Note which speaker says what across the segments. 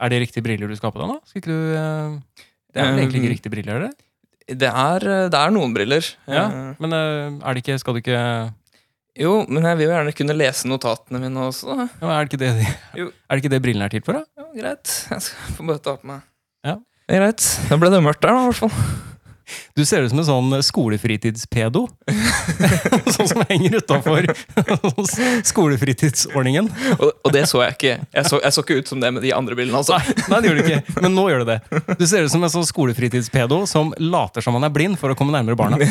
Speaker 1: Er det riktige briller du skal ha på deg nå? Skal ikke du... eh, Det er vel egentlig ikke riktige briller, er det?
Speaker 2: Det er, eh, det er noen briller.
Speaker 1: Ja,
Speaker 2: Eh,
Speaker 1: men eh, er det ikke, skal du ikke ja,
Speaker 2: Jo, men jeg vil jo gjerne kunne lese notatene mine også. da.
Speaker 1: men er, det ikke det, de-
Speaker 2: Jo.
Speaker 1: er det ikke det brillene er til for, da?
Speaker 2: Ja, greit. Jeg skal få bare ta på meg.
Speaker 1: Ja.
Speaker 2: Det er greit. Da ble det mørkt der, da, i hvert fall.
Speaker 1: Du ser ut som en sånn skolefritidspedo. sånn som henger utafor skolefritidsordningen.
Speaker 2: Og, og det så jeg ikke. Jeg så, jeg så ikke ut som det med de andre bildene. altså.
Speaker 1: Nei, nei, det gjør du ikke, men nå gjør du det. Du ser ut som en sånn skolefritidspedo som later som han er blind for å komme nærmere barna.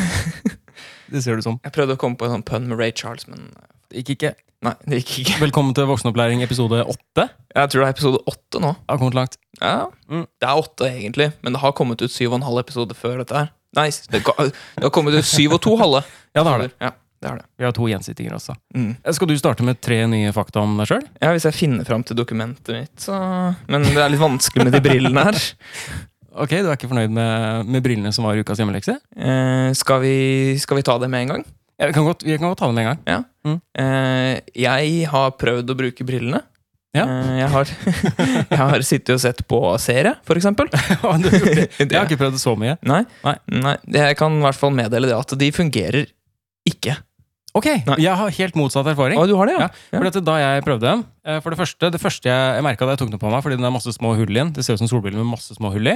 Speaker 1: Det ser du som.
Speaker 2: Jeg prøvde å komme på en sånn pønn med Ray Charles, men eh,
Speaker 1: Ikke, ikke.
Speaker 2: nei, det gikk ikke.
Speaker 1: Velkommen til voksenopplæring episode åtte.
Speaker 2: Jeg tror det er episode åtte nå.
Speaker 1: Har kommet langt.
Speaker 2: Ja,
Speaker 1: Mm.
Speaker 2: Det er åtte, egentlig, men det har kommet ut syv og en halv episode før dette her. Nei, det, ka- det har kommet ut syv og to halve.
Speaker 1: Ja, det har det.
Speaker 2: Ja, det har det.
Speaker 1: Vi har to gjensittinger også.
Speaker 2: Mm.
Speaker 1: Skal du starte med tre nye fakta om deg sjøl?
Speaker 2: Ja, Hvis jeg finner fram til dokumentet mitt, så Men det er litt vanskelig med de brillene her.
Speaker 1: Ok, du er ikke fornøyd med, med brillene som var i ukas hjemmelekse?
Speaker 2: Eh, skal, vi, skal vi ta det med en gang?
Speaker 1: Ja, vi, kan godt, vi kan godt ta det med en gang.
Speaker 2: Eh, jeg har prøvd å bruke brillene.
Speaker 1: Ja.
Speaker 2: Eh, jeg, har, jeg har sittet og sett på serie, for eksempel.
Speaker 1: Ja, du har gjort det. Jeg har
Speaker 2: Det-
Speaker 1: ikke prøvd det så mye.
Speaker 2: Nei,
Speaker 1: Nei.
Speaker 2: nei, jeg kan i hvert fall meddele det at de fungerer ikke.
Speaker 1: Ok,
Speaker 2: Nei.
Speaker 1: jeg har helt motsatt erfaring.
Speaker 2: Å, du har det, ja?
Speaker 1: For dette, da jeg prøvde dem eh, For det første, det første jeg, jeg merka da jeg tok den på meg, fordi den har masse små hull i den. Det ser ut som solbriller med masse små hull i.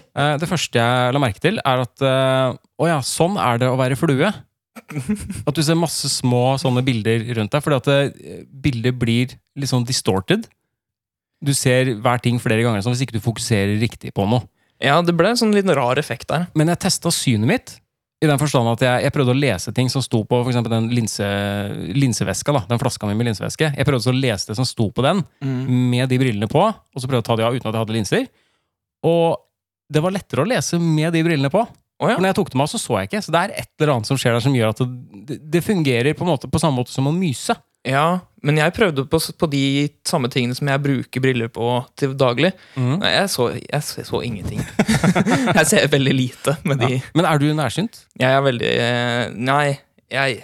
Speaker 1: Eh, Det første jeg la merke til, er at eh, Å ja, sånn er det å være flue. At du ser masse små sånne bilder rundt deg. Fordi at eh, bildet blir litt sånn distorted. Du ser hver ting flere ganger sånn, hvis ikke du fokuserer riktig på noe.
Speaker 2: Ja, det ble en sånn liten rar effekt der.
Speaker 1: Men jeg testa synet mitt. I den forstand at jeg, jeg prøvde å lese ting som sto på for eksempel den linse, linseveska. da, Den flaska mi med linsevæske. Jeg prøvde så å lese det som sto på den,
Speaker 2: Mm.
Speaker 1: med de brillene på. Og så prøvde jeg å ta de av uten at jeg hadde linser. Og det var lettere å lese med de brillene på.
Speaker 2: Å ja.
Speaker 1: For når jeg tok dem av, så så jeg ikke. Så det er et eller annet som skjer der som gjør at det, det fungerer på, en måte, på samme måte som å myse.
Speaker 2: ja, men jeg prøvde på, s- på de samme tingene som jeg bruker briller på til daglig. Nei, jeg så, jeg så, jeg så ingenting. jeg ser veldig lite med de.
Speaker 1: Ja. Men er du nærsynt?
Speaker 2: Jeg er veldig eh, Nei, jeg,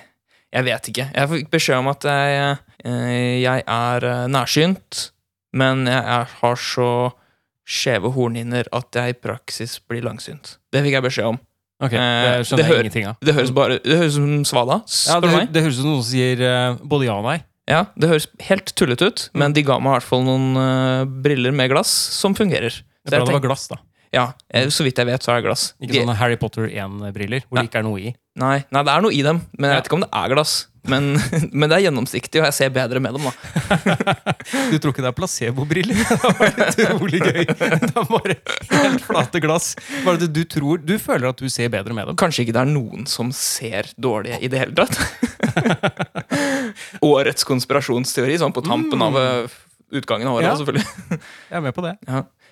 Speaker 2: jeg vet ikke. Jeg fikk beskjed om at jeg, eh, jeg er eh, nærsynt, men jeg er, har så skjeve hornhinner at jeg i praksis blir langsynt. Det fikk jeg beskjed om.
Speaker 1: Ok, Det
Speaker 2: Eh, det
Speaker 1: skjønner
Speaker 2: hører-
Speaker 1: jeg ingenting av.
Speaker 2: Det høres bare Det høres ut som svada.
Speaker 1: Ja,
Speaker 2: Spør
Speaker 1: det,
Speaker 2: ja,
Speaker 1: hø-
Speaker 2: meg.
Speaker 1: det høres ut som noen som sier eh, både ja og nei.
Speaker 2: Ja, det høres helt tullete ut,
Speaker 1: Mm.
Speaker 2: men de ga meg i hvert fall noen eh, briller med glass som fungerer.
Speaker 1: Det er
Speaker 2: Så
Speaker 1: bra
Speaker 2: jeg
Speaker 1: det
Speaker 2: tenk-
Speaker 1: var glass, da.
Speaker 2: ja, eh, så vidt jeg vet, så er det glass.
Speaker 1: Ikke
Speaker 2: De,
Speaker 1: sånne Harry Potter 1-briller hvor
Speaker 2: Ja.
Speaker 1: det ikke er noe i.
Speaker 2: nei, nei, det er noe i dem, men jeg
Speaker 1: Ja.
Speaker 2: vet ikke om det er glass. Men, men det er gjennomsiktig, og jeg ser bedre med dem. da
Speaker 1: Du tror ikke det er placebobriller? Det var utrolig gøy. Det er bare helt flate glass. Bare at du tror, du føler at du ser bedre med dem.
Speaker 2: Kanskje ikke det er noen som ser dårlige i det hele tatt. Årets konspirasjonsteori, sånn på tampen av eh, utgangen av året,
Speaker 1: Ja.
Speaker 2: selvfølgelig.
Speaker 1: Jeg er med på det.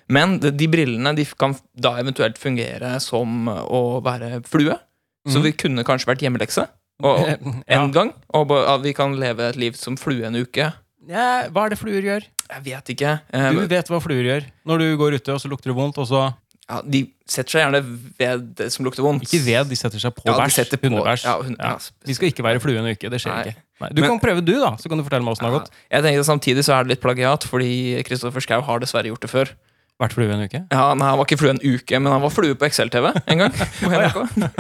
Speaker 2: Men de, de brillene de kan da eventuelt fungere som å være flue. Så
Speaker 1: Mhm.
Speaker 2: vi kunne kanskje vært hjemmelekse. Og,
Speaker 1: Ja.
Speaker 2: en gang. Og ba- at vi kan leve et liv som flue en uke.
Speaker 1: Ja, hva er det fluer gjør?
Speaker 2: Jeg vet ikke. eh,
Speaker 1: Du vet hva fluer gjør. Når du går ute, og så lukter det vondt, og så
Speaker 2: Ja, de setter seg gjerne ved det som lukter vondt.
Speaker 1: Ikke ved, de setter seg på
Speaker 2: Ja, de
Speaker 1: bæsj.
Speaker 2: setter på-
Speaker 1: Hundebæsj.
Speaker 2: ja, hun-
Speaker 1: Ja.
Speaker 2: ja.
Speaker 1: Vi skal ikke være flue en uke. Det skjer
Speaker 2: Nei.
Speaker 1: ikke. Nei. Du
Speaker 2: Men-
Speaker 1: kan prøve, du, da. Så kan du fortelle meg åssen det har gått.
Speaker 2: Ja, Jeg tenker Samtidig så er det litt plagiat, fordi Kristoffer Schau har dessverre gjort det før.
Speaker 1: Vært flue en uke?
Speaker 2: Ja, nei, Han var ikke flue en uke, men han var flue på Excel-TV en gang. på NRK.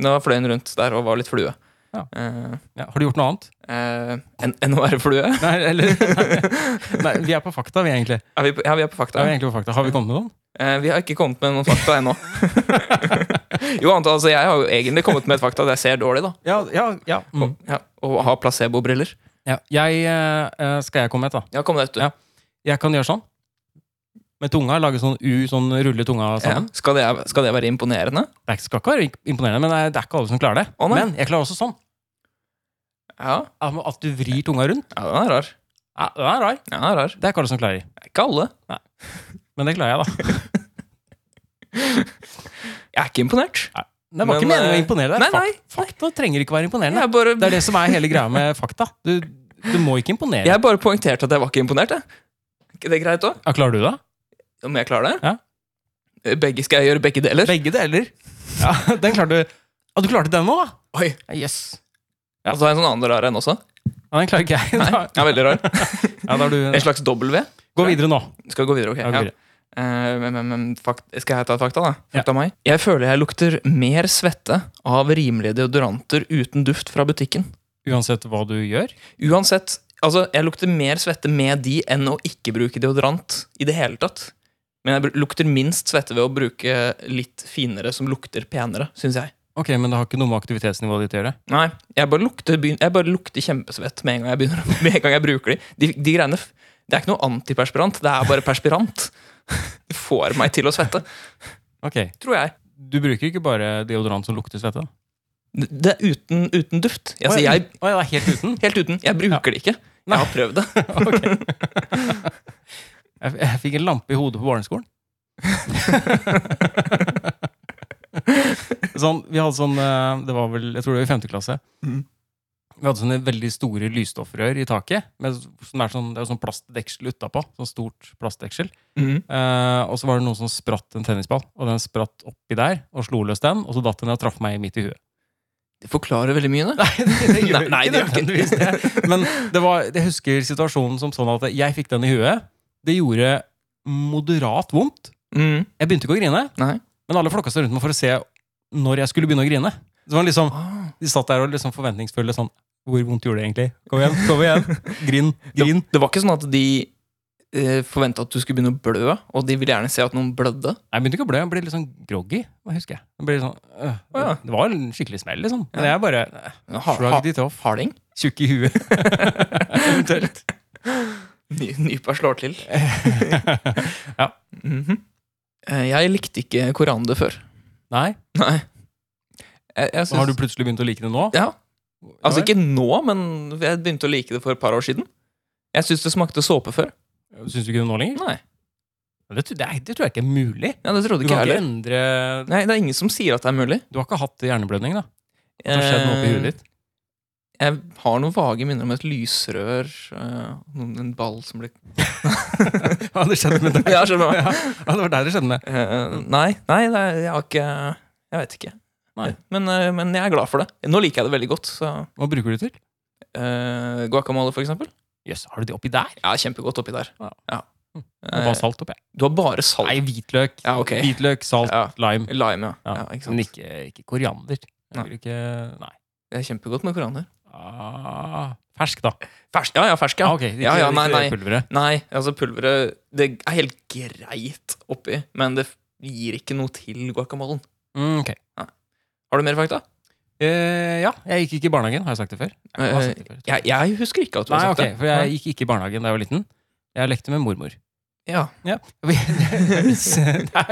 Speaker 2: Da fløy han rundt der og var litt flue.
Speaker 1: Ja.
Speaker 2: Eh,
Speaker 1: Ja. Har du gjort noe annet?
Speaker 2: eh, enn enn å være flue?
Speaker 1: Nei, eller Nei, vi er på fakta, vi, egentlig.
Speaker 2: Er vi på, ja, vi er på
Speaker 1: Ja,
Speaker 2: fakta.
Speaker 1: vi er egentlig på fakta. Har vi kommet med noen?
Speaker 2: Eh, vi har ikke kommet med noen fakta ennå. jo, annet, altså, jeg har jo egentlig kommet med et fakta at jeg ser dårlig, da.
Speaker 1: Ja, ja, ja. Mm.
Speaker 2: Ja, og har placebobriller.
Speaker 1: ja. Jeg, eh, skal jeg komme med et, da?
Speaker 2: Ja, kom deg ut, du.
Speaker 1: Ja, Jeg kan gjøre sånn. Med tunga. Lage sånn U, sånn rulle tunga sammen.
Speaker 2: Ja. Skal, det, skal det være imponerende?
Speaker 1: Det er- skal ikke være imponerende, men det er- det er ikke alle som klarer det.
Speaker 2: Å, nei.
Speaker 1: men jeg klarer også sånn.
Speaker 2: Ja,
Speaker 1: At at du vrir tunga rundt.
Speaker 2: ja den er rar.
Speaker 1: Ja, den er rar.
Speaker 2: Ja, den er rar.
Speaker 1: Det er ikke alle som klarer.
Speaker 2: Ikke alle.
Speaker 1: Men det klarer jeg, da.
Speaker 2: Jeg er ikke imponert.
Speaker 1: Det var ikke
Speaker 2: Men,
Speaker 1: meningen å
Speaker 2: eh,
Speaker 1: imponere deg.
Speaker 2: nei, nei,
Speaker 1: Fak- Fakta trenger ikke være imponerende.
Speaker 2: Jeg bare,
Speaker 1: Det er det som er hele greia med fakta. Du, du må ikke imponere.
Speaker 2: jeg bare poengterte at jeg var ikke imponert. Jeg. Er ikke det greit òg?
Speaker 1: Ja, klarer du det?
Speaker 2: Om jeg klarer det?
Speaker 1: Ja.
Speaker 2: Begge skal jeg gjøre begge deler.
Speaker 1: Begge deler. Ja, den klarte du. Ja, du klarte den nå, da?
Speaker 2: Oi,
Speaker 1: Ja, Yes.
Speaker 2: Og så har jeg en sånn annen rar en også.
Speaker 1: Ja, den klarer ikke jeg.
Speaker 2: Nei,
Speaker 1: Da,
Speaker 2: den er veldig rar.
Speaker 1: ja, da har du,
Speaker 2: En slags W.
Speaker 1: Gå videre nå.
Speaker 2: Skal vi gå videre, ok?
Speaker 1: Ja, gå
Speaker 2: Ja.
Speaker 1: videre.
Speaker 2: Eh, men, men, men fakt, skal jeg ta et fakta, da?
Speaker 1: Ja.
Speaker 2: Fakta meg. Jeg føler jeg lukter mer svette av rimelige deodoranter uten duft fra butikken.
Speaker 1: Uansett hva du gjør.
Speaker 2: Uansett, altså, jeg lukter mer svette med de enn å ikke bruke deodorant i det hele tatt. Men jeg br- lukter minst svette ved å bruke litt finere som lukter penere, syns jeg.
Speaker 1: Ok, Men det har ikke noe med aktivitetsnivået ditt å gjøre?
Speaker 2: Nei, jeg bare lukter, begyn- jeg bare lukter kjempesvett med en gang jeg, begynner, med en gang jeg bruker de. de. De greiene f- Det er ikke noe antiperspirant, det er bare perspirant. Det får meg til å svette,
Speaker 1: Ok,
Speaker 2: tror jeg.
Speaker 1: Du bruker ikke bare deodorant som lukter svette? da?
Speaker 2: Det det er uten, uten duft. Jeg,
Speaker 1: Å,
Speaker 2: sier
Speaker 1: ja,
Speaker 2: jeg,
Speaker 1: å, ja, det er helt uten?
Speaker 2: helt uten. Jeg bruker det ikke.
Speaker 1: Nei.
Speaker 2: Jeg har prøvd det.
Speaker 1: Ok. Jeg, jeg fikk en lampe i hodet på barneskolen. sånn, vi hadde sånn eh, Det var vel, jeg tror det var i femte klasse.
Speaker 2: Mhm.
Speaker 1: Vi hadde sånne veldig store lysstoffrør i taket. Med, sånn, der, sånn, det er sånn plastdeksel utapå. Sånn stort plastdeksel.
Speaker 2: Mm.
Speaker 1: Eh, og så var det noen som spratt en tennisball, og den spratt oppi der og slo løs den. Og så datt den ned og traff meg midt i huet.
Speaker 2: Det forklarer veldig mye, det.
Speaker 1: det
Speaker 2: Nei, nei, det gjør ikke.
Speaker 1: nødvendigvis det. Men det var, jeg husker situasjonen som sånn at jeg fikk den i huet. Det gjorde moderat vondt.
Speaker 2: Mm.
Speaker 1: Jeg begynte ikke å grine,
Speaker 2: Nei.
Speaker 1: men alle flokka seg rundt meg for å se når jeg skulle begynne å grine. Så det var liksom,
Speaker 2: Ah.
Speaker 1: De satt der og liksom forventningsfulle sånn Hvor vondt gjorde det egentlig? Kom igjen, kom igjen. Grin, grin.
Speaker 2: Det, det var ikke sånn at de eh, forventa at du skulle begynne å blø, og de ville gjerne se at noen blødde.
Speaker 1: Nei, Jeg begynte ikke å blø, jeg ble litt sånn groggy. hva husker jeg. jeg ble litt sånn, øh,
Speaker 2: Å, ja.
Speaker 1: Det var en skikkelig smell, liksom. Men
Speaker 2: Ja.
Speaker 1: jeg bare
Speaker 2: Ha, ha,
Speaker 1: shrugged it off.
Speaker 2: harding?
Speaker 1: Tjukk i huet, eventuelt.
Speaker 2: Ny- Nypa slår til.
Speaker 1: Ja.
Speaker 2: Mhm. Eh, Jeg likte ikke korande før.
Speaker 1: Nei,
Speaker 2: Nei. Jeg, jeg
Speaker 1: så har du
Speaker 2: syns-
Speaker 1: plutselig begynt å like det nå?
Speaker 2: Ja. Altså
Speaker 1: Ja,
Speaker 2: ikke nå, men jeg begynte å like det for et par år siden. Jeg syns det smakte såpe før.
Speaker 1: Syns du ikke det nå lenger?
Speaker 2: Nei,
Speaker 1: Det, tr- det, er- det tror jeg ikke er mulig.
Speaker 2: ja, Det trodde
Speaker 1: Du
Speaker 2: ikke
Speaker 1: kan
Speaker 2: jeg
Speaker 1: ikke
Speaker 2: heller.
Speaker 1: endre
Speaker 2: Nei, Det er ingen som sier at det er mulig.
Speaker 1: Du har ikke hatt hjerneblødning, da? Det har skjedd noe oppi huet
Speaker 2: Eh,
Speaker 1: ditt?
Speaker 2: Jeg har noen vage minner om et lysrør, eh, noen- en ball som ble
Speaker 1: Ja, det skjedde med deg.
Speaker 2: Eh, Ja, skjønner du hva?
Speaker 1: Ja, ja, det var der det skjedde med.
Speaker 2: Eh, nei, nei det er, jeg har ikke Jeg vet ikke.
Speaker 1: Nei.
Speaker 2: Men, eh, men jeg er glad for det. Nå liker jeg det veldig godt. Så,
Speaker 1: Hva bruker du det til?
Speaker 2: eh, guacamole, for eksempel.
Speaker 1: Jøss, har du det oppi der?
Speaker 2: Ja, kjempegodt oppi der.
Speaker 1: Ja.
Speaker 2: Eh,
Speaker 1: Det var salt oppi.
Speaker 2: du har bare salt.
Speaker 1: Nei, hvitløk.
Speaker 2: Ja, ok.
Speaker 1: Hvitløk, salt,
Speaker 2: Ja.
Speaker 1: lime.
Speaker 2: Lime, ja. ja.
Speaker 1: Ja,
Speaker 2: ikke sant?
Speaker 1: Men ikke, ikke koriander.
Speaker 2: Nei.
Speaker 1: Jeg vil ikke Nei.
Speaker 2: Det er kjempegodt med koraner.
Speaker 1: Ah, fersk, da.
Speaker 2: Fersk, ja, ja, fersk, ja.
Speaker 1: Ah, ok, ikke,
Speaker 2: Ja, ja, nei,
Speaker 1: ikke
Speaker 2: nei.
Speaker 1: pulveret.
Speaker 2: Nei, altså pulveret Det er helt greit oppi, men det gir ikke noe til guacamolen.
Speaker 1: Mm, ok.
Speaker 2: Har du mer fakta?
Speaker 1: Eh, ja, jeg gikk ikke i barnehagen. Har jeg sagt det før? Jeg har
Speaker 2: Eh,
Speaker 1: sagt det før.
Speaker 2: Jeg, jeg husker ikke at du
Speaker 1: Nei,
Speaker 2: har sagt
Speaker 1: ok,
Speaker 2: det.
Speaker 1: for jeg gikk ikke i barnehagen da jeg var liten. Jeg lekte med mormor.
Speaker 2: Ja.
Speaker 1: Ja. det er ikke sånn det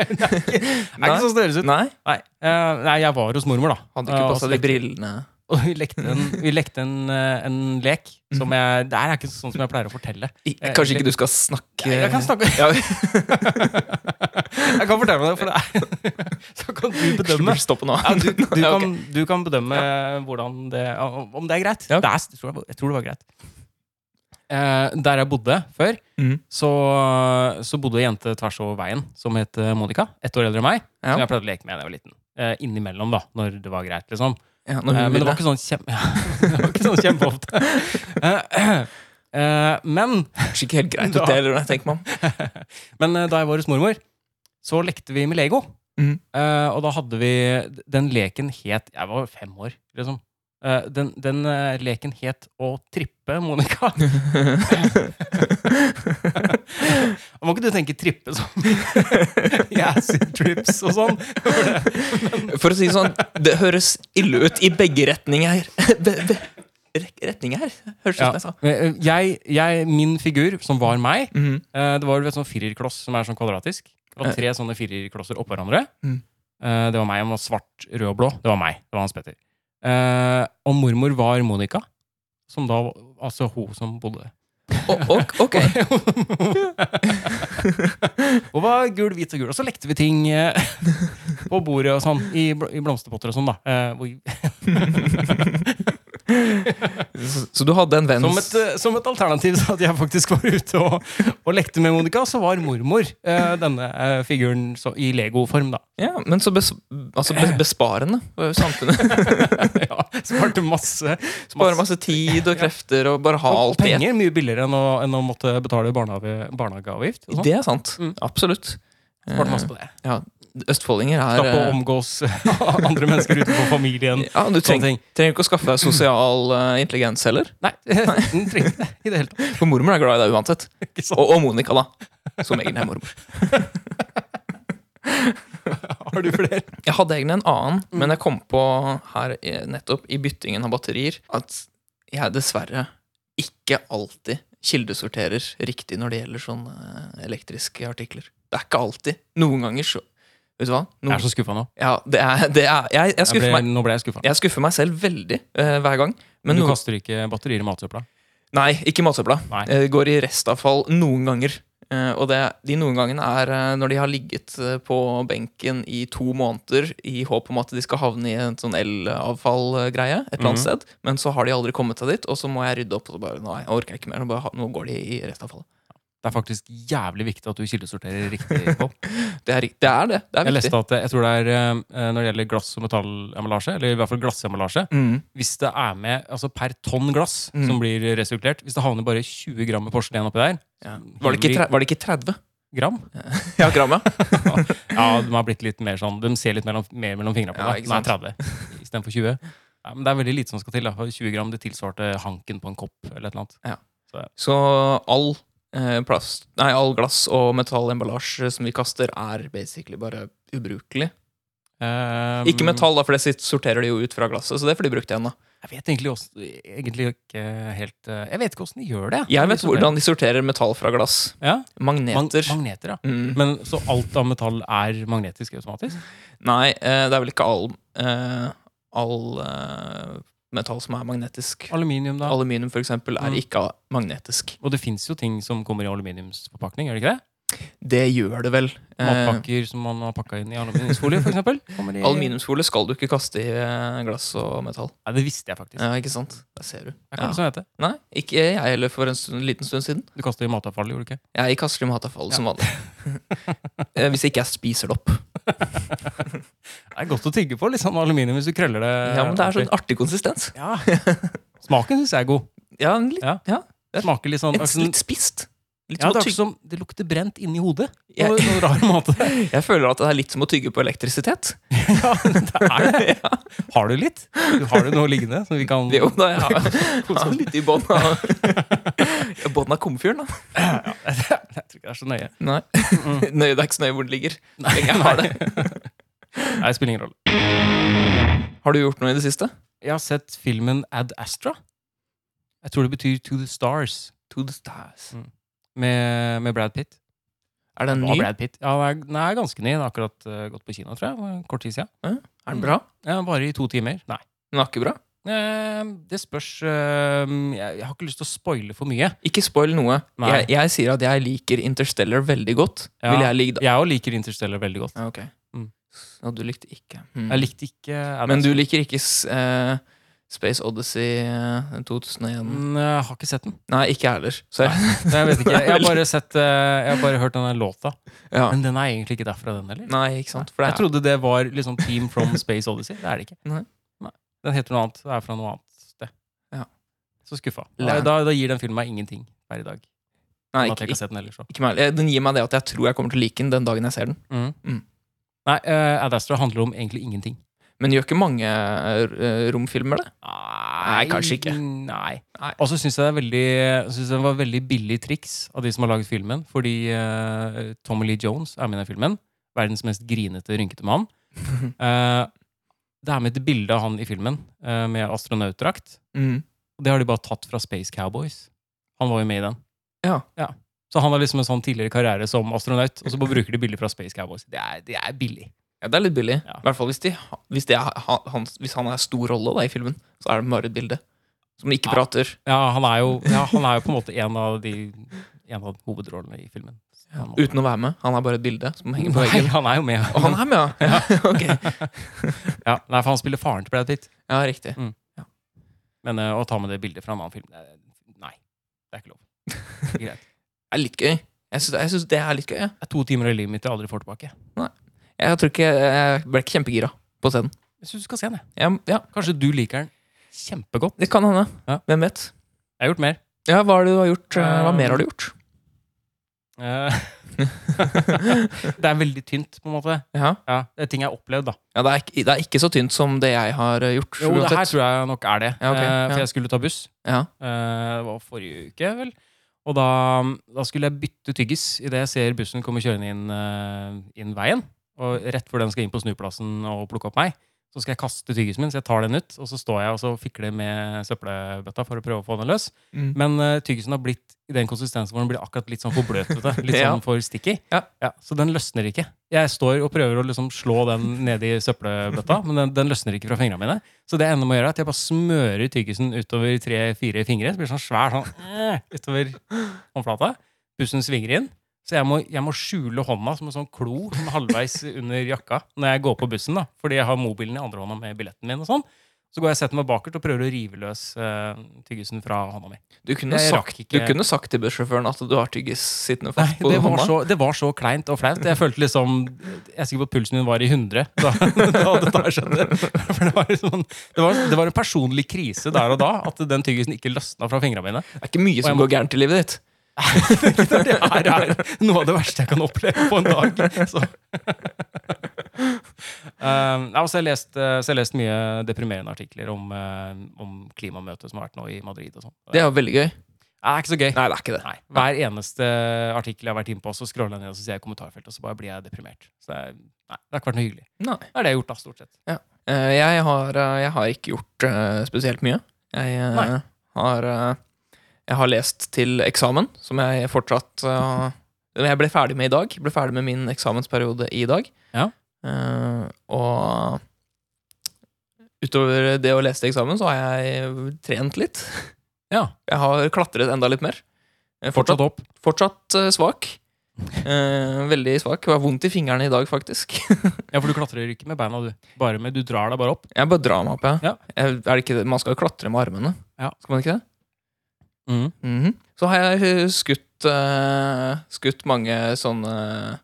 Speaker 1: høres ut.
Speaker 2: Nei,
Speaker 1: Nei. eh, nei, jeg var hos mormor, da.
Speaker 2: hadde
Speaker 1: Eh,
Speaker 2: ikke
Speaker 1: og
Speaker 2: passa
Speaker 1: så
Speaker 2: de
Speaker 1: lekte-
Speaker 2: brillene.
Speaker 1: Og vi lekte en, vi lekte en, eh, en lek som jeg Det her er ikke sånn som jeg pleier å fortelle.
Speaker 2: I-
Speaker 1: Eh, eller-
Speaker 2: Kanskje ikke du skal snakke
Speaker 1: Jeg, jeg kan snakke
Speaker 2: Ja,
Speaker 1: Jeg kan fortelle det, for det er Så kan du bedømme.
Speaker 2: Stopp nå.
Speaker 1: Ja, du, du,
Speaker 2: Ja, ok.
Speaker 1: kan, du kan bedømme hvordan det Om det er greit.
Speaker 2: Ja.
Speaker 1: Det er, jeg, tror, jeg tror det var greit. Eh, der jeg bodde før,
Speaker 2: Mhm.
Speaker 1: så, så bodde ei jente tvers over veien som het eh, Monica. Ett år eldre enn meg.
Speaker 2: Ja.
Speaker 1: Som jeg pleide å leke med da jeg var liten. Eh, innimellom, da, når det var greit. liksom
Speaker 2: Ja, når
Speaker 1: Eh,
Speaker 2: hun
Speaker 1: Men det
Speaker 2: ville.
Speaker 1: var ikke sånn, kjem... det var ikke sånn kjempeofte. Eh, eh, men
Speaker 2: Kanskje ikke helt greit
Speaker 1: Da-
Speaker 2: ut, det heller, tenker man.
Speaker 1: Men eh, da jeg var hos mormor, så lekte vi med Lego.
Speaker 2: Mhm.
Speaker 1: Eh, og da hadde vi Den leken het Jeg var fem år, liksom. Eh, den den eh, leken het Å trippe, Monica. Og må ikke du tenke trippe som i acid trips og sånn?
Speaker 2: For å si det sånn, det høres ille ut i begge retninger. Be- be- rek- Retninger? Høres ut
Speaker 1: Ja.
Speaker 2: som jeg sa.
Speaker 1: Eh, Jeg, jeg, min figur, som var meg,
Speaker 2: Mhm.
Speaker 1: Eh, Det var du vet, sånn firerkloss som er sånn kvadratisk. Det var tre sånne firerklosser oppå hverandre.
Speaker 2: Eh. Mm.
Speaker 1: Eh, Det var meg. Han var svart, rød og blå. Det var meg. Det var Hans Petter. Eh, Og mormor var Monica. Som da var- Altså hun som bodde
Speaker 2: O- ok, ok.
Speaker 1: Hun var gul, hvit og gul. Og så lekte vi ting eh, på bordet og sånn. I, bl i blomsterpotter og sånn, da. Eh, hvor-
Speaker 2: Så, så du hadde en venn
Speaker 1: Som et, eh, som et alternativ til at jeg faktisk var ute og, og lekte med Monica, så var mormor eh, denne eh, figuren så, i legoform, da.
Speaker 2: Ja, men så bes, altså be- besparende for samfunnet.
Speaker 1: ja, Sparte masse,
Speaker 2: Bare masse tid og krefter og bare ha
Speaker 1: og
Speaker 2: alt i ett.
Speaker 1: penger. Mye billigere enn å, enn å måtte betale barnehage, barnehageavgift. og sånn.
Speaker 2: Det er sant.
Speaker 1: Mm.
Speaker 2: Absolutt.
Speaker 1: Sparte masse på det.
Speaker 2: Eh, ja, østfoldinger er
Speaker 1: Slapp å
Speaker 2: eh,
Speaker 1: omgås andre mennesker utenfor familien.
Speaker 2: ja, Du
Speaker 1: Sånne
Speaker 2: trenger,
Speaker 1: ting.
Speaker 2: trenger ikke å skaffe deg sosial eh, intelligens heller.
Speaker 1: Nei, den trengte det i det hele tatt.
Speaker 2: For mormor er glad i deg uansett.
Speaker 1: Ikke sant?
Speaker 2: Og, og Monica, da. Som egentlig er mormor.
Speaker 1: Har du flere?
Speaker 2: Jeg hadde egentlig en annen, men jeg kom på her eh, nettopp i byttingen av batterier at jeg dessverre ikke alltid kildesorterer riktig når det gjelder sånne eh, elektriske artikler. Det er ikke alltid. Noen ganger så Vet du hva?
Speaker 1: Jeg
Speaker 2: Noen,
Speaker 1: er så skuffa nå.
Speaker 2: ja, det er, det er, jeg, jeg
Speaker 1: Jeg
Speaker 2: skuffer
Speaker 1: ble,
Speaker 2: meg.
Speaker 1: nå ble jeg skuffa.
Speaker 2: Jeg skuffer meg selv veldig eh, hver gang. Men
Speaker 1: Du
Speaker 2: noen,
Speaker 1: kaster ikke batterier i matsøpla.
Speaker 2: nei, ikke matsøpla.
Speaker 1: Nei.
Speaker 2: Eh, går i restavfall noen ganger. Eh, og det, de noen gangene er eh, når de har ligget eh, på benken i to måneder i håp om at de skal havne i en sånn elavfallgreie et eller annet
Speaker 1: Mhm.
Speaker 2: sted, men så har de aldri kommet seg dit, og så må jeg rydde opp. Og så bare, nei, jeg orker ikke mer, nå, bare, ha- nå går de i restavfallet.
Speaker 1: Det er faktisk jævlig viktig at du kildesorterer riktig. Pål.
Speaker 2: Det er, ri- det er det. Det
Speaker 1: Jeg
Speaker 2: er viktig.
Speaker 1: leste at eh, jeg tror det er eh, når det gjelder glass- og metallemballasje, eller i hvert fall glassemballasje
Speaker 2: Mm.
Speaker 1: Hvis det er med altså per tonn glass
Speaker 2: Mm.
Speaker 1: som blir resirkulert Hvis det havner bare 20 gram med porselen oppi der
Speaker 2: Ja. Var, det ikke, tre- var det ikke 30?
Speaker 1: gram?
Speaker 2: Ja, gram, ja.
Speaker 1: Ja, de har blitt litt mer sånn De ser litt mellom, mer mellom fingrene på
Speaker 2: Ja,
Speaker 1: deg.
Speaker 2: ikke
Speaker 1: Den er 30 istedenfor 20. Ja, men det er veldig lite som skal til. da For 20 gram det tilsvarte hanken på en kopp eller et eller annet.
Speaker 2: Så all eh, plast Nei, all glass og metallemballasje som vi kaster, er basically bare ubrukelig.
Speaker 1: Ehm,
Speaker 2: Ikke metall, da, for det sitt- sorterer de jo ut fra glasset, så det får de brukt igjen, da.
Speaker 1: Jeg vet egentlig, også, egentlig ikke helt eh, Jeg vet ikke åssen de gjør det. sånn,
Speaker 2: Jeg vet hvordan de sorterer metall fra glass.
Speaker 1: ja? Mag
Speaker 2: Magneter.
Speaker 1: magneter, ja.
Speaker 2: Mm.
Speaker 1: Men så alt av metall er magnetisk automatisk?
Speaker 2: Nei, eh, det er vel ikke all, eh, all eh, metall som er magnetisk.
Speaker 1: Aluminium, da.
Speaker 2: Aluminium, for eksempel, er
Speaker 1: Mm.
Speaker 2: ikke a- magnetisk.
Speaker 1: Og det fins jo ting som kommer i aluminiumsforpakning, gjør det ikke det?
Speaker 2: Det gjør det vel. Eh,
Speaker 1: Matpakker som man har pakka inn i aluminiumsfolie, for eksempel. kommer i-
Speaker 2: Aluminiumsfolie skal du ikke kaste i eh, glass og metall.
Speaker 1: Nei, det visste jeg faktisk.
Speaker 2: Ja, ikke sant? Der ser du.
Speaker 1: Det er ikke
Speaker 2: Ja.
Speaker 1: det som heter.
Speaker 2: Nei, ikke jeg heller for en stund, liten stund siden.
Speaker 1: Du kaster i matavfallet, gjorde du ikke?
Speaker 2: Jeg kaster dem i hatavfall som vanlig. Eh, Hvis ikke jeg spiser det opp.
Speaker 1: Det er godt å tygge på, litt sånn aluminium, hvis du krøller det.
Speaker 2: Ja, men Det er sånn artig konsistens.
Speaker 1: ordentlig. Ja. Smaken syns jeg er god.
Speaker 2: Ja, en litt, altså,
Speaker 1: Smaker litt sånn
Speaker 2: en, s- litt spist. Litt
Speaker 1: ja, det,
Speaker 2: som å
Speaker 1: er ikke
Speaker 2: tygge.
Speaker 1: som, det lukter brent inni hodet. På
Speaker 2: Jeg-
Speaker 1: noen rar måte.
Speaker 2: Jeg føler at det er litt som å tygge på elektrisitet.
Speaker 1: Ja, det er det.
Speaker 2: Ja,
Speaker 1: Har du litt? Du har du noe liggende som vi kan
Speaker 2: det er jo da jeg har, har litt i bånn av Bånn av komfyren, da.
Speaker 1: Jeg tror ikke det er så nøye. Mm.
Speaker 2: Nei. Nøye, det er ikke så nøye hvor det ligger. Så lenge jeg har, det.
Speaker 1: Nei, det spiller ingen rolle.
Speaker 2: har du gjort noe i det siste?
Speaker 1: Jeg har sett filmen Ad Astra. Jeg tror det betyr To the Stars,
Speaker 2: To the stars.
Speaker 1: med, med Brad Pitt.
Speaker 2: Er den
Speaker 1: Var
Speaker 2: ny?
Speaker 1: Brad Pitt. Ja, den er, den er ganske ny. Den har akkurat eh, gått på kino, tror jeg. for en Kort tid siden.
Speaker 2: Er den bra?
Speaker 1: Ja, den varer i to timer. Nei.
Speaker 2: Den var ikke bra?
Speaker 1: Eh, det spørs eh, jeg, jeg har ikke lyst til å spoile for mye.
Speaker 2: Ikke spoil noe.
Speaker 1: Nei.
Speaker 2: Jeg, jeg sier at jeg liker Interstellar veldig godt.
Speaker 1: Ja.
Speaker 2: Vil jeg ligge da?
Speaker 1: Jeg òg liker Interstellar veldig godt.
Speaker 2: Ja, ok.
Speaker 1: Mm.
Speaker 2: Og du likte ikke. Mm.
Speaker 1: Jeg likte ikke Ad
Speaker 2: Men du
Speaker 1: Astra.
Speaker 2: liker ikke s- eh, Space Odyssey eh, 2001?
Speaker 1: Mm, Jeg har ikke sett den.
Speaker 2: Nei, ikke jeg heller. Så jeg,
Speaker 1: Nei, Jeg vet ikke, jeg har bare, sett, eh, jeg har bare hørt denne låta.
Speaker 2: ja.
Speaker 1: Men den er egentlig ikke derfra, den heller.
Speaker 2: Nei, ikke sant? For det
Speaker 1: Jeg
Speaker 2: er,
Speaker 1: trodde det var liksom Team from Space Odyssey. Det er det ikke.
Speaker 2: Nei.
Speaker 1: Den heter noe annet. Det er fra noe annet sted.
Speaker 2: Ja.
Speaker 1: Så skuffa. Da,
Speaker 2: Lær.
Speaker 1: da, da gir den filmen meg ingenting per i dag.
Speaker 2: nei,
Speaker 1: Ikke, at jeg ikke
Speaker 2: ikke, ikke,
Speaker 1: har sett den ellers også.
Speaker 2: ikke meg. heller. Den gir meg det at jeg tror jeg kommer til å like den den dagen jeg ser den.
Speaker 1: Mm.
Speaker 2: Mm.
Speaker 1: Nei, uh, Ad Astra handler om egentlig ingenting.
Speaker 2: Men gjør ikke mange eh, romfilmer det?
Speaker 1: Nei,
Speaker 2: kanskje ikke.
Speaker 1: Nei.
Speaker 2: Nei.
Speaker 1: Og så syns jeg det er veldig synes jeg det var veldig billig triks av de som har laget filmen. Fordi eh, Tommy Lee Jones er med i den filmen. Verdens mest grinete, rynkete mann. Eh, det er med et bilde av han i filmen eh, med astronautdrakt.
Speaker 2: Mm.
Speaker 1: Og det har de bare tatt fra Space Cowboys. Han var jo med i den.
Speaker 2: Ja.
Speaker 1: Så han har liksom en sånn tidligere karriere som astronaut, og så bare bruker de bilder fra Space Cowboys. Det er, det er billig.
Speaker 2: Ja, det er litt billig.
Speaker 1: Ja.
Speaker 2: I hvert fall hvis, de, ha- hvis, det er, ha- han, hvis han er stor rolle da, i filmen, så er det bare et bilde. Som ikke
Speaker 1: Ja.
Speaker 2: prater.
Speaker 1: Ja, han er jo, ja, han er jo på en måte en av de en av hovedrollene i filmen.
Speaker 2: Ja. Uten å være med. Han er bare et bilde som henger på
Speaker 1: Nei,
Speaker 2: veggen.
Speaker 1: han er jo med.
Speaker 2: Og han er med, ja! ok.
Speaker 1: Ja, nei, for han spiller faren til Brad Pitt.
Speaker 2: Ja, riktig.
Speaker 1: Men eh, å ta med det bildet fra en annen film det er, Nei, det er ikke lov. Det er Greit.
Speaker 2: Det er litt gøy. Jeg syns, jeg synes det er litt gøy. Ja.
Speaker 1: Det er to timer av livet mitt jeg aldri får tilbake.
Speaker 2: Jeg tror ikke Jeg ble ikke kjempegira på scenen.
Speaker 1: Jeg syns du skal se den. jeg.
Speaker 2: Jeg, ja.
Speaker 1: Kanskje du liker den kjempegodt.
Speaker 2: Det kan hende.
Speaker 1: Ja.
Speaker 2: Hvem vet?
Speaker 1: Jeg har gjort mer.
Speaker 2: Ja, hva, er det du har gjort? eh, hva mer har du gjort?
Speaker 1: Eh, det er veldig tynt, på en måte.
Speaker 2: Ja.
Speaker 1: Ja, det er ting jeg har opplevd, da.
Speaker 2: Ja, det, er ikke, det er ikke så tynt som det jeg har eh, gjort.
Speaker 1: Jo, det her
Speaker 2: uansett.
Speaker 1: tror jeg nok er det.
Speaker 2: Ja, ok,
Speaker 1: Eh,
Speaker 2: ja.
Speaker 1: For jeg skulle ta buss.
Speaker 2: Ja.
Speaker 1: Eh, Det var forrige uke, vel. Og da, da skulle jeg bytte tyggis idet jeg ser bussen komme kjørende inn, eh, inn veien. Og rett før den skal inn på snuplassen og plukke opp meg, så skal jeg kaste tyggisen min. Så jeg tar den ut, og så står jeg og så fikler med søppelbøtta for å prøve å få den løs.
Speaker 2: Mm.
Speaker 1: Men eh, tyggisen har blitt i den konsistensen hvor den blir akkurat litt sånn for bløtete. Litt
Speaker 2: Ja.
Speaker 1: sånn for sticky.
Speaker 2: Ja.
Speaker 1: så den løsner ikke. Jeg står og prøver å liksom slå den ned i søppelbøtta, men den, den løsner ikke fra fingrene mine. Så det jeg ender med å gjøre, er at jeg bare smører tyggisen utover tre-fire fingre. Så blir det sånn svær sånn eh, utover håndflata. Bussen svinger inn. Så jeg må, jeg må skjule hånda som en sånn klo som er halvveis under jakka når jeg går på bussen. da, Fordi jeg har mobilen i andre hånda med billetten min. og sånn. Så går jeg og setter meg bakert og prøver å rive løs eh, tyggisen fra hånda mi.
Speaker 2: Du, kunne
Speaker 1: Jeg
Speaker 2: sagt,
Speaker 1: rakk ikke-
Speaker 2: du kunne sagt til bussjåføren at du har tyggis sittende
Speaker 1: Nei,
Speaker 2: fast på
Speaker 1: det var,
Speaker 2: hånda.
Speaker 1: så, det var så kleint og flaut. Jeg følte liksom Jeg er sikker på at pulsen min var i 100 da, da dette her skjedde. For det, var liksom, det, var, det var en personlig krise der og da at den tyggisen ikke løsna fra fingra mine.
Speaker 2: Det er ikke mye
Speaker 1: Og jeg
Speaker 2: som
Speaker 1: må-
Speaker 2: går gærent i livet ditt.
Speaker 1: Det her er noe av det verste jeg kan oppleve på en dag. Så. Um, ja, og så har jeg lest, eh, så har jeg lest mye deprimerende artikler om, eh, om klimamøtet som har vært nå i Madrid. og sånn.
Speaker 2: Det er jo veldig gøy.
Speaker 1: Det er ikke så gøy.
Speaker 2: Nei, det er ikke det.
Speaker 1: Nei. Hver eneste artikkel jeg har vært inne på, så scroller jeg ned og så ser jeg kommentarfeltet, og så bare blir jeg deprimert. Så det, er, nei, det har ikke vært noe hyggelig.
Speaker 2: Nei.
Speaker 1: Det er det jeg har gjort, da, stort sett.
Speaker 2: Eh, Jeg har, eh, jeg har ikke gjort eh, spesielt mye. Jeg eh,
Speaker 1: Nei.
Speaker 2: har eh, Jeg har lest til eksamen, som jeg fortsatt eh, Jeg ble ferdig med i dag. Ble ferdig med min eksamensperiode i dag.
Speaker 1: Ja.
Speaker 2: Eh, og utover det å lese til eksamen, så har jeg trent litt.
Speaker 1: Ja,
Speaker 2: Jeg har klatret enda litt mer. Eh,
Speaker 1: Fortsatt
Speaker 2: Fortsatt,
Speaker 1: opp.
Speaker 2: fortsatt eh, svak. Eh, veldig svak. Det var vondt i fingrene i dag, faktisk.
Speaker 1: Ja, For du klatrer ikke med beina, du. Bare med, du drar deg bare opp.
Speaker 2: Jeg bare drar meg opp, jeg.
Speaker 1: Ja.
Speaker 2: Jeg- Er det ikke det? Man skal jo klatre med armene.
Speaker 1: Ja.
Speaker 2: Skal man ikke det? Mhm. Så har jeg eh, skutt, eh, skutt mange sånne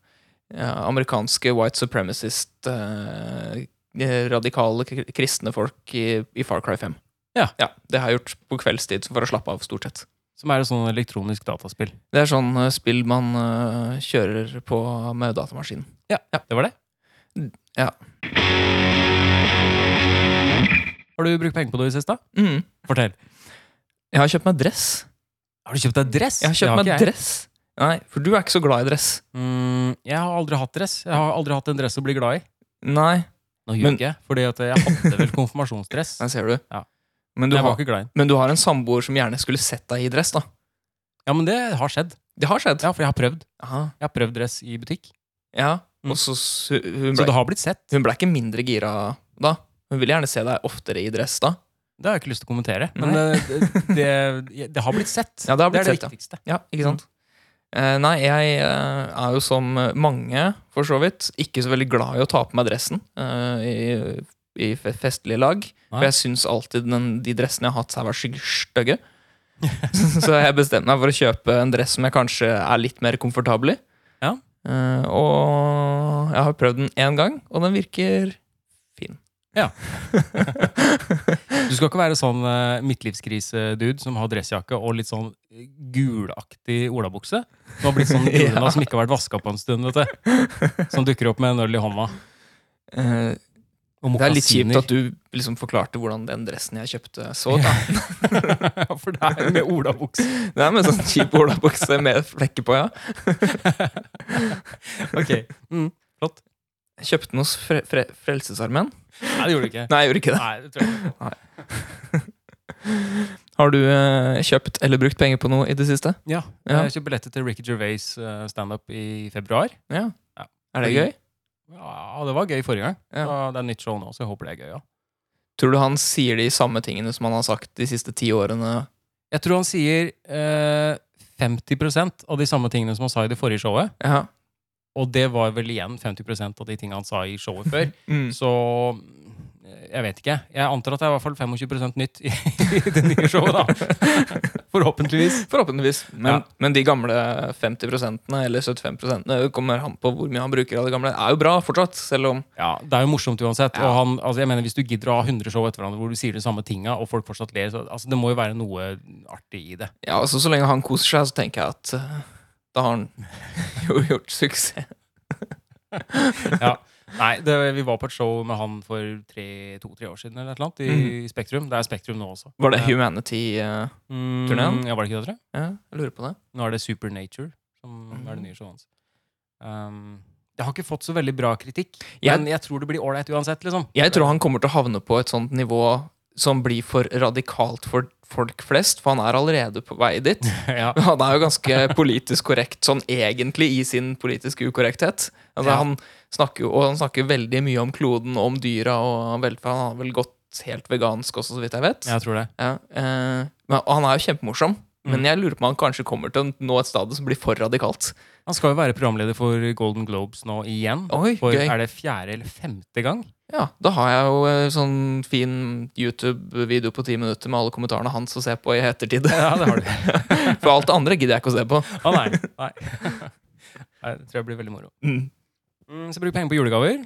Speaker 2: ja, amerikanske white supremacist eh, eh, radikale k- kristne folk i, i Far Cry 5.
Speaker 1: Ja.
Speaker 2: Det har jeg gjort på kveldstid for å slappe av, stort sett.
Speaker 1: Som er et sånn elektronisk dataspill.
Speaker 2: Det er sånn eh, spill man eh, kjører på med datamaskinen.
Speaker 1: Ja, det var det.
Speaker 2: Ja.
Speaker 1: Har du brukt penger på det i det siste?
Speaker 2: Mhm.
Speaker 1: Fortell.
Speaker 2: Jeg har kjøpt meg dress.
Speaker 1: Har du kjøpt deg dress?
Speaker 2: Jeg har
Speaker 1: Det
Speaker 2: kjøpt meg
Speaker 1: ikke jeg.
Speaker 2: dress. Nei, for du er ikke så glad i dress.
Speaker 1: Mm, jeg har aldri hatt dress. Jeg har aldri hatt en dress å bli glad i.
Speaker 2: Nei,
Speaker 1: Nå
Speaker 2: Men-
Speaker 1: gjør jeg, fordi at jeg hadde vel konfirmasjonsdress.
Speaker 2: den ser du.
Speaker 1: Ja.
Speaker 2: Men, du
Speaker 1: Jeg var
Speaker 2: har,
Speaker 1: ikke glad i den.
Speaker 2: men du har en samboer som gjerne skulle sett deg i dress, da.
Speaker 1: Ja, men det har skjedd.
Speaker 2: Det har skjedd.
Speaker 1: Ja, for jeg har prøvd.
Speaker 2: Aha.
Speaker 1: Jeg har prøvd dress i butikk.
Speaker 2: Ja.
Speaker 1: Mm.
Speaker 2: Og så s- hun
Speaker 1: Så
Speaker 2: ble,
Speaker 1: det har blitt sett.
Speaker 2: hun ble ikke mindre gira da. Hun ville gjerne se deg oftere i dress da.
Speaker 1: Det har jeg ikke lyst til å kommentere. Men eh,
Speaker 2: Nei.
Speaker 1: det, det, det har blitt sett.
Speaker 2: Ja, det har blitt
Speaker 1: er det
Speaker 2: sett, ja.
Speaker 1: viktigste.
Speaker 2: Ja, ikke sant? Eh, nei, jeg eh, er jo som mange, for så vidt, ikke så veldig glad i å ta på meg dressen eh, i, i fe- festlige lag.
Speaker 1: Nei.
Speaker 2: For jeg syns alltid den, de dressene jeg har hatt, har vært skikkelig stygge. så jeg bestemte meg for å kjøpe en dress som jeg kanskje er litt mer komfortabel i.
Speaker 1: Ja.
Speaker 2: Eh, og jeg har prøvd den én gang, og den virker fin.
Speaker 1: Ja. Du skal ikke være sånn eh, midtlivskrise-dude som har dressjakke og litt sånn gulaktig olabukse. Som har blitt sånn gulna
Speaker 2: Ja.
Speaker 1: som ikke har vært vaska på en stund. vet du. Som dukker opp med en øl i hånda.
Speaker 2: Eh,
Speaker 1: Og
Speaker 2: det er litt kjipt
Speaker 1: mokasiner.
Speaker 2: at du liksom forklarte hvordan den dressen jeg kjøpte, så ut. da.
Speaker 1: Ja, For det er med olabukse.
Speaker 2: Det er med sånn kjip olabukse med flekker på, ja.
Speaker 1: Ok. Mm.
Speaker 2: Jeg kjøpte den hos fre fre Frelsesarmeen.
Speaker 1: Nei, det gjorde du ikke.
Speaker 2: Nei, jeg gjorde ikke det.
Speaker 1: Nei, det tror jeg ikke.
Speaker 2: Har du eh, kjøpt eller brukt penger på noe i det siste?
Speaker 1: Ja,
Speaker 2: Ja.
Speaker 1: Jeg kjøpte billetter til Ricky Gervais eh, standup i februar.
Speaker 2: Ja.
Speaker 1: Ja.
Speaker 2: Er det gøy?
Speaker 1: Ja, Det var gøy forrige gang.
Speaker 2: Ja.
Speaker 1: Og Det er nytt show nå, så jeg håper det er gøy. ja.
Speaker 2: Tror du han sier de samme tingene som han har sagt de siste ti årene?
Speaker 1: Jeg tror han sier eh, 50 av de samme tingene som han sa i det forrige showet.
Speaker 2: Ja.
Speaker 1: Og det var vel igjen 50 av de tingene han sa i showet før.
Speaker 2: Mm.
Speaker 1: Så eh, Jeg vet ikke. Jeg antar at det er i hvert fall 25 nytt i, i det nye showet, da. Forhåpentligvis.
Speaker 2: Forhåpentligvis. Men,
Speaker 1: Ja.
Speaker 2: men de gamle 50 eller 75 det kommer han på hvor mye han bruker av det gamle, er jo bra fortsatt. Selv om
Speaker 1: Ja, Det er jo morsomt uansett.
Speaker 2: Ja.
Speaker 1: Og han, altså jeg mener, Hvis du gidder å ha 100 show etter hverandre hvor du sier de samme tinga, og folk fortsatt ler, så altså, det må jo være noe artig i det.
Speaker 2: Ja, altså så lenge han koser seg, så tenker jeg at eh, da har han jo gjort suksess.
Speaker 1: Nei, det, Vi var på et show med han for to-tre år siden eller et eller annet, i Spektrum. Det er Spektrum nå også.
Speaker 2: Var det
Speaker 1: Ja.
Speaker 2: Humanity-turneen?
Speaker 1: Mm, ja, var det ikke det, tror jeg?
Speaker 2: Ja, jeg lurer på det.
Speaker 1: Nå er det Supernature som
Speaker 2: Mhm.
Speaker 1: er det nye showet hans. Um, det har ikke fått så veldig bra kritikk,
Speaker 2: Jeg-
Speaker 1: men jeg tror det blir ålreit uansett. liksom.
Speaker 2: Jeg tror han kommer til å havne på et sånt nivå som blir for radikalt for folk flest, for han er allerede på vei dit.
Speaker 1: ja.
Speaker 2: Han er jo ganske politisk korrekt sånn egentlig i sin politiske ukorrekthet. Altså,
Speaker 1: Ja.
Speaker 2: han snakker jo og han snakker veldig mye om kloden og om dyra og velferd. Han har vel gått helt vegansk også, så vidt jeg vet.
Speaker 1: Jeg tror det.
Speaker 2: Ja, eh, men, og han er jo kjempemorsom.
Speaker 1: Mm.
Speaker 2: Men jeg lurer på om han kanskje kommer til å nå et stadium som blir for radikalt.
Speaker 1: Han skal jo være programleder for Golden Globes nå igjen.
Speaker 2: Oi,
Speaker 1: For
Speaker 2: gøy.
Speaker 1: er det fjerde eller femte gang?
Speaker 2: Ja, Da har jeg jo eh, sånn fin YouTube-video på ti minutter med alle kommentarene hans å se på i ettertid.
Speaker 1: Ja, det har du.
Speaker 2: For alt det andre gidder jeg ikke å se på.
Speaker 1: Å nei. nei. Nei, Det tror jeg blir veldig moro. Mm, så bruk penger på julegaver.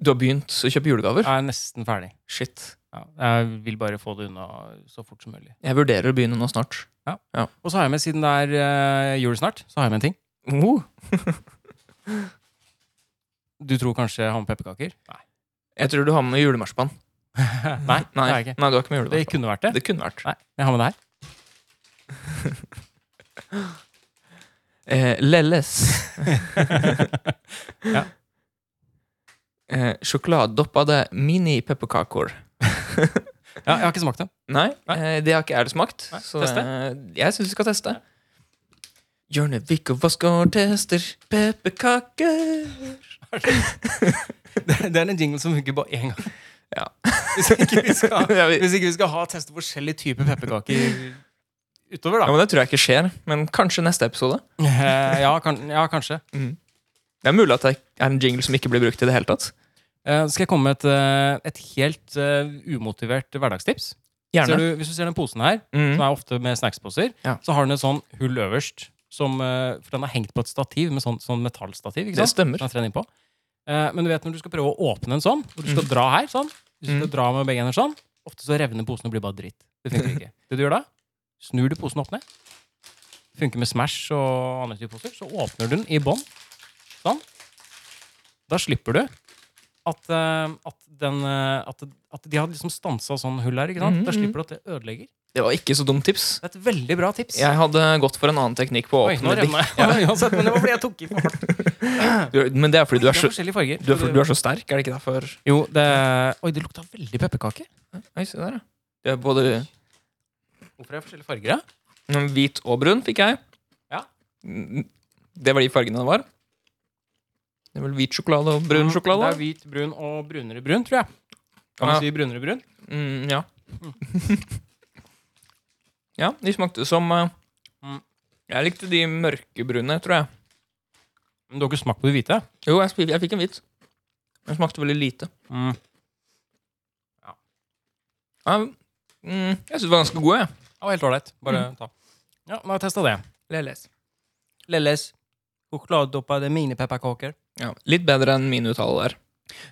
Speaker 2: Du har begynt å kjøpe julegaver?
Speaker 1: Jeg er nesten ferdig.
Speaker 2: Shit.
Speaker 1: Ja, jeg vil bare få det unna så fort som mulig.
Speaker 2: Jeg vurderer å begynne nå snart.
Speaker 1: Og så har jeg med, siden det er eh, jul snart, så har jeg med en ting.
Speaker 2: Oh.
Speaker 1: Du tror kanskje jeg har med pepperkaker? Nei.
Speaker 2: Jeg tror du har med julemarsipan.
Speaker 1: nei, det har jeg ikke.
Speaker 2: Nei, du har ikke med
Speaker 1: Det
Speaker 2: julemarsipan.
Speaker 1: kunne vært det.
Speaker 2: Det kunne vært.
Speaker 1: Nei, jeg har med det her.
Speaker 2: Eh, Lelles.
Speaker 1: Ja.
Speaker 2: Eh, sjokoladedoppede mini-pepperkaker.
Speaker 1: Ja, jeg har ikke smakt det.
Speaker 2: Nei,
Speaker 1: Nei.
Speaker 2: Eh, det har ikke jeg smakt.
Speaker 1: Nei,
Speaker 2: så
Speaker 1: teste.
Speaker 2: eh, jeg syns vi skal teste. Hjørnevik og Vassgård tester pepperkaker.
Speaker 1: Det er en jingle som funker på én gang.
Speaker 2: Ja.
Speaker 1: Hvis ikke vi skal,
Speaker 2: Ja, vi-
Speaker 1: hvis ikke vi skal ha teste forskjellige typer pepperkaker utover,
Speaker 2: Ja,
Speaker 1: da.
Speaker 2: men Det tror jeg ikke skjer, men kanskje neste episode.
Speaker 1: Eh, Ja, kan, ja kanskje.
Speaker 2: Det er mulig at det er en jingle som ikke blir brukt i det hele tatt.
Speaker 1: Eh, Skal jeg komme med et, eh, et helt eh, umotivert hverdagstips? Ser
Speaker 2: Gjerne.
Speaker 1: du, hvis du ser den posen her, som
Speaker 2: Mm.
Speaker 1: er ofte med snacksposer,
Speaker 2: Ja.
Speaker 1: så har den et sånn hull øverst. Som, eh, for den er hengt på et stativ med sånn, sånn metallstativ. ikke
Speaker 2: Det
Speaker 1: sant?
Speaker 2: stemmer.
Speaker 1: Den er tredd innpå. Eh, Men du vet når du skal prøve å åpne en sånn, og du skal dra her sånn, hvis du skal
Speaker 2: Mm.
Speaker 1: dra med begge hender sånn, ofte så revner posen og blir bare dritt. Det funker ikke. Det du gjør da, snur du posen opp ned. Funker med Smash og andre typer poser. Så åpner du den i bånn. Sånn. Da slipper du at, eh, at, den, eh, at, at de har liksom stansa sånn hull her. ikke sant?
Speaker 2: Mhm,
Speaker 1: Da
Speaker 2: mhm.
Speaker 1: slipper du at det ødelegger.
Speaker 2: Det var ikke så dumt tips.
Speaker 1: Det er et veldig bra tips.
Speaker 2: Jeg hadde gått for en annen teknikk på å
Speaker 1: Oi, nå
Speaker 2: åpne
Speaker 1: revna jeg. Ja, uansett, men det var fordi jeg tok i for hardt.
Speaker 2: dikt. Men det er fordi du
Speaker 1: Det
Speaker 2: er så,
Speaker 1: er forskjellige farger.
Speaker 2: du er, for, du er så sterk, er det ikke derfor?
Speaker 1: Jo, det Oi, det lukta veldig pepperkake.
Speaker 2: Oi, se der, ja. Det er både
Speaker 1: Hvorfor er det forskjellige farger? da?
Speaker 2: mm, hvit og brun fikk jeg.
Speaker 1: Ja.
Speaker 2: Mm, Det var de fargene det var. Det er vel hvit sjokolade og brun
Speaker 1: Mm,
Speaker 2: sjokolade?
Speaker 1: Det er hvit, brun og brunere brun, tror jeg. Kan
Speaker 2: Ja.
Speaker 1: man si Mm. brunere brun?
Speaker 2: Mm, ja. ja, de smakte som eh,
Speaker 1: Mm.
Speaker 2: Jeg likte de mørkebrune, tror jeg.
Speaker 1: Men du har ikke smakt på de hvite?
Speaker 2: Jo, jeg, spi- jeg fikk en hvit. Den smakte veldig lite.
Speaker 1: Mm.
Speaker 2: Ja, mm, jeg syns den var ganske god, jeg.
Speaker 1: Det var helt ålreit. Bare ta. Ja, nå har jeg testa det.
Speaker 2: Leles.
Speaker 1: Lelles. Sjokoladedoppede minipepperkaker.
Speaker 2: Ja, litt bedre enn min uttale der.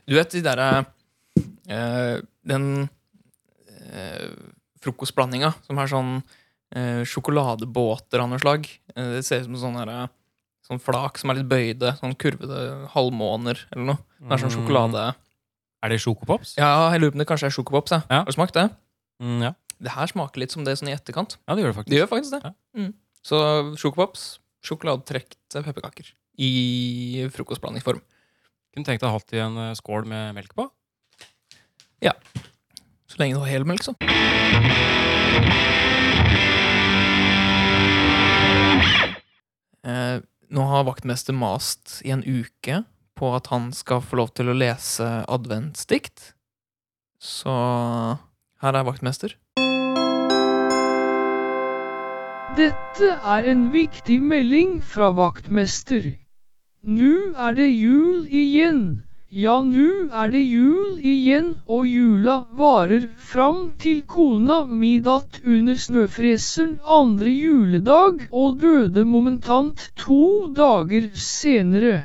Speaker 2: Du vet de derre eh, Den eh, frokostblandinga som er sånn eh, sjokoladebåter av noe slag. Eh, det ser ut som sånn derre Sånn flak som er litt bøyde. Sånn kurvede halvmåner eller noe. Det er sånn sjokolade
Speaker 1: Mm. Er det sjokopops?
Speaker 2: Ja, jeg lurer på om det kanskje er sjokopops. jeg.
Speaker 1: Ja.
Speaker 2: Har du smakt det?
Speaker 1: Mm, ja.
Speaker 2: Det her smaker litt som det sånn i etterkant.
Speaker 1: ja, det gjør det faktisk.
Speaker 2: Det gjør faktisk det.
Speaker 1: Ja.
Speaker 2: Mm. Så sjokopops, sjokoladetrekte pepperkaker. I frokostblandingsform.
Speaker 1: Kunne tenkt deg å ha hatt i en eh, skål med melk på.
Speaker 2: Så lenge du har helmelk, så. Eh, nå har vaktmester mast i en uke på at han skal få lov til å lese adventsdikt. Så her er vaktmester.
Speaker 3: Dette er en viktig melding fra vaktmester. Nå er det jul igjen, Ja, nu er det jul igjen, og jula varer fram til kona mi datt under snøfreseren andre juledag og døde momentant to dager senere.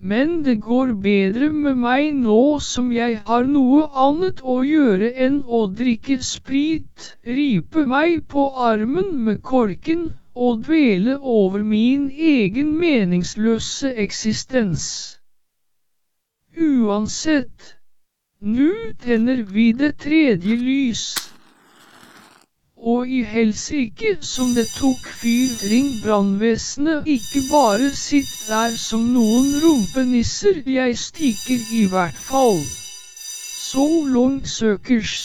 Speaker 3: Men det går bedre med meg nå som jeg har noe annet å gjøre enn å drikke sprit, ripe meg på armen med korken og dvele over min egen meningsløse eksistens. Uansett, nå tenner vi det tredje lys. Og i helsike som det tok fyr, ring brannvesenet. Ikke bare sitt der som noen rumpenisser, jeg stikker i hvert fall. So long søkers.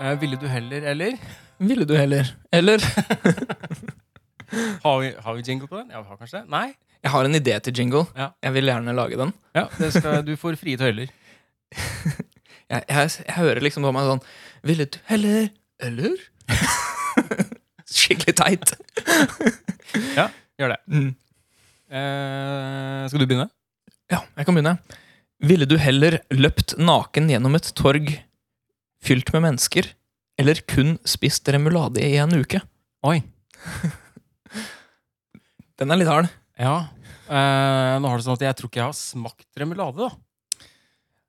Speaker 1: Eh, ville du heller, eller?
Speaker 2: Ville du heller? Eller?
Speaker 1: Har vi, har vi jingle på den? Ja, vi har kanskje det? Nei?
Speaker 2: Jeg har en idé til jingle.
Speaker 1: Ja.
Speaker 2: Jeg vil gjerne lage den.
Speaker 1: Ja, det skal, du får frie tøyler.
Speaker 2: Jeg, jeg, jeg hører liksom på meg sånn Ville du heller? Eller? Skikkelig teit.
Speaker 1: Gjør det.
Speaker 2: Mm.
Speaker 1: Eh, skal du begynne?
Speaker 2: Ja, jeg kan begynne. Ville du heller løpt naken gjennom et torg fylt med mennesker, eller kun spist remulade i en uke?
Speaker 1: Oi.
Speaker 2: Den er litt hard.
Speaker 1: Ja. Eh, nå har det sånn at jeg tror ikke jeg har smakt remulade, da.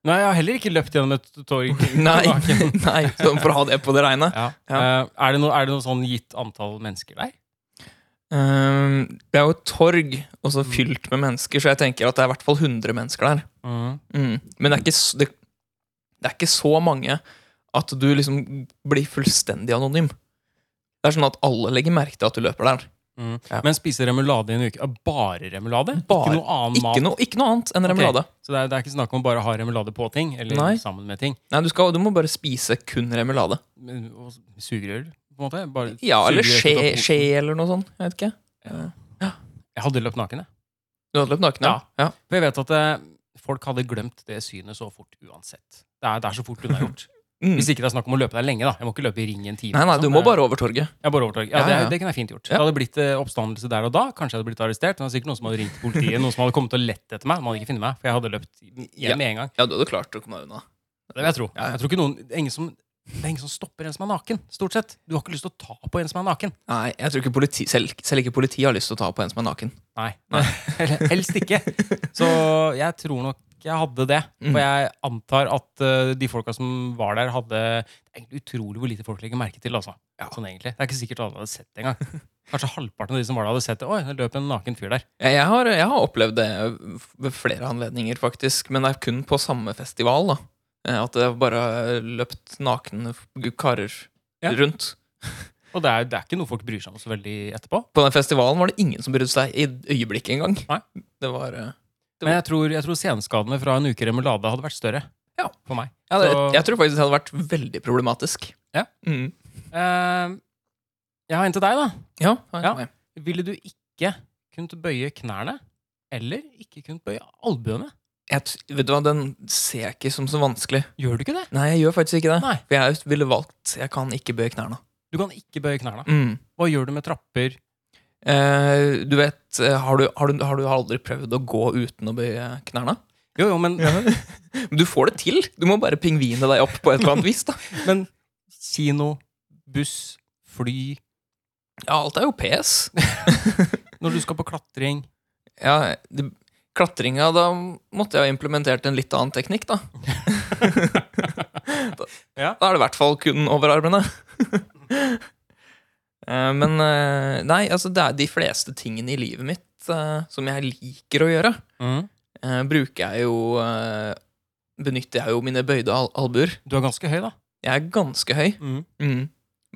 Speaker 1: Nei, jeg har heller ikke løpt gjennom et torg.
Speaker 2: Nei, nei sånn for å ha det på det reine.
Speaker 1: Ja.
Speaker 2: Ja.
Speaker 1: Eh, er, det noe, er det noe sånn gitt antall mennesker der?
Speaker 2: Ehm, det er jo et torg, og så fylt med mennesker, så jeg tenker at det er i hvert fall 100 mennesker der. Mm. Men det er, ikke, s- det, det er ikke så mange at du liksom blir fullstendig anonym. Det er sånn at alle legger merke til at du løper der.
Speaker 1: Mm.
Speaker 2: Ja.
Speaker 1: Men spise remulade i en uke? Ah, Bare remulade?
Speaker 2: Bare-
Speaker 1: Ikke noe annen
Speaker 2: Ikke,
Speaker 1: mat?
Speaker 2: noe- ikke noe annet enn
Speaker 1: Ok.
Speaker 2: remulade.
Speaker 1: Så det er, det er ikke snakk om bare å ha remulade på ting, eller
Speaker 2: Nei.
Speaker 1: sammen med ting?
Speaker 2: Nei, du, skal, du må bare spise kun remulade.
Speaker 1: Men- og Sugerør, på en måte? Bare
Speaker 2: Ja, eller
Speaker 1: sugerør som
Speaker 2: skje,
Speaker 1: tar-
Speaker 2: skje eller noe sånt. Jeg vet ikke. Eh,
Speaker 1: Jeg hadde løpt naken, jeg.
Speaker 2: Du hadde løpt naken?
Speaker 1: Ja.
Speaker 2: ja.
Speaker 1: For jeg vet at eh, folk hadde glemt det synet så fort uansett. Det er, det er så fort unnagjort.
Speaker 2: Mm.
Speaker 1: Hvis ikke det er snakk om å løpe der lenge, da. Jeg må ikke løpe i ring i en time.
Speaker 2: Nei, nei,
Speaker 1: liksom.
Speaker 2: du må bare over torget.
Speaker 1: Jeg bare overtar. Ja,
Speaker 2: Ja,
Speaker 1: det,
Speaker 2: ja, ja.
Speaker 1: det kunne jeg fint gjort.
Speaker 2: Ja.
Speaker 1: Det hadde blitt eh, oppstandelse der og da. Kanskje jeg hadde blitt arrestert. Det var sikkert noen som hadde ringt politiet. Noen som hadde kommet og lett etter meg. De hadde ikke funnet meg, for jeg hadde løpt
Speaker 2: Ja.
Speaker 1: hjem med en gang.
Speaker 2: Ja, du hadde klart å komme deg unna.
Speaker 1: Det vil jeg tro.
Speaker 2: Ja, ja.
Speaker 1: Jeg tror ikke noen, det er ingen som, det er ingen som stopper en som er naken, stort sett. Du har ikke lyst til å ta på en som er naken.
Speaker 2: Nei, jeg tror ikke politi, selv, selv ikke politiet har lyst til å ta på en som er naken.
Speaker 1: Nei. Eller helst ikke. Så jeg tror nok jeg hadde det.
Speaker 2: Mm.
Speaker 1: For jeg antar at eh, de folka som var der, hadde Det er egentlig utrolig hvor lite folk legger merke til. Altså. Sånn egentlig. Det er ikke sikkert alle hadde sett det engang. Kanskje halvparten av de som var der, hadde sett det. Oi, det løp en naken fyr der.
Speaker 2: Jeg, jeg, har, jeg har opplevd det ved flere anledninger, faktisk, men det er kun på samme festival. da Eh, At det bare har løpt nakne karer
Speaker 1: Ja.
Speaker 2: rundt.
Speaker 1: Og det er, det er ikke noe folk bryr seg om så veldig etterpå.
Speaker 2: På den festivalen var det ingen som brydde seg i øyeblikket engang.
Speaker 1: Nei.
Speaker 2: Det var eh,
Speaker 1: Men jeg tror, jeg tror senskadene fra en uke remulade hadde vært større.
Speaker 2: Ja.
Speaker 1: For meg.
Speaker 2: Ja, det,
Speaker 1: Så-
Speaker 2: jeg tror faktisk det hadde vært veldig problematisk.
Speaker 1: Ja.
Speaker 2: Mm.
Speaker 1: Eh, jeg har en til deg, da.
Speaker 2: Ja, ja,
Speaker 1: Ja.
Speaker 2: ja.
Speaker 1: Ville du ikke kunnet bøye knærne? Eller ikke kunnet bøye albuene?
Speaker 2: Jeg, t- vet du hva, Den ser jeg ikke som så vanskelig.
Speaker 1: Gjør du ikke det?
Speaker 2: Nei, jeg gjør faktisk ikke det.
Speaker 1: Nei.
Speaker 2: For jeg ville valgt Jeg kan ikke bøye knærne.
Speaker 1: Du kan ikke bøye knærne.
Speaker 2: Mm.
Speaker 1: Hva gjør du med trapper?
Speaker 2: Eh, du vet, eh, har du, har, du, har du aldri prøvd å gå uten å bøye knærne?
Speaker 1: Jo, jo, men,
Speaker 2: Men Du får det til! Du må bare pingvine deg opp på et eller annet vis. da
Speaker 1: men kino, buss, fly
Speaker 2: Ja, alt er jo PS.
Speaker 1: Når du skal på klatring
Speaker 2: Ja, det, Klatringa, da måtte jeg ha implementert en litt annen teknikk, da. da,
Speaker 1: Ja.
Speaker 2: da er det i hvert fall kun over armene. Eh, Men eh, nei, altså det er de fleste tingene i livet mitt eh, som jeg liker å gjøre,
Speaker 1: Mm.
Speaker 2: eh, bruker jeg jo eh, Benytter jeg jo mine bøyde al albuer.
Speaker 1: Du er ganske høy, da.
Speaker 2: Jeg er ganske høy, mm.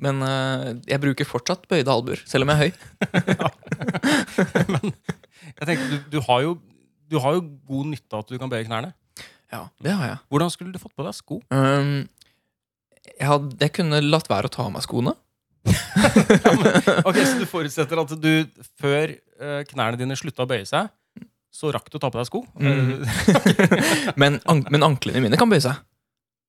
Speaker 2: men eh, jeg bruker fortsatt bøyde albuer, selv om jeg er høy.
Speaker 1: men jeg tenkte, du, du, har jo, du har jo god nytte av at du kan bøye knærne.
Speaker 2: Ja, det har jeg.
Speaker 1: Hvordan skulle du fått på deg sko?
Speaker 2: Ehm, jeg, hadde, jeg kunne latt være å ta av meg skoene.
Speaker 1: Ja, men, ok, Så du forutsetter at du, før eh, knærne dine slutta å bøye seg, så rakk du å ta på deg sko?
Speaker 2: Mm.
Speaker 1: Eh,
Speaker 2: Men, ank men anklene mine kan bøye seg.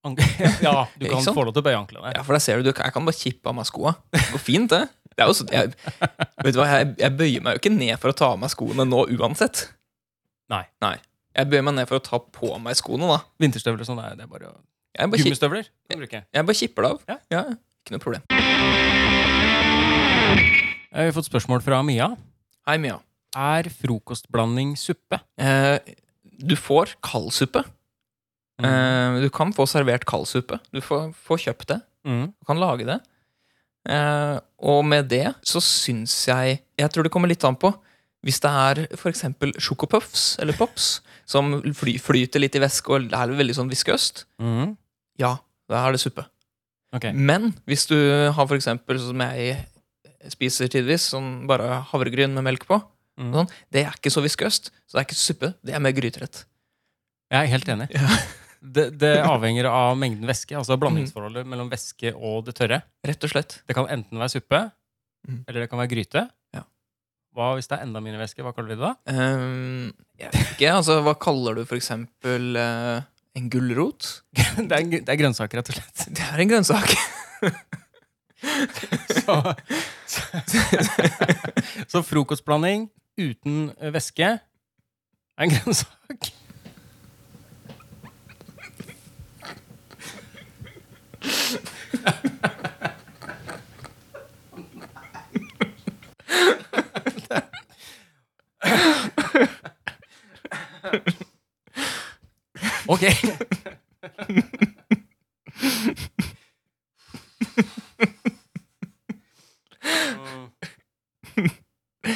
Speaker 1: ank- ja, du
Speaker 2: Ikke
Speaker 1: kan
Speaker 2: sant?
Speaker 1: få lov til å bøye anklene.
Speaker 2: Ja, for der ser du, du- Jeg kan bare kippe av meg skoa. Det går fint, det. Det er jo sånn, jeg, vet du hva, jeg, jeg bøyer meg jo ikke ned for å ta av meg skoene nå uansett.
Speaker 1: Nei.
Speaker 2: Jeg bøyer meg ned for å ta på meg skoene, da.
Speaker 1: Vinterstøvler og sånn, det er- det er bare å
Speaker 2: Jeg bare, kip,
Speaker 1: Gummistøvler kan du bruke.
Speaker 2: jeg bare kipper det av.
Speaker 1: Ja.
Speaker 2: Ja, ikke noe problem.
Speaker 1: Eh, Vi har fått spørsmål fra Mia.
Speaker 2: Hei, Mia.
Speaker 1: Er frokostblanding suppe?
Speaker 2: Eh, du får kaldsuppe.
Speaker 1: Mm.
Speaker 2: Eh, du kan få servert kaldsuppe. Du får, får kjøpt det.
Speaker 1: Mm.
Speaker 2: Du kan lage det. Eh, og med det så syns jeg Jeg tror det kommer litt an på. Hvis det er f.eks. sjokopuffs eller pops som fly, flyter litt i væske og er veldig sånn viskøst,
Speaker 1: Mm.
Speaker 2: ja, da er det suppe.
Speaker 1: Ok.
Speaker 2: Men hvis du har f.eks. sånn som jeg spiser tidvis, sånn bare havregryn med melk på,
Speaker 1: Mm.
Speaker 2: Sånn. det er ikke så viskøst, så det er ikke suppe, det er mer gryterett.
Speaker 1: Jeg er helt enig.
Speaker 2: Ja. Mm.
Speaker 1: Det, det avhenger av mengden væske. Altså blandingsforholdet mellom væske og det tørre.
Speaker 2: Rett og slett.
Speaker 1: Det kan enten være suppe,
Speaker 2: Mm.
Speaker 1: eller det kan være gryte.
Speaker 2: Ja.
Speaker 1: Hva hvis det er enda mindre væske? Hva kaller vi det da?
Speaker 2: Ehm, jeg vet ikke, altså hva kaller du for eksempel eh, en gulrot?
Speaker 1: Det er, gr- det er grønnsaker, rett og slett.
Speaker 2: Det er en grønnsak.
Speaker 1: Så, så, så frokostblanding uten eh, væske er en grønnsak. Ok.
Speaker 2: Det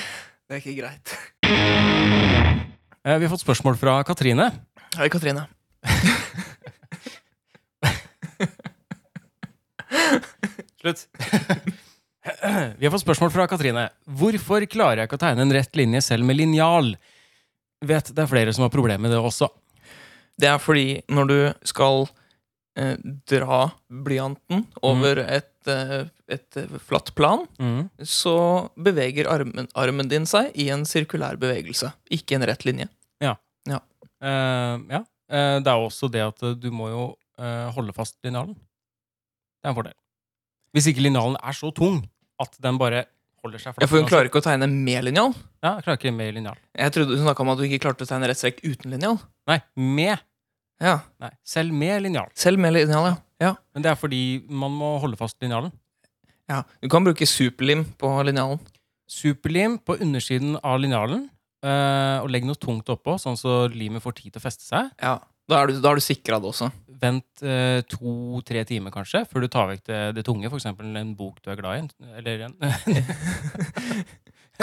Speaker 2: er ikke greit.
Speaker 1: Eh, Vi har fått spørsmål fra Katrine.
Speaker 2: Hei, Katrine.
Speaker 1: Slutt. Vi har fått spørsmål fra Katrine. Hvorfor klarer jeg ikke å tegne en rett linje selv med linjal? Vet det er flere som har problemer med det også.
Speaker 2: Det er fordi når du skal eh, dra blyanten over et, eh, et eh, flatt plan,
Speaker 1: Mm.
Speaker 2: så beveger armen, armen din seg i en sirkulær bevegelse, ikke en rett linje.
Speaker 1: Eh, ja. Eh, det er jo også det at eh, du må jo eh, holde fast linjalen. Det er en fordel. Hvis ikke linjalen er så tung at den bare holder seg
Speaker 2: Ja, altså-
Speaker 1: flat.
Speaker 2: For hun klarer ikke å tegne med linjal.
Speaker 1: Ja, jeg klarer ikke med linjal.
Speaker 2: Jeg trodde hun snakka om at du ikke klarte å tegne rett strekk uten linjal.
Speaker 1: Nei, med.
Speaker 2: Ja,
Speaker 1: Nei, selv med linjal.
Speaker 2: selv med linjal, ja. ja.
Speaker 1: Men det er fordi man må holde fast linjalen.
Speaker 2: Ja, Du kan bruke superlim på linjalen.
Speaker 1: Superlim på undersiden av linjalen. eh, og legg noe tungt oppå, sånn så limet får tid til å feste seg.
Speaker 2: Ja, Da er du, da er du sikra det også.
Speaker 1: Vent eh, to-tre timer kanskje før du tar vekk det, det tunge, f.eks. en bok du er glad i. Eller en,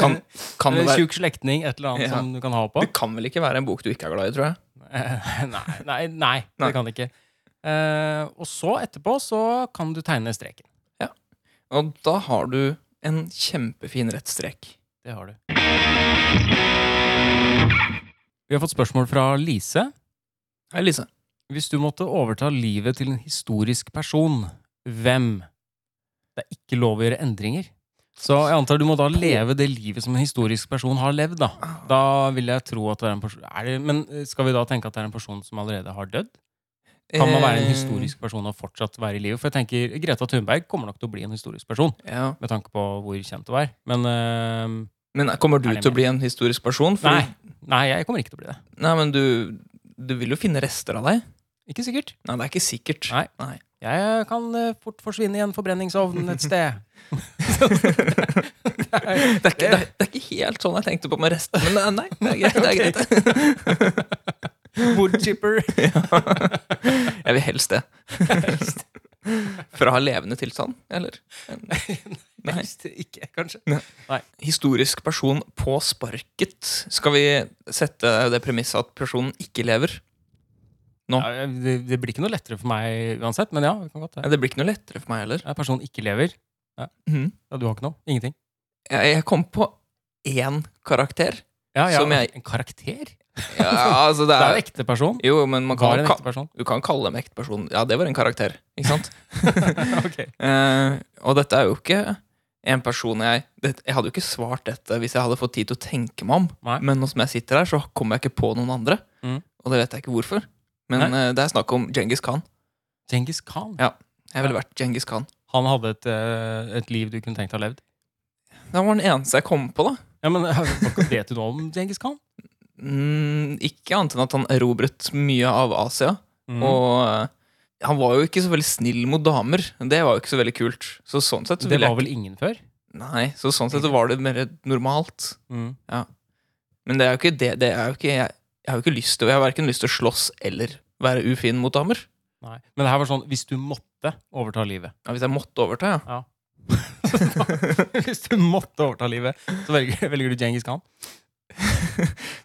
Speaker 2: Kan, kan det
Speaker 1: eller en
Speaker 2: være
Speaker 1: tjukk slektning, et eller annet
Speaker 2: Ja.
Speaker 1: som du kan ha på.
Speaker 2: Det kan vel ikke være en bok du ikke er glad i, tror jeg.
Speaker 1: Eh, nei, nei, nei,
Speaker 2: Nei.
Speaker 1: det kan det ikke. Eh, og så etterpå så kan du tegne streken.
Speaker 2: Og da har du en kjempefin rett strek.
Speaker 1: Det har du. Vi har fått spørsmål fra Lise.
Speaker 2: Hei, Lise.
Speaker 1: Hvis du måtte overta livet til en historisk person, hvem? Det er ikke lov å gjøre endringer. Så jeg antar du må da leve det livet som en historisk person har levd, da. Da vil jeg tro at det er en person er det, Men eh, skal vi da tenke at det er en person som allerede har dødd? Kan man
Speaker 2: Eh,
Speaker 1: være en historisk person og fortsatt være i livet? For jeg tenker, Greta Thunberg kommer nok til å bli en historisk person,
Speaker 2: Eh, Ja.
Speaker 1: med tanke på hvor kjent hun er. Men øhm,
Speaker 2: Men kommer du
Speaker 1: Er det
Speaker 2: til
Speaker 1: mer?
Speaker 2: å bli en historisk person? For
Speaker 1: nei, nei, jeg kommer ikke til å bli det.
Speaker 2: nei, men du, du vil jo finne rester av deg.
Speaker 1: Ikke sikkert.
Speaker 2: Nei, det er ikke sikkert.
Speaker 1: Nei. Jeg kan eh, fort forsvinne i en forbrenningsovn et sted.
Speaker 2: Det, er ikke, det, er, det er ikke helt sånn jeg tenkte på med rester, men nei, nei, det er greit. Det er greit.
Speaker 1: Woodchipper.
Speaker 2: Jeg vil helst det. Fra levende tilstand, eller? Nei.
Speaker 1: Helst ikke, kanskje.
Speaker 2: Historisk person på sparket. Skal vi sette det premisset at personen ikke lever?
Speaker 1: Ja, det, det blir ikke noe lettere for meg uansett, men ja. vi kan godt
Speaker 2: Nei,
Speaker 1: det.
Speaker 2: Det blir ikke noe lettere for meg heller.
Speaker 1: Ja, Personen ikke lever.
Speaker 2: Mhm.
Speaker 1: Ja, du har ikke noe? Ingenting?
Speaker 2: Jeg, jeg kom på én karakter.
Speaker 1: Ja, ja,
Speaker 2: Som jeg-
Speaker 1: En karakter?
Speaker 2: Ja, altså det
Speaker 1: Det er
Speaker 2: er,
Speaker 1: en ekte person.
Speaker 2: jo, men man
Speaker 1: Var
Speaker 2: kan,
Speaker 1: en
Speaker 2: ka,
Speaker 1: ekte person.
Speaker 2: du kan kalle dem ekteperson. Ja, det var en karakter, ikke sant?
Speaker 1: ok.
Speaker 2: Eh, og dette er jo ikke en person jeg det, Jeg hadde jo ikke svart dette hvis jeg hadde fått tid til å tenke meg om.
Speaker 1: Nei.
Speaker 2: Men nå som jeg sitter her, så kommer jeg ikke på noen andre.
Speaker 1: Mm.
Speaker 2: Og det vet jeg ikke hvorfor. Men eh, det er snakk om Djengis Khan.
Speaker 1: Djengis Khan.
Speaker 2: Jeg ville vært Djengis Khan.
Speaker 1: Han hadde et, eh, et liv du kunne tenkt å ha levd.
Speaker 2: Det var den eneste jeg kom på, da.
Speaker 1: Ja, men Hva vet du nå om Djengis Khan?
Speaker 2: Mm, ikke annet enn at han erobret mye av Asia.
Speaker 1: Mm.
Speaker 2: Og eh, han var jo ikke så veldig snill mot damer. Det var jo ikke så veldig kult. Så sånn sett
Speaker 1: Så det
Speaker 2: ville
Speaker 1: var
Speaker 2: jeg
Speaker 1: vel ingen før?
Speaker 2: Nei, så sånn sett var det mer normalt. Men det er jo ikke det, det er jo ikke, jeg, jeg har jo ikke lyst til Jeg har verken lyst til å slåss eller være ufin mot damer.
Speaker 1: Nei. Men det her var sånn hvis du måtte overta livet.
Speaker 2: Ja, hvis jeg måtte overta, ja.
Speaker 1: hvis du måtte overta livet, så velger, velger du Djengis Khan.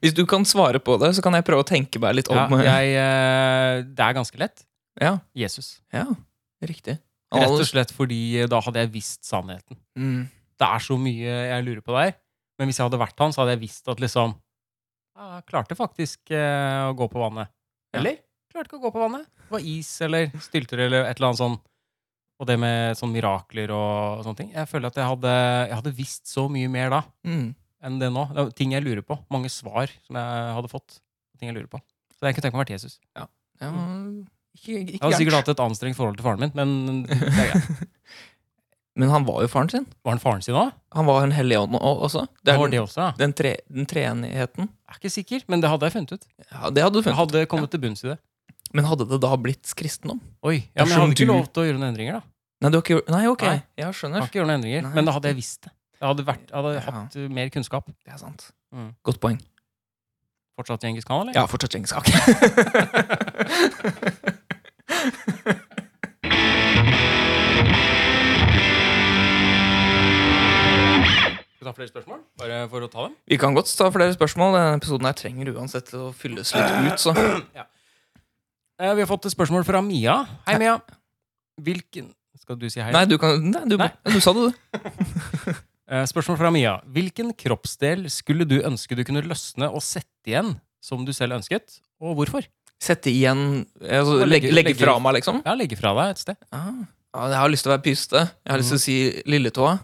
Speaker 2: Hvis du kan svare på det, så kan jeg prøve å tenke meg litt
Speaker 1: Ja,
Speaker 2: om. Ja,
Speaker 1: jeg, eh, det er ganske lett.
Speaker 2: ja,
Speaker 1: Jesus.
Speaker 2: riktig.
Speaker 1: Rett og
Speaker 2: Alle-
Speaker 1: slett fordi eh, da hadde jeg visst sannheten.
Speaker 2: Mm,
Speaker 1: Det er så mye jeg lurer på der. Men hvis jeg hadde vært han, så hadde jeg visst at liksom ja, Jeg klarte faktisk eh, å gå på vannet.
Speaker 2: Ja.
Speaker 1: Eller? Klarte ikke å gå på vannet. Det var is eller stylter eller et eller annet sånn. Og det med sånn mirakler og sånne ting. Jeg føler at jeg hadde, jeg hadde visst så mye mer da
Speaker 2: mm.
Speaker 1: enn det nå. Det var ting jeg lurer på. Mange svar som jeg hadde fått. Ting jeg lurer på. Så jeg kunne tenkt meg å vært Jesus.
Speaker 2: Ja, ikke, ikke
Speaker 1: Jeg hadde Mm. sikkert
Speaker 2: gærent.
Speaker 1: hatt et anstrengt forhold til faren min, men det er greit.
Speaker 2: Men han var jo faren sin.
Speaker 1: Var han faren sin òg?
Speaker 2: Han var en hellig ånd o- også. Det
Speaker 1: Det
Speaker 2: er
Speaker 1: var
Speaker 2: den,
Speaker 1: det også, ja.
Speaker 2: den, tre, den treenigheten.
Speaker 1: Jeg er ikke sikker, men det hadde jeg funnet ut.
Speaker 2: Ja, det hadde du
Speaker 1: Jeg
Speaker 2: funnet.
Speaker 1: hadde kommet til bunns i det.
Speaker 2: Men hadde det da blitt kristendom?
Speaker 1: Oi, ja, men jeg
Speaker 2: Dersom
Speaker 1: hadde ikke
Speaker 2: du-
Speaker 1: lov til å gjøre noen endringer, da.
Speaker 2: Nei, du har ikke gjort Nei, Ah. ok.
Speaker 1: Nei.
Speaker 2: Ja,
Speaker 1: Jeg
Speaker 2: skjønner.
Speaker 1: kan ikke gjøre noen endringer,
Speaker 2: Nei.
Speaker 1: Men da hadde jeg visst det. Jeg hadde, vært, jeg hadde
Speaker 2: Ja.
Speaker 1: hatt uh, mer kunnskap.
Speaker 2: Det er sant.
Speaker 1: Mm.
Speaker 2: Godt poeng.
Speaker 1: Fortsatt Djengis Khan, eller?
Speaker 2: Ja, fortsatt engelsk. Ok.
Speaker 1: Skal vi ta flere spørsmål? Bare for å ta dem?
Speaker 2: Vi kan godt ta flere spørsmål. Denne episoden her trenger uansett å fylles litt ut, så
Speaker 1: Eh, vi har fått et spørsmål fra Mia. Hei, Mia. Hvilken Skal du si hei?
Speaker 2: Nei, du kan Nei, du,
Speaker 1: Nei.
Speaker 2: du sa det, du.
Speaker 1: Eh, spørsmål fra Mia. Hvilken kroppsdel skulle du ønske du kunne løsne og sette igjen som du selv ønsket, og hvorfor?
Speaker 2: Sette igjen altså,
Speaker 1: Bare legge-
Speaker 2: legge, legge
Speaker 1: legge-
Speaker 2: fra meg, liksom?
Speaker 1: Ja, legge fra deg et sted.
Speaker 2: Ah. Ja, jeg har lyst til å være pyste. Jeg har lyst til å si lilletåa.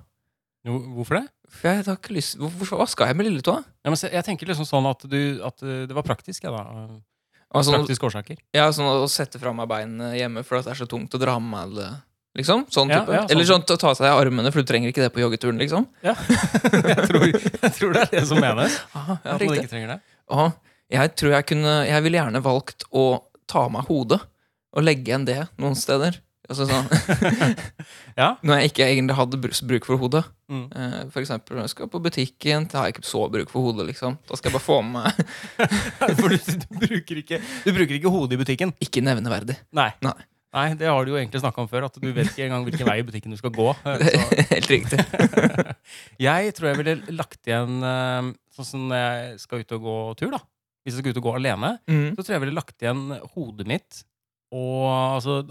Speaker 1: Jo, hvorfor det?
Speaker 2: For jeg har ikke lyst Hvorfor, Hva skal jeg med lilletåa?
Speaker 1: Ja, men se, jeg tenker liksom sånn at, du, at uh, det var praktisk, ja, da. Eh,
Speaker 2: Altså,
Speaker 1: Praktiske årsaker.
Speaker 2: ja, sånn å sette fra meg beinene hjemme fordi det er så tungt å dra med meg det. Liksom? Sånn
Speaker 1: Ja,
Speaker 2: type.
Speaker 1: ja, sånn
Speaker 2: Eller sånn ta ta seg av armene, for du trenger ikke det på joggeturen. liksom
Speaker 1: jeg, tror, jeg tror det er det som menes.
Speaker 2: Aha, ja,
Speaker 1: At man
Speaker 2: riktig.
Speaker 1: ikke trenger det.
Speaker 2: Aha. Jeg tror jeg kunne Jeg ville gjerne valgt å ta av meg hodet og legge igjen det noen steder. Altså sånn
Speaker 1: Ja.
Speaker 2: Når jeg ikke egentlig hadde br- bruk for hodet.
Speaker 1: Mm.
Speaker 2: Eh, For eksempel når jeg skal på butikken, da har jeg ikke så bruk for hodet. liksom Da skal jeg bare få med meg
Speaker 1: For du, du, bruker ikke, du bruker ikke hodet i butikken.
Speaker 2: Ikke nevneverdig.
Speaker 1: Nei.
Speaker 2: Nei.
Speaker 1: Nei, det har du jo egentlig snakka om før, at du vet ikke engang hvilken vei i butikken du skal gå. eh, Så.
Speaker 2: Helt riktig.
Speaker 1: Jeg tror jeg ville lagt igjen eh, Sånn som når jeg skal ut og gå tur, da. Hvis jeg skal ut og gå alene,
Speaker 2: Mm.
Speaker 1: så tror jeg jeg ville lagt igjen hodet mitt og altså,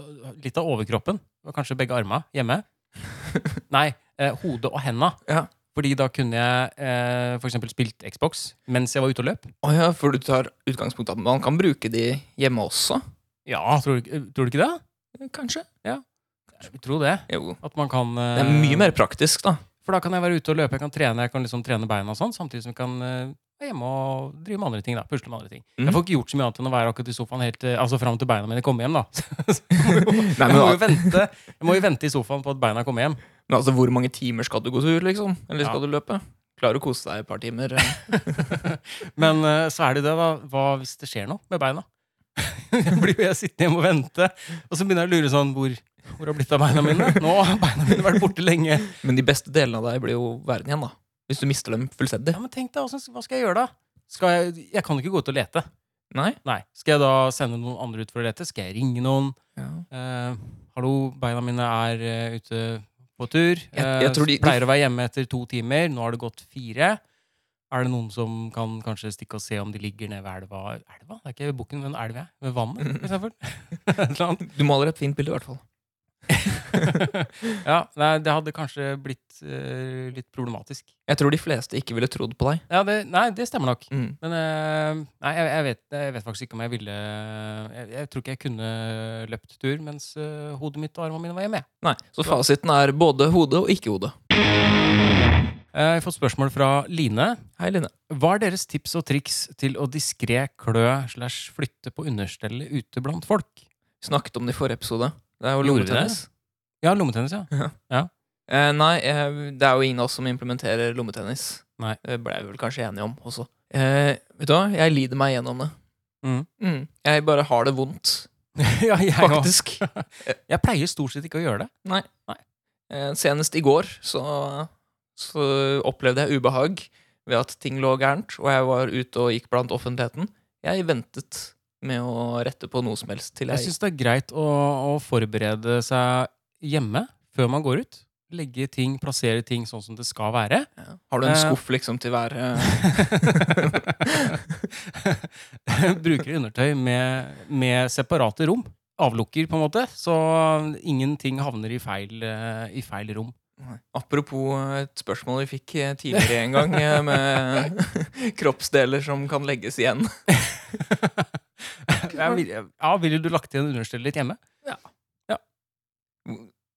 Speaker 1: litt av overkroppen. Og kanskje begge arma hjemme. Nei, eh, hodet og henda.
Speaker 2: Ja.
Speaker 1: Fordi da kunne jeg eh, f.eks. spilt Xbox mens jeg var ute og løp.
Speaker 2: Å ja, for du tar utgangspunkt i at man kan bruke de hjemme også,
Speaker 1: Ja, tror du, tror du ikke det?
Speaker 2: kanskje?
Speaker 1: Jeg tror det.
Speaker 2: Jo.
Speaker 1: At man kan eh,
Speaker 2: Det er mye mer praktisk, da.
Speaker 1: For da kan jeg være ute og løpe, jeg kan trene, jeg kan liksom trene beina og sånn, samtidig som jeg kan eh, være hjemme og drive med andre ting. da, Pusle med andre ting.
Speaker 2: Mhm.
Speaker 1: Jeg får ikke gjort så mye annet enn å være akkurat i sofaen helt, eh, altså fram til beina mine kommer hjem, da. Så
Speaker 2: Nei,
Speaker 1: jeg,
Speaker 2: men,
Speaker 1: må jo vente, jeg må jo vente i sofaen på at beina kommer hjem.
Speaker 2: men altså, hvor mange timer skal du gå tur, liksom? Eller skal
Speaker 1: Ja.
Speaker 2: du løpe? Klarer å kose deg et par timer.
Speaker 1: Men eh, så er det jo det, da. Hva hvis det skjer noe med beina? Jeg blir jo jeg sittende hjemme og vente, og så begynner jeg å lure sånn Hvor, hvor har det blitt av beina mine? Nå har beina mine vært borte lenge.
Speaker 2: Men de beste delene av deg blir jo verden igjen, da. Hvis du mister dem fullstendig.
Speaker 1: Ja, men tenk deg, hvordan- Hva skal jeg gjøre da? Skal jeg, jeg kan jo ikke gå ut og lete.
Speaker 2: Nei?
Speaker 1: Nei. Skal jeg da sende noen andre ut for å lete? Skal jeg ringe noen? Eh, hallo, beina mine er eh, ute på tur.
Speaker 2: Jeg- jeg
Speaker 1: Eh,
Speaker 2: tror de-
Speaker 1: pleier å være hjemme etter to timer. Nå har det gått fire. Er det noen som kan kanskje stikke og se om de ligger nede ved elva? Elva? Det er ikke ved bukken, men elva. jeg. Ved vannet, for eksempel. Et eller annet.
Speaker 2: Du maler et fint bilde, i hvert fall.
Speaker 1: ja, nei, det hadde kanskje blitt eh, litt problematisk.
Speaker 2: Jeg tror de fleste ikke ville trodd på deg.
Speaker 1: Ja, det, nei, det stemmer nok.
Speaker 2: Mm.
Speaker 1: Men eh, nei, jeg, jeg, vet, jeg vet faktisk ikke om jeg ville Jeg, jeg tror ikke jeg kunne løpt tur mens eh, hodet mitt og armene mine var hjemme. jeg.
Speaker 2: Nei, Så fasiten er både hode og ikke hode.
Speaker 1: Eh, Jeg har fått spørsmål fra Line.
Speaker 2: Hei, Line.
Speaker 1: Hva er deres tips og triks til å diskré klø slash flytte på understellet ute blant folk?
Speaker 2: Vi snakket om det i forrige episode. Det er jo
Speaker 1: Gjorde vi det?
Speaker 2: lommetennis.
Speaker 1: Ja, lommetennis, ja.
Speaker 2: Ja.
Speaker 1: ja.
Speaker 2: Eh, nei, eh, det er jo ingen av oss som implementerer lommetennis.
Speaker 1: Nei.
Speaker 2: Det ble vi vel kanskje enige om også. Eh, vet du hva, jeg lider meg gjennom det.
Speaker 1: Mm.
Speaker 2: Mm. Jeg bare har det vondt,
Speaker 1: ja, jeg, også.
Speaker 2: faktisk.
Speaker 1: jeg pleier stort sett ikke å gjøre det.
Speaker 2: Eh, senest i går så, så opplevde jeg ubehag ved at ting lå gærent, og jeg var ute og gikk blant offentligheten. Jeg ventet med å rette på noe som helst til
Speaker 1: Jeg
Speaker 2: jeg
Speaker 1: syns det er greit å, å forberede seg hjemme før man går ut. Legge ting, plassere ting sånn som det skal være.
Speaker 2: Ja. Har du en
Speaker 1: Eh.
Speaker 2: skuff liksom til hver eh,
Speaker 1: Bruker undertøy med, med separate rom. Avlukker, på en måte. Så ingenting havner i feil, eh, i feil rom.
Speaker 2: Apropos eh, et spørsmål vi fikk eh, tidligere en gang, eh, med kroppsdeler som kan legges igjen.
Speaker 1: Jeg vil- Ja, Ville du lagt igjen understellet litt hjemme?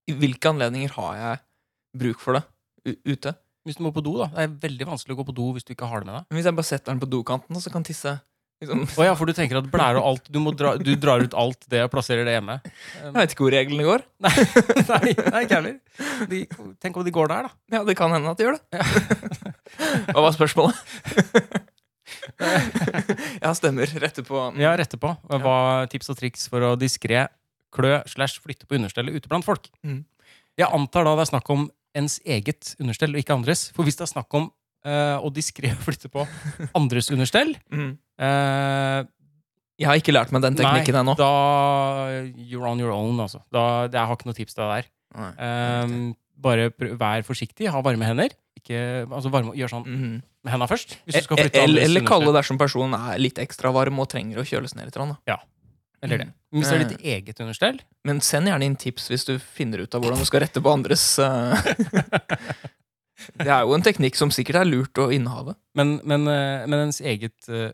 Speaker 2: I hvilke anledninger har jeg bruk for det u- ute?
Speaker 1: Hvis du må på do, da. Det er veldig vanskelig å gå på do hvis du ikke har det med deg.
Speaker 2: Men Hvis jeg bare setter den på dokanten, så kan tisse liksom.
Speaker 1: Å ja, for du tenker at blære og alt Du, må dra, du drar ut alt det og plasserer det hjemme.
Speaker 2: Jeg vet ikke hvor reglene går.
Speaker 1: Nei, nei, nei ikke heller. De, tenk om de går der, da.
Speaker 2: Ja, det kan hende at de gjør det. Hva var spørsmålet? ja, stemmer. Rette på Mm.
Speaker 1: Vi har rette på hva tips og triks for å diskré klø slash flytte på understellet ute blant folk.
Speaker 2: Mm.
Speaker 1: Jeg antar da det er snakk om ens eget understell og ikke andres. For hvis det er snakk om eh, å diskré flytte på andres understell,
Speaker 2: Mm.
Speaker 1: eh,
Speaker 2: Jeg har ikke lært meg den teknikken ennå.
Speaker 1: da You're on your own, altså. Da, det- jeg har ikke noe tips til deg der.
Speaker 2: Nei.
Speaker 1: Ehm, bare prøv, vær forsiktig, ha varme hender. Ikke, altså varme, gjør sånn
Speaker 2: Mhm.
Speaker 1: med henda først. Hvis du skal flytte
Speaker 2: E- Eller,
Speaker 1: andres
Speaker 2: eller kalle
Speaker 1: understell.
Speaker 2: dersom personen er litt ekstra varm og trenger å kjøles ned litt. grann, Da.
Speaker 1: Eller det. Hvis det er ditt
Speaker 2: Mm.
Speaker 1: eget understell,
Speaker 2: Men send gjerne inn tips hvis du finner ut av hvordan du skal rette på andres eh. Det er jo en teknikk som sikkert er lurt å innehave.
Speaker 1: Men, men, eh, men ens, eget, eh,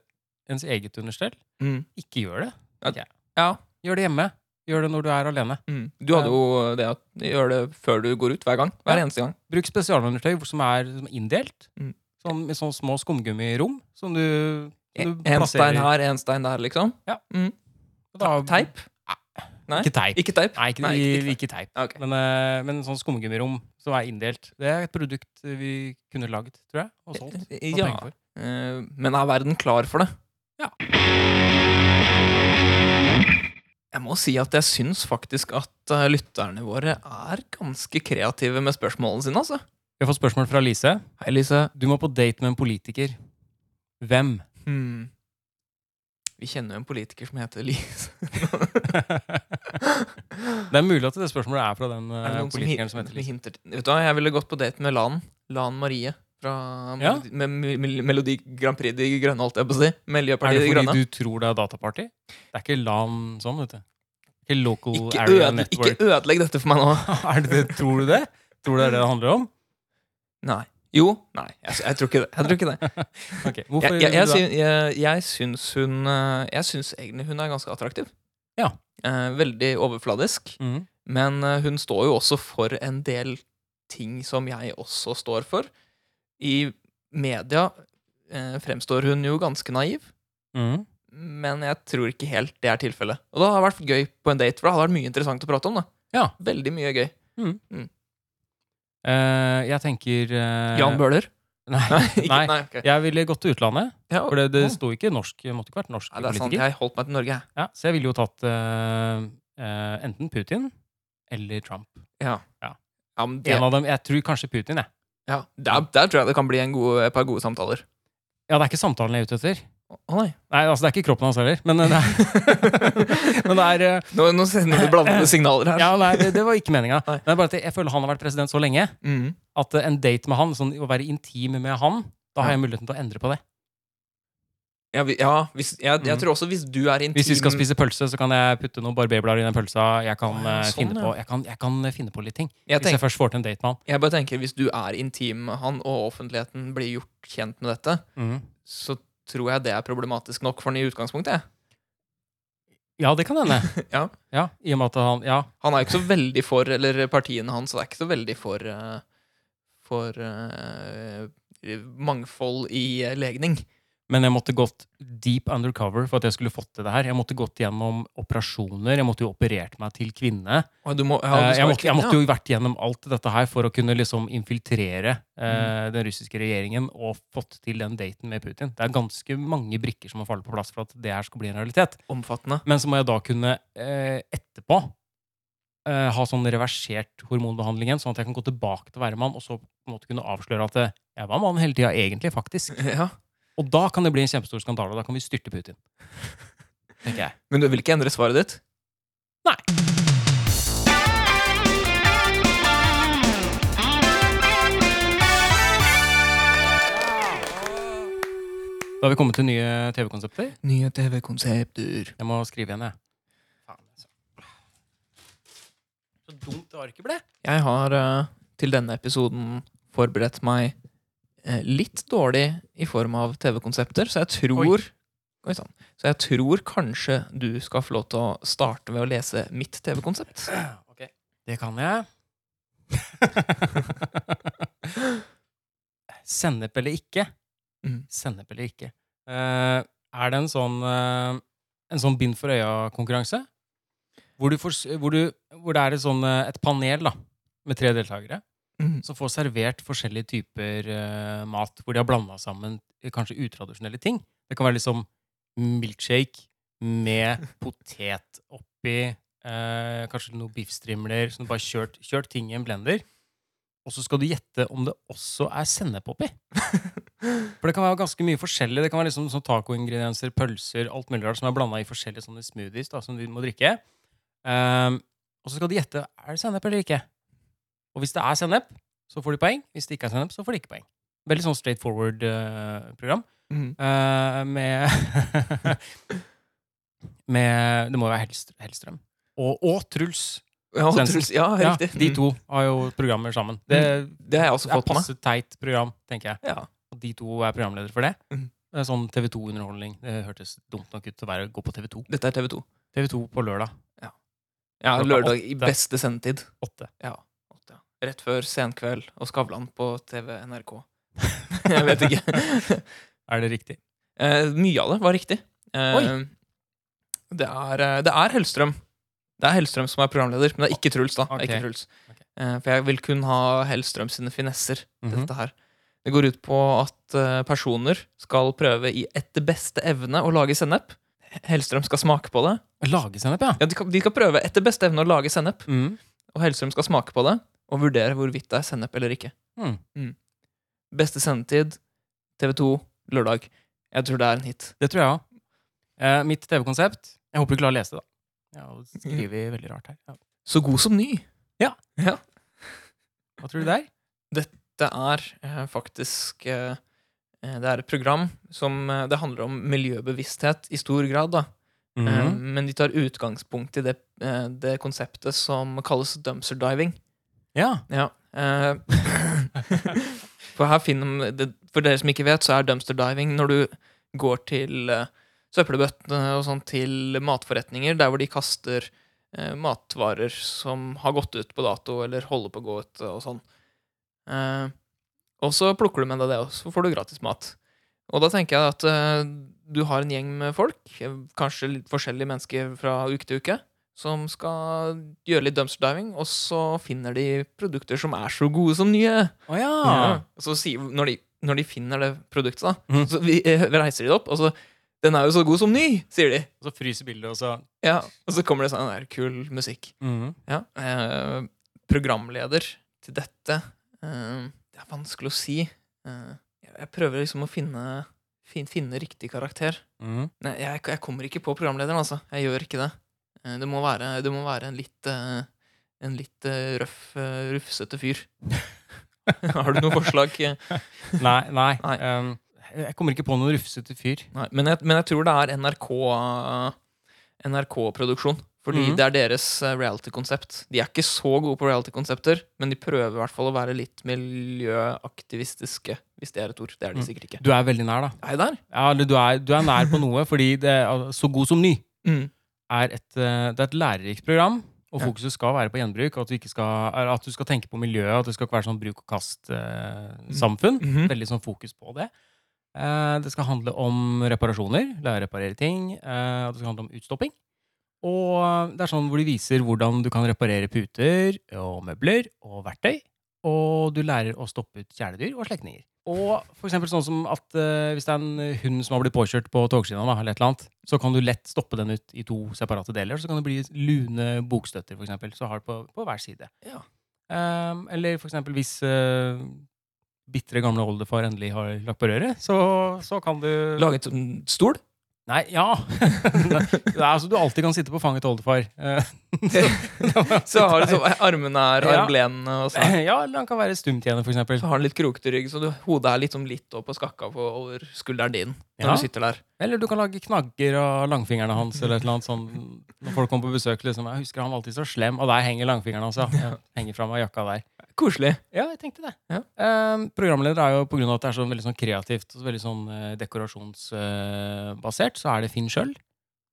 Speaker 1: ens eget understell
Speaker 2: Mm.
Speaker 1: Ikke gjør det.
Speaker 2: Ja.
Speaker 1: tenker jeg.
Speaker 2: Ja.
Speaker 1: Gjør det hjemme. Gjør det når du er alene.
Speaker 2: Mm. Du hadde jo det at gjør det før du går ut, hver gang. Hver
Speaker 1: Ja.
Speaker 2: eneste gang.
Speaker 1: Bruk spesialundertøy hvor- som er som er inndelt.
Speaker 2: Mm.
Speaker 1: Sånn, med sånne små skumgummirom som du, som du
Speaker 2: E- En stein her, en stein der, liksom.
Speaker 1: Da-
Speaker 2: Teip? Nei.
Speaker 1: Ikke teip.
Speaker 2: Ikke teip?
Speaker 1: Nei, ikke,
Speaker 2: Nei,
Speaker 1: ikke,
Speaker 2: ikke
Speaker 1: ikke teip.
Speaker 2: Ok.
Speaker 1: Men, eh, men sånn skumgummirom som er inndelt. Det er et produkt vi kunne lagd, tror jeg. Og solgt. og
Speaker 2: eh, Ja.
Speaker 1: penger for.
Speaker 2: Eh, Men er verden klar for det?
Speaker 1: Ja.
Speaker 2: Jeg må si at jeg syns faktisk at eh, lytterne våre er ganske kreative med spørsmålene sine, altså.
Speaker 1: Vi har fått spørsmål fra Lise.
Speaker 2: Hei, Lise.
Speaker 1: Du må på date med en politiker. Hvem?
Speaker 2: Hmm. Vi kjenner jo en politiker som heter Lise.
Speaker 1: Det er mulig at det spørsmålet er fra den
Speaker 2: Er det
Speaker 1: eh,
Speaker 2: noen
Speaker 1: politikeren som
Speaker 2: hin-
Speaker 1: heter Lise.
Speaker 2: hinter til- Vet du hva, jeg ville gått på date med Lan. Lan Marie. Fra
Speaker 1: Ja.
Speaker 2: Melodi- med, med, Melodi Grand Prix De Grønne, holdt jeg på å si.
Speaker 1: Er det
Speaker 2: Miljøpartiet De Grønne.
Speaker 1: fordi du tror det er dataparty? Det er ikke LAN sånn, vet du. Ikke Local
Speaker 2: Ikke,
Speaker 1: Area
Speaker 2: øde, ikke
Speaker 1: Network.
Speaker 2: ødelegg dette for meg nå.
Speaker 1: er det det, tror du det? Tror du det er det det handler om?
Speaker 2: Nei. Jo. Nei, jeg, jeg tror ikke det. Jeg tror ikke det.
Speaker 1: Ok, Hvorfor
Speaker 2: Jeg, jeg, jeg,
Speaker 1: vil du da-
Speaker 2: syn- jeg, jeg syns hun eh, Jeg syns egentlig hun er ganske attraktiv.
Speaker 1: Ja.
Speaker 2: Eh, veldig overfladisk.
Speaker 1: Mhm.
Speaker 2: Men eh, hun står jo også for en del ting som jeg også står for. I media eh, fremstår hun jo ganske naiv,
Speaker 1: Mhm.
Speaker 2: men jeg tror ikke helt det er tilfellet. Og det hadde vært gøy på en date, for det hadde vært mye interessant å prate om. da
Speaker 1: Ja.
Speaker 2: Veldig mye gøy.
Speaker 1: Eh, jeg tenker eh,
Speaker 2: Jan Bøhler?
Speaker 1: Nei.
Speaker 2: Nei, ikke,
Speaker 1: nei.
Speaker 2: nei. ok.
Speaker 1: Jeg ville gått til utlandet,
Speaker 2: Ja,
Speaker 1: for det, det
Speaker 2: ja.
Speaker 1: sto ikke norsk. Det måtte ikke vært norsk
Speaker 2: Nei, det er sant.
Speaker 1: politiker.
Speaker 2: Jeg holdt meg til Norge, jeg.
Speaker 1: Ja, så jeg ville jo tatt eh, eh, enten Putin eller Trump.
Speaker 2: Ja, men det,
Speaker 1: En av dem, Jeg tror kanskje Putin, jeg.
Speaker 2: ja, der, der tror jeg det kan bli en god, et par gode samtaler.
Speaker 1: Ja, det er ikke samtalen jeg er ute etter.
Speaker 2: Å å nei.
Speaker 1: Nei, altså det er ikke kroppen hans heller, men eh, det er, men det er eh,
Speaker 2: Nå, nå sender du blandede signaler her.
Speaker 1: Ja, nei, det, det var ikke meninga.
Speaker 2: Nei.
Speaker 1: Det er bare at jeg- jeg føler han har vært president så lenge
Speaker 2: Mm.
Speaker 1: at eh, en date med han, sånn, å være intim med han, da har jeg muligheten til å endre på det.
Speaker 2: Ja, vi, ja hvis, jeg, jeg
Speaker 1: Mm.
Speaker 2: tror også hvis du er intim
Speaker 1: Hvis vi skal spise pølse, så kan jeg putte noen barberblader i den pølsa. Jeg kan,
Speaker 2: Å, ja,
Speaker 1: eh,
Speaker 2: sånn,
Speaker 1: finne
Speaker 2: ja.
Speaker 1: på, jeg, kan, jeg kan eh, finne på litt ting.
Speaker 2: jeg,
Speaker 1: Hvis jeg
Speaker 2: tenker,
Speaker 1: først får til en date med han.
Speaker 2: jeg bare tenker, hvis du er intim med han, og offentligheten blir gjort kjent med dette,
Speaker 1: Mhm.
Speaker 2: så tror jeg det er problematisk nok for han i utgangspunktet. jeg.
Speaker 1: Ja, det kan hende.
Speaker 2: Ja.
Speaker 1: ja, I og med at han Ja,
Speaker 2: Han er jo ikke så veldig for, eller partiene hans er ikke så veldig for eh, For eh, mangfold i eh, legning.
Speaker 1: Men jeg måtte gått deep undercover for at jeg skulle fått til det her. Jeg måtte gått gjennom operasjoner. Jeg måtte jo operert meg til kvinne.
Speaker 2: Å, Du må, ja,
Speaker 1: Eh, jeg,
Speaker 2: du skal være
Speaker 1: måtte, jeg
Speaker 2: kvinne,
Speaker 1: måtte jo vært gjennom alt dette her for å kunne liksom infiltrere
Speaker 2: Mm.
Speaker 1: eh, den russiske regjeringen og fått til den daten med Putin. Det er ganske mange brikker som må falle på plass for at det her skal bli en realitet.
Speaker 2: ja. Omfattende.
Speaker 1: Men så må jeg da kunne eh, etterpå eh, ha sånn reversert hormonbehandling igjen, sånn at jeg kan gå tilbake til å være mann, og så på en måte kunne avsløre at eh, jeg var mann hele tida, egentlig, faktisk.
Speaker 2: Ja.
Speaker 1: Og da kan det bli en kjempestor skandale, og da kan vi styrte Putin. Tenker jeg.
Speaker 2: Men du vil ikke endre svaret ditt?
Speaker 1: Da har vi kommet til nye TV-konsepter.
Speaker 2: Nye TV-konsepter.
Speaker 1: Jeg må skrive igjen, jeg. Faen, altså. Så dumt det arket ble.
Speaker 2: Jeg har eh, til denne episoden forberedt meg eh, litt dårlig i form av TV-konsepter, så jeg tror Oi sann. Så jeg tror kanskje du skal få lov til å starte ved å lese mitt TV-konsept.
Speaker 1: Det kan jeg. Sennep eller ikke?
Speaker 2: Mm.
Speaker 1: Sennep eller ikke. Eh, er det en sånn, eh, en sånn bind for øya-konkurranse? Hvor, du får s- hvor, du- hvor det er et, sånn, eh, et panel da, med tre deltakere
Speaker 2: Mm.
Speaker 1: som får servert forskjellige typer eh, mat, hvor de har blanda sammen eh, kanskje utradisjonelle ting. Det kan være liksom milkshake med potet oppi, eh, kanskje noen biffstrimler, så du bare kjørt, kjørt ting i en blender. Og så skal du gjette om det også er sennep oppi. For det kan være ganske mye forskjellig. Det kan være liksom sånn tacoingredienser, pølser, alt mulig rart som er blanda i forskjellige sånne smoothies da, som du må drikke. Ehm, og så skal de gjette er det sennep eller ikke. Og hvis det er sennep, så får de poeng. Hvis det ikke er sennep, så får de ikke poeng. Veldig sånn straight forward eh, program.
Speaker 2: Mm.
Speaker 1: Eh, med Med Det må jo være Hellstr- Hellstrøm. Og, og Truls.
Speaker 2: Ja,
Speaker 1: Svendsen.
Speaker 2: Truls, ja,
Speaker 1: Ja,
Speaker 2: riktig. Mm.
Speaker 1: de to har jo programmer sammen. Det,
Speaker 2: Det har jeg også
Speaker 1: er
Speaker 2: fått med.
Speaker 1: passe teit program, tenker jeg.
Speaker 2: Ja.
Speaker 1: Og de to er programledere for det.
Speaker 2: Mhm.
Speaker 1: Det er sånn TV2-underholdning. Det hørtes dumt nok ut til å være, gå på TV2.
Speaker 2: Dette er TV2.
Speaker 1: TV2 på lørdag
Speaker 2: Ja,
Speaker 1: Klokka
Speaker 2: lørdag i
Speaker 1: åtte.
Speaker 2: beste sendetid.
Speaker 1: åtte.
Speaker 2: Åtte, ja. Rett før Senkveld og Skavlan på TV NRK. jeg vet ikke.
Speaker 1: Er det riktig?
Speaker 2: Eh, mye av det var riktig. Eh,
Speaker 1: Oi.
Speaker 2: Det er, eh, det er Hellstrøm. Det er Hellstrøm som er programleder, men det er ikke Truls. da det er
Speaker 1: Ok.
Speaker 2: ikke Truls.
Speaker 1: Ok.
Speaker 2: Eh, for jeg vil kun ha Hellstrøm sine finesser. til
Speaker 1: Mhm.
Speaker 2: Dette her Det går ut på at eh, personer skal prøve i etter beste evne å lage sennep. Hellstrøm skal smake på det.
Speaker 1: Mm-hmm. Lagesennep, ja.
Speaker 2: Ja, de, kan, de skal prøve etter beste evne å lage sennep,
Speaker 1: Mhm.
Speaker 2: og Hellstrøm skal smake på det og vurdere hvorvidt det er sennep eller ikke.
Speaker 1: Mhm.
Speaker 2: Beste sendetid, TV2, lørdag. Jeg tror det er en hit.
Speaker 1: Det tror jeg òg. Eh, mitt TV-konsept Jeg håper du klarer å lese det, da. Ja, og skriver veldig rart her. Ja.
Speaker 2: Så god som ny.
Speaker 1: Hva tror du det er?
Speaker 2: Det er eh, faktisk eh, eh, Det er et program som eh, Det handler om miljøbevissthet i stor grad, da. Eh,
Speaker 1: Mhm.
Speaker 2: men de tar utgangspunkt i det, eh, det konseptet som kalles dumpster diving.
Speaker 1: Ja.
Speaker 2: Ja. eh, for her finner det, For dere som ikke vet, så er dumpster diving når du går til eh, søppelbøttene og sånn til matforretninger, der hvor de kaster eh, matvarer som har gått ut på dato eller holder på å gå ut og sånn. Eh, og så plukker du med deg det, og så får du gratis mat. Og da tenker jeg at eh, du har en gjeng med folk, eh, kanskje litt forskjellige mennesker fra uke til uke, som skal gjøre litt dumpster diving, og så finner de produkter som er så gode som nye.
Speaker 1: Å ja.
Speaker 2: Ja. Så sier, når, de, når de finner det produktet, da,
Speaker 1: Mhm.
Speaker 2: så vi, eh, reiser de det opp, og så 'Den er jo så god som ny', sier de.
Speaker 1: Og så fryser bildet, og så
Speaker 2: Ja, og så kommer det sånn der kul musikk.
Speaker 1: Mhm.
Speaker 2: Ja. Eh, programleder til dette eh, Det er vanskelig å si. Eh, jeg- jeg prøver liksom å finne, fin, finne riktig karakter.
Speaker 1: Mhm.
Speaker 2: Nei, jeg, jeg kommer ikke på programlederen, altså. Jeg gjør ikke det. Eh, det, må være, det må være en litt eh, en litt eh, røff, eh, rufsete fyr. Har du noe forslag? eh?
Speaker 1: Nei. nei.
Speaker 2: Nei.
Speaker 1: Ehm, jeg kommer ikke på noen rufsete fyr.
Speaker 2: Nei, men, jeg, men jeg tror det er NRK NRK-produksjon. Fordi
Speaker 1: Mhm.
Speaker 2: det er deres eh, reality-konsept. De er ikke så gode på reality-konsepter, men de prøver i hvert fall å være litt miljøaktivistiske, hvis det er et ord. Det er de
Speaker 1: Mm.
Speaker 2: sikkert ikke.
Speaker 1: Du er veldig nær, da.
Speaker 2: Er jeg der?
Speaker 1: Ja, eller du er, du er nær på noe, fordi det er, Så god som ny
Speaker 2: Mm.
Speaker 1: er et, eh, det er et lærerikt program. Og
Speaker 2: Ja.
Speaker 1: fokuset skal være på gjenbruk, og at du, ikke skal, er at du skal eh, tenke på miljøet. At det skal ikke være sånn bruk og kast-samfunn.
Speaker 2: Mhm.
Speaker 1: Veldig sånn fokus på det. Eh, Det skal handle om reparasjoner, lære å reparere ting. eh, og Det skal handle om utstopping. Og det er sånn hvor de viser hvordan du kan reparere puter og møbler og verktøy. Og du lærer å stoppe ut kjæledyr og slektninger. Og for eksempel sånn som at eh, hvis det er en hund som har blitt påkjørt på togskinna, da, eller et eller annet, så kan du lett stoppe den ut i to separate deler. Så kan det bli lune bokstøtter, for eksempel. Så har du på, på hver side.
Speaker 2: Ja.
Speaker 1: Ehm, eller for eksempel hvis uh, bitre gamle oldefar endelig har lagt på røret, så, så kan du
Speaker 2: Laget en stol?
Speaker 1: Nei, ja! det er altså du alltid kan sitte på fanget til oldefar. Eh,
Speaker 2: Så har du så, armene er
Speaker 1: Ja.
Speaker 2: armlenene, og sånn. så,
Speaker 1: ja, eller han kan være stumtjener, for eksempel.
Speaker 2: så har den litt krokete rygg, så du, hodet er liksom litt opp og skakka på over skulderen din når
Speaker 1: Ja.
Speaker 2: du sitter der.
Speaker 1: Eller du kan lage knagger av langfingrene hans. eller et eller annet sånn, Når folk kommer på besøk, liksom, jeg husker han var alltid så slem, og der henger langfingrene hans. ja. Ja. Henger frem av jakka der.
Speaker 2: Koselig.
Speaker 1: Ja, jeg tenkte det.
Speaker 2: Ja.
Speaker 1: Ehm, programleder er jo på grunn av at det er så veldig sånn kreativt og så veldig sånn dekorasjonsbasert, så er det Finn sjøl.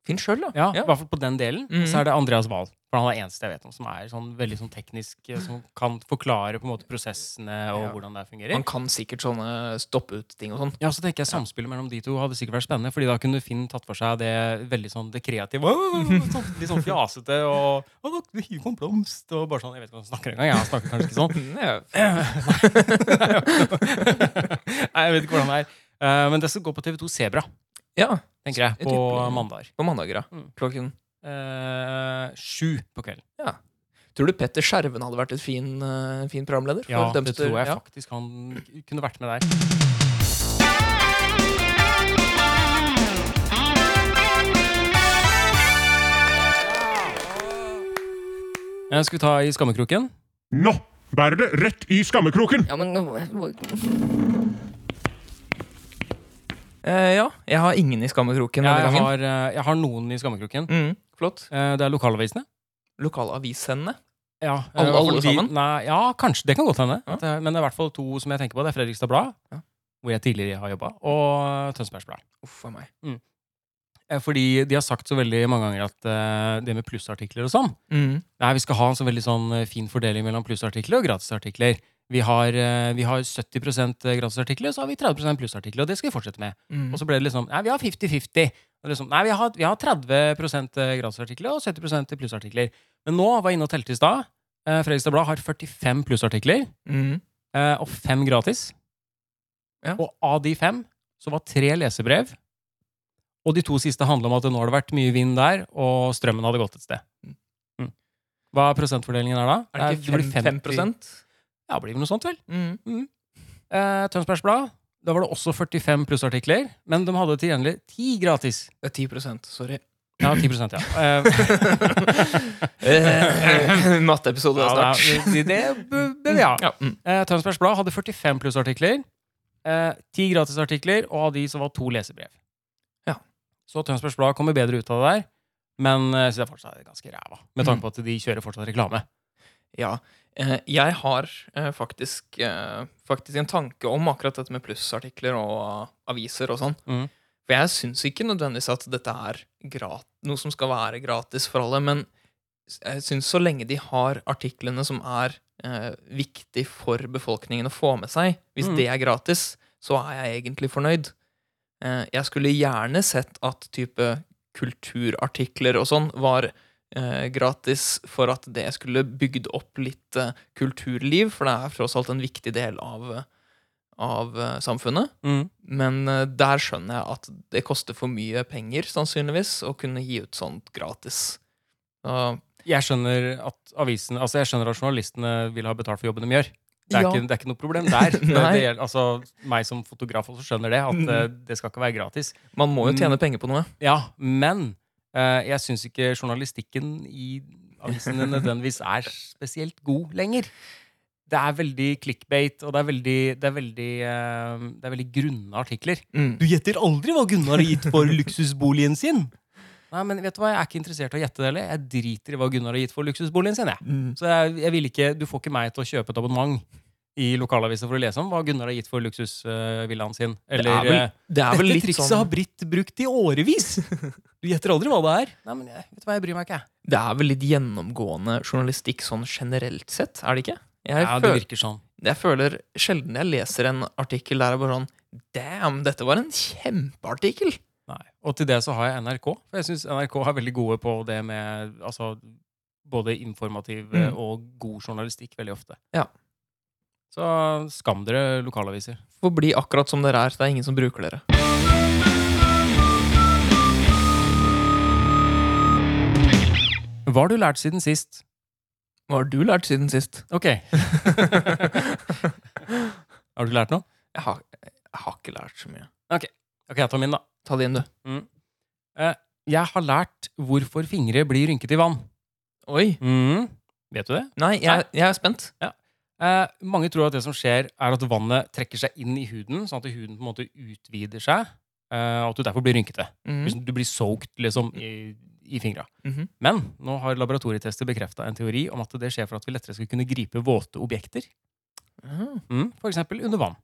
Speaker 2: Finn sjøl, da.
Speaker 1: Ja, I hvert fall på den delen.
Speaker 2: Mhm.
Speaker 1: Så er det Andreas Wahl. For han er den eneste jeg vet om som er sånn veldig sånn teknisk, eh, som kan forklare på en måte prosessene og
Speaker 2: Ja.
Speaker 1: hvordan det fungerer.
Speaker 2: Man kan sikkert sånne stoppe ut-ting og sånn.
Speaker 1: Ja, så tenker jeg Samspillet mellom de to hadde sikkert vært spennende, Fordi da kunne Finn tatt for seg det veldig sånn det kreative. «Åh!» Sånn, litt sånn fjasete og «Åh, da, du hiver på en blomst og bare sånn Jeg vet ikke hva han snakker engang. Jeg snakker kanskje ikke sånn.
Speaker 2: Ja.
Speaker 1: Nei, jeg vet ikke hvordan det er. Eh, men det skal gå på TV2 Sebra,
Speaker 2: Ja,
Speaker 1: tenker jeg,
Speaker 2: Jeg
Speaker 1: på
Speaker 2: tipper det.
Speaker 1: mandager.
Speaker 2: på mandager, ja.
Speaker 1: Mm.
Speaker 2: Klokken
Speaker 1: Eh, sju på kvelden.
Speaker 2: Tror du Petter Skjerven hadde vært et fin, eh, fin programleder? for
Speaker 1: Ja, det
Speaker 2: Dempster?
Speaker 1: tror jeg
Speaker 2: Ja.
Speaker 1: faktisk han kunne vært med der. Eh, Skal vi ta i skammekroken?
Speaker 4: Nå bærer det rett i skammekroken!
Speaker 5: Ja, men nå-
Speaker 2: Eh, ja, jeg har ingen i skammekroken denne
Speaker 1: Jeg
Speaker 2: gangen.
Speaker 1: har, eh, jeg har noen i skammekroken.
Speaker 2: Mm, flott.
Speaker 1: Eh, Det er lokalavisene.
Speaker 2: Lokalavishenne.
Speaker 1: Ja, eh,
Speaker 2: Alle-
Speaker 1: i hvert fall
Speaker 2: alle
Speaker 1: de-
Speaker 2: sammen?
Speaker 1: Nei, ja, kanskje. Det kan godt hende.
Speaker 2: Ja.
Speaker 1: At, eh, Men det er i hvert fall to som jeg tenker på. Det er Fredrikstad Blad,
Speaker 2: Ja.
Speaker 1: hvor jeg tidligere har jobba, og Tønsbergs Blad.
Speaker 2: Uff a meg.
Speaker 1: Eh, Fordi de har sagt så veldig mange ganger at eh, det med plussartikler og sånn
Speaker 2: Mm.
Speaker 1: Nei, vi skal ha en så veldig sånn eh, fin fordeling mellom plussartikler og gratisartikler. Vi har, eh, vi har 70 gratisartikler, og så har vi 30 plussartikler, og det skal vi fortsette med.
Speaker 2: Mm.
Speaker 1: Og så ble det liksom Nei, vi har 50-50. Og Liksom, nei, vi har, vi har 30 gratisartikler og 70 plussartikler. Men nå var jeg inne og telte i stad. Eh, Fredrikstad Blad har 45 plussartikler
Speaker 2: Mm.
Speaker 1: eh, og fem gratis.
Speaker 2: Ja.
Speaker 1: Og av de fem så var tre lesebrev. Og de to siste handla om at det nå har det vært mye vind der, og strømmen hadde gått et sted.
Speaker 2: Mm.
Speaker 1: Mm. Hva er prosentfordelingen her da? Eh,
Speaker 2: Er det ikke
Speaker 1: blir
Speaker 2: 5,
Speaker 1: 50
Speaker 2: prosent?
Speaker 1: Ja, blir vel noe sånt, vel.
Speaker 2: Mm.
Speaker 1: Eh, Tønsbergs Blad, da var det også 45 plussartikler, men de hadde tilgjengelig ti gratis.
Speaker 2: Det er 10 prosent, sorry.
Speaker 1: Ja, 10 ja. Eh,
Speaker 2: Eh, Matteepisode er
Speaker 1: ja,
Speaker 2: snart.
Speaker 1: det, det, det, ja.
Speaker 2: Ja, mm.
Speaker 1: Eh, Tønsbergs Blad hadde 45 plussartikler, eh, 10 gratisartikler, og av de så var to lesebrev.
Speaker 2: Ja.
Speaker 1: Så Tønsbergs Blad kommer bedre ut av det der, men eh, så det er fortsatt ganske ræva. Med
Speaker 2: Mm.
Speaker 1: tanke på at de kjører fortsatt reklame.
Speaker 2: ja. Eh, jeg har eh, faktisk, eh, faktisk en tanke om akkurat dette med plussartikler og aviser og sånn.
Speaker 1: Mm.
Speaker 2: For jeg syns ikke nødvendigvis at dette er grat noe som skal være gratis for alle, men jeg syns så lenge de har artiklene som er eh, viktig for befolkningen å få med seg, hvis
Speaker 1: Mm.
Speaker 2: det er gratis, så er jeg egentlig fornøyd. Eh, jeg skulle gjerne sett at type kulturartikler og sånn var eh, gratis for at det skulle bygd opp litt eh, kulturliv, for det er tross alt en viktig del av, eh, av eh, samfunnet. Men eh, der skjønner jeg at det koster for mye penger, sannsynligvis, å kunne gi ut sånt gratis. Så,
Speaker 1: Jeg skjønner at avisen, altså jeg skjønner at journalistene vil ha betalt for jobben de gjør. Det er,
Speaker 2: Ja.
Speaker 1: ikke, det er ikke noe problem der. Det,
Speaker 2: Nei. Mm.
Speaker 1: det gjelder, altså, meg som fotograf også skjønner det, at eh, det skal ikke være gratis.
Speaker 2: man må jo tjene penger på noe.
Speaker 1: Ja, men eh, jeg syns ikke journalistikken i avisene nødvendigvis er spesielt god lenger. Det er veldig clickbait, og det er veldig, det er veldig, eh, det er veldig grunne artikler.
Speaker 2: Mm.
Speaker 1: Du gjetter aldri hva Gunnar har gitt for luksusboligen sin! Nei, men vet du hva, Jeg er ikke interessert i å gjette det heller. Jeg driter i hva Gunnar har gitt for luksusboligen sin. jeg. Så jeg, jeg vil ikke, Du får ikke meg til å kjøpe et abonnement i lokalavisa for å lese om hva Gunnar har gitt for luksusvillaen sin.
Speaker 2: Det
Speaker 1: Eller,
Speaker 2: er vel,
Speaker 1: eh,
Speaker 2: det er vel
Speaker 1: dette
Speaker 2: litt
Speaker 1: trikset har
Speaker 2: sånn
Speaker 1: Britt brukt i årevis! Du gjetter aldri hva det er. Nei, men jeg, vet du hva, jeg bryr meg ikke. jeg.
Speaker 2: Det er vel litt gjennomgående journalistikk sånn generelt sett, er det ikke? Jeg,
Speaker 1: Ja, det
Speaker 2: føler,
Speaker 1: virker sånn.
Speaker 2: jeg føler sjelden jeg leser en artikkel der det er bare sånn Damn, dette var en kjempeartikkel!
Speaker 1: Nei. Og til det så har jeg NRK. For jeg syns NRK er veldig gode på det med altså, både informativ eh,
Speaker 2: Mm.
Speaker 1: og god journalistikk veldig ofte.
Speaker 2: Ja.
Speaker 1: Så skam dere lokalaviser.
Speaker 2: Får bli akkurat som dere er. Det er ingen som bruker dere.
Speaker 1: Hva har du lært siden sist?
Speaker 2: Hva har du lært siden sist?
Speaker 1: Ok. har du lært noe?
Speaker 2: Jeg har, jeg har ikke lært så mye.
Speaker 1: Ok, jeg tar min, da.
Speaker 2: Ta det inn, du.
Speaker 1: Jeg har lært hvorfor fingre blir rynket i vann.
Speaker 2: Oi.
Speaker 1: Mm. Vet du det?
Speaker 2: Nei, jeg, jeg er spent.
Speaker 1: Eh, mange tror at det som skjer, er at vannet trekker seg inn i huden, sånn at huden på en måte utvider seg, eh, og at du derfor blir rynkete.
Speaker 2: Mhm.
Speaker 1: Hvis Du blir soaked liksom, i, i fingra.
Speaker 2: Mhm.
Speaker 1: Men nå har laboratorietester bekrefta en teori om at det skjer for at vi lettere skal kunne gripe våte objekter.
Speaker 2: Ah.
Speaker 1: Mm, F.eks. under vann.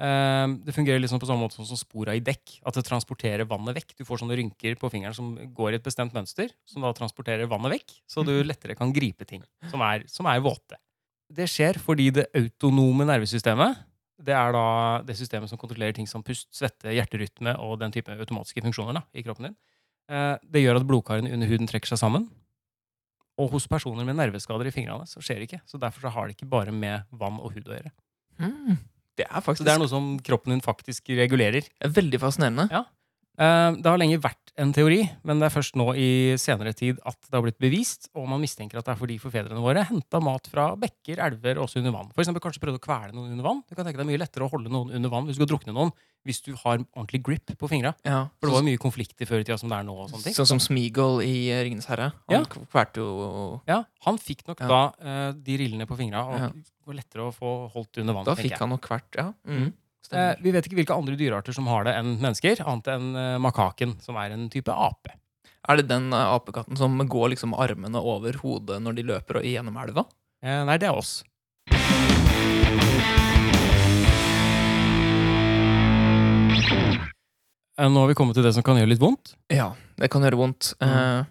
Speaker 1: Eh, det fungerer liksom på samme måte som spora i dekk. At det transporterer vannet vekk. Du får sånne rynker på fingeren som går i et bestemt mønster, som da transporterer vannet vekk, så du lettere kan gripe ting som er, som er våte. Det skjer fordi det autonome nervesystemet det er da det systemet som kontrollerer ting som pust, svette, hjerterytme og den type automatiske funksjoner da, i kroppen din. Eh, Det gjør at blodkarene under huden trekker seg sammen. Og hos personer med nerveskader i fingrene så skjer det ikke. Så derfor så har det ikke bare med vann og hud å gjøre.
Speaker 2: Mm. Det er
Speaker 1: Så
Speaker 2: faktisk
Speaker 1: det er noe som kroppen din faktisk regulerer.
Speaker 2: veldig fascinerende.
Speaker 1: Eh, Det har lenge vært en teori, men det er først nå i senere tid at det har blitt bevist, og man mistenker at det er fordi forfedrene våre henta mat fra bekker, elver og også under vann. For eksempel kanskje prøvde å kvele noen under vann. Du kan tenke deg mye lettere å holde noen under vann hvis du skal drukne noen, hvis du har ordentlig grip på fingra.
Speaker 2: Ja.
Speaker 1: For det var jo mye konflikter før i tida som det er nå. og sånne ting.
Speaker 2: Sånn som Smeagol i eh, Ringenes herre.
Speaker 1: Ja.
Speaker 2: Han k- kvalte jo
Speaker 1: Ja, Han fikk nok
Speaker 2: Ja.
Speaker 1: da eh, de rillene på fingra, og
Speaker 2: Ja.
Speaker 1: det var lettere å få holdt under vann.
Speaker 2: Da
Speaker 1: tenker jeg.
Speaker 2: fikk han nok hvert. Ja. Mm.
Speaker 1: Mm. Eh,
Speaker 2: Stemmer.
Speaker 1: vi vet ikke hvilke andre dyrearter som har det enn mennesker, annet enn eh, makaken, som er en type ape.
Speaker 2: Er det den eh, apekatten som går liksom med armene over hodet når de løper og gjennom elva?
Speaker 1: Eh, nei, det er oss. Eh, Nå har vi kommet til det som kan gjøre litt vondt.
Speaker 2: Ja, det kan gjøre vondt. Eh,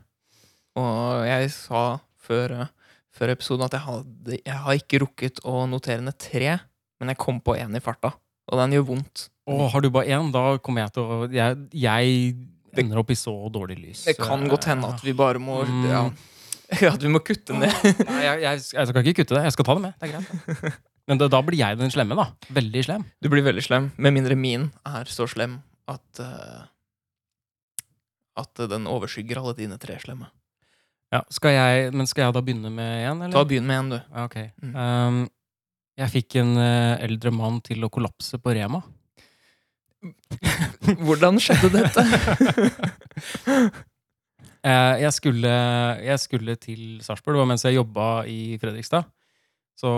Speaker 2: og jeg sa før, eh, før episoden at jeg, hadde, jeg har ikke rukket å notere ned tre, men jeg kom på én i farta. Og den gjør vondt.
Speaker 1: Og har du bare én, da kommer jeg til å Jeg, jeg ender opp i så dårlig lys.
Speaker 2: Det kan godt hende at vi bare må
Speaker 1: Mm.
Speaker 2: ja, At vi må kutte ned.
Speaker 1: Nei, jeg, jeg, jeg skal ikke kutte det. Jeg skal ta det med. Det er greit. Men da, da blir jeg den slemme, da. Veldig slem.
Speaker 2: Du blir veldig slem. Med mindre min er så slem at eh, At den overskygger alle dine tre slemme.
Speaker 1: Ja, skal jeg, men skal jeg da begynne med én, eller?
Speaker 2: Ta Begynn med en, du.
Speaker 1: Ja, ok.
Speaker 2: Mm.
Speaker 1: Um, jeg fikk en eh, eldre mann til å kollapse på Rema.
Speaker 2: Hvordan skjedde dette?
Speaker 1: Eh, jeg, skulle, jeg skulle til Sarpsborg, det var mens jeg jobba i Fredrikstad. Så,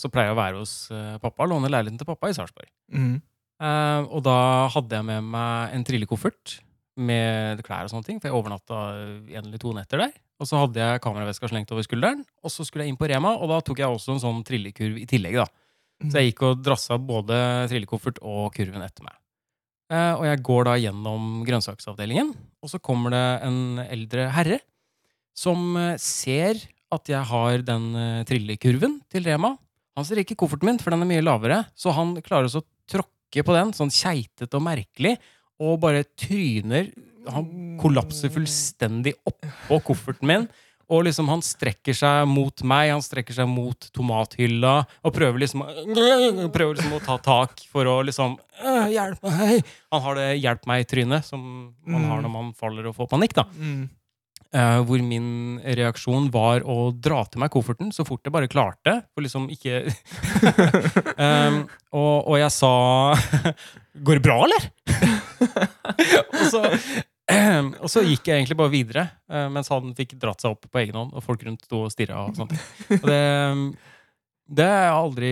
Speaker 1: så pleier jeg å være hos eh, pappa, låne leiligheten til pappa i Sarpsborg.
Speaker 2: Mm.
Speaker 1: Eh, og da hadde jeg med meg en trillekoffert med klær og sånne ting, for jeg overnatta en eller to netter der. Og så hadde jeg kameraveska slengt over skulderen, og så skulle jeg inn på Rema, og da tok jeg også en sånn trillekurv i tillegg, da. Så jeg gikk og drassa både trillekoffert og kurven etter meg. Eh, og jeg går da gjennom grønnsaksavdelingen, og så kommer det en eldre herre som eh, ser at jeg har den eh, trillekurven til Rema. Han ser ikke kofferten min, for den er mye lavere, så han klarer også å tråkke på den, sånn keitete og merkelig, og bare tryner Han kollapser fullstendig oppå kofferten min. Og liksom han strekker seg mot meg, han strekker seg mot tomathylla og prøver liksom, å- prøver liksom å ta tak for å liksom «Øh, Hjelp meg! Han har det 'hjelp meg'-trynet som man har når man faller og får panikk. da.
Speaker 2: Mm.
Speaker 1: Eh, hvor min reaksjon var å dra til meg kofferten så fort jeg bare klarte. For liksom ikke um, og, og jeg sa Går det bra, eller? og, så, ehm, og så gikk jeg egentlig bare videre, eh, mens han fikk dratt seg opp på egen hånd, og folk rundt sto og stirra. Og sånt. Og det, ehm, det har jeg aldri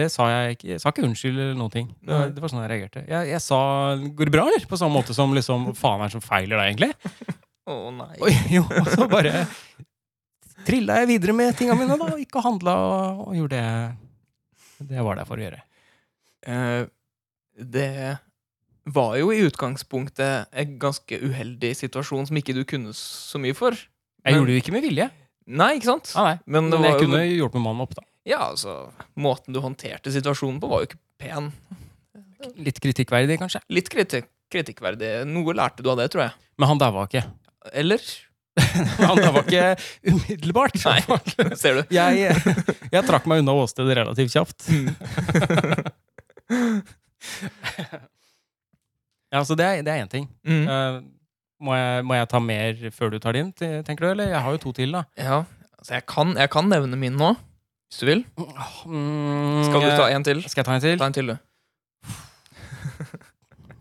Speaker 1: Det sa jeg ikke. Jeg sa ikke unnskyld eller noen ting. Det var, det var sånn jeg reagerte. Jeg, jeg sa 'går det bra', eller? På samme måte som liksom 'hva faen er det som feiler deg', egentlig.
Speaker 2: Å nei.
Speaker 1: Og, jo, og så bare trilla jeg videre med tinga mine, da. og Gikk og handla og, og gjorde det det jeg var der for å gjøre.
Speaker 2: Eh, det var jo i utgangspunktet en ganske uheldig situasjon som ikke du kunne så mye for.
Speaker 1: Jeg
Speaker 2: Men-
Speaker 1: gjorde det jo ikke med vilje.
Speaker 2: Nei, ikke sant?
Speaker 1: Ah, nei.
Speaker 2: Men det
Speaker 1: Men jeg
Speaker 2: var
Speaker 1: kunne
Speaker 2: jo
Speaker 1: hjulpet mannen opp, da.
Speaker 2: Ja, altså Måten du håndterte situasjonen på, var jo ikke pen.
Speaker 1: litt kritikkverdig, kanskje.
Speaker 2: Litt kritikk, kritikkverdig. Noe lærte du av det, tror jeg.
Speaker 1: Men han daua ikke.
Speaker 2: Eller?
Speaker 1: Han daua ikke umiddelbart.
Speaker 2: Nei. Ser du?
Speaker 1: Jeg, jeg trakk meg unna åstedet relativt kjapt. Ja, så Det er- det er én ting.
Speaker 2: Mm.
Speaker 1: Eh, må, jeg, må jeg ta mer før du tar din, te- tenker du? Eller jeg har jo to til, da.
Speaker 2: Ja, altså jeg kan, jeg kan nevne min nå, hvis du vil.
Speaker 1: Mm,
Speaker 2: Skal du ta en til?
Speaker 1: Skal jeg ta en til?
Speaker 2: Ta en til, du.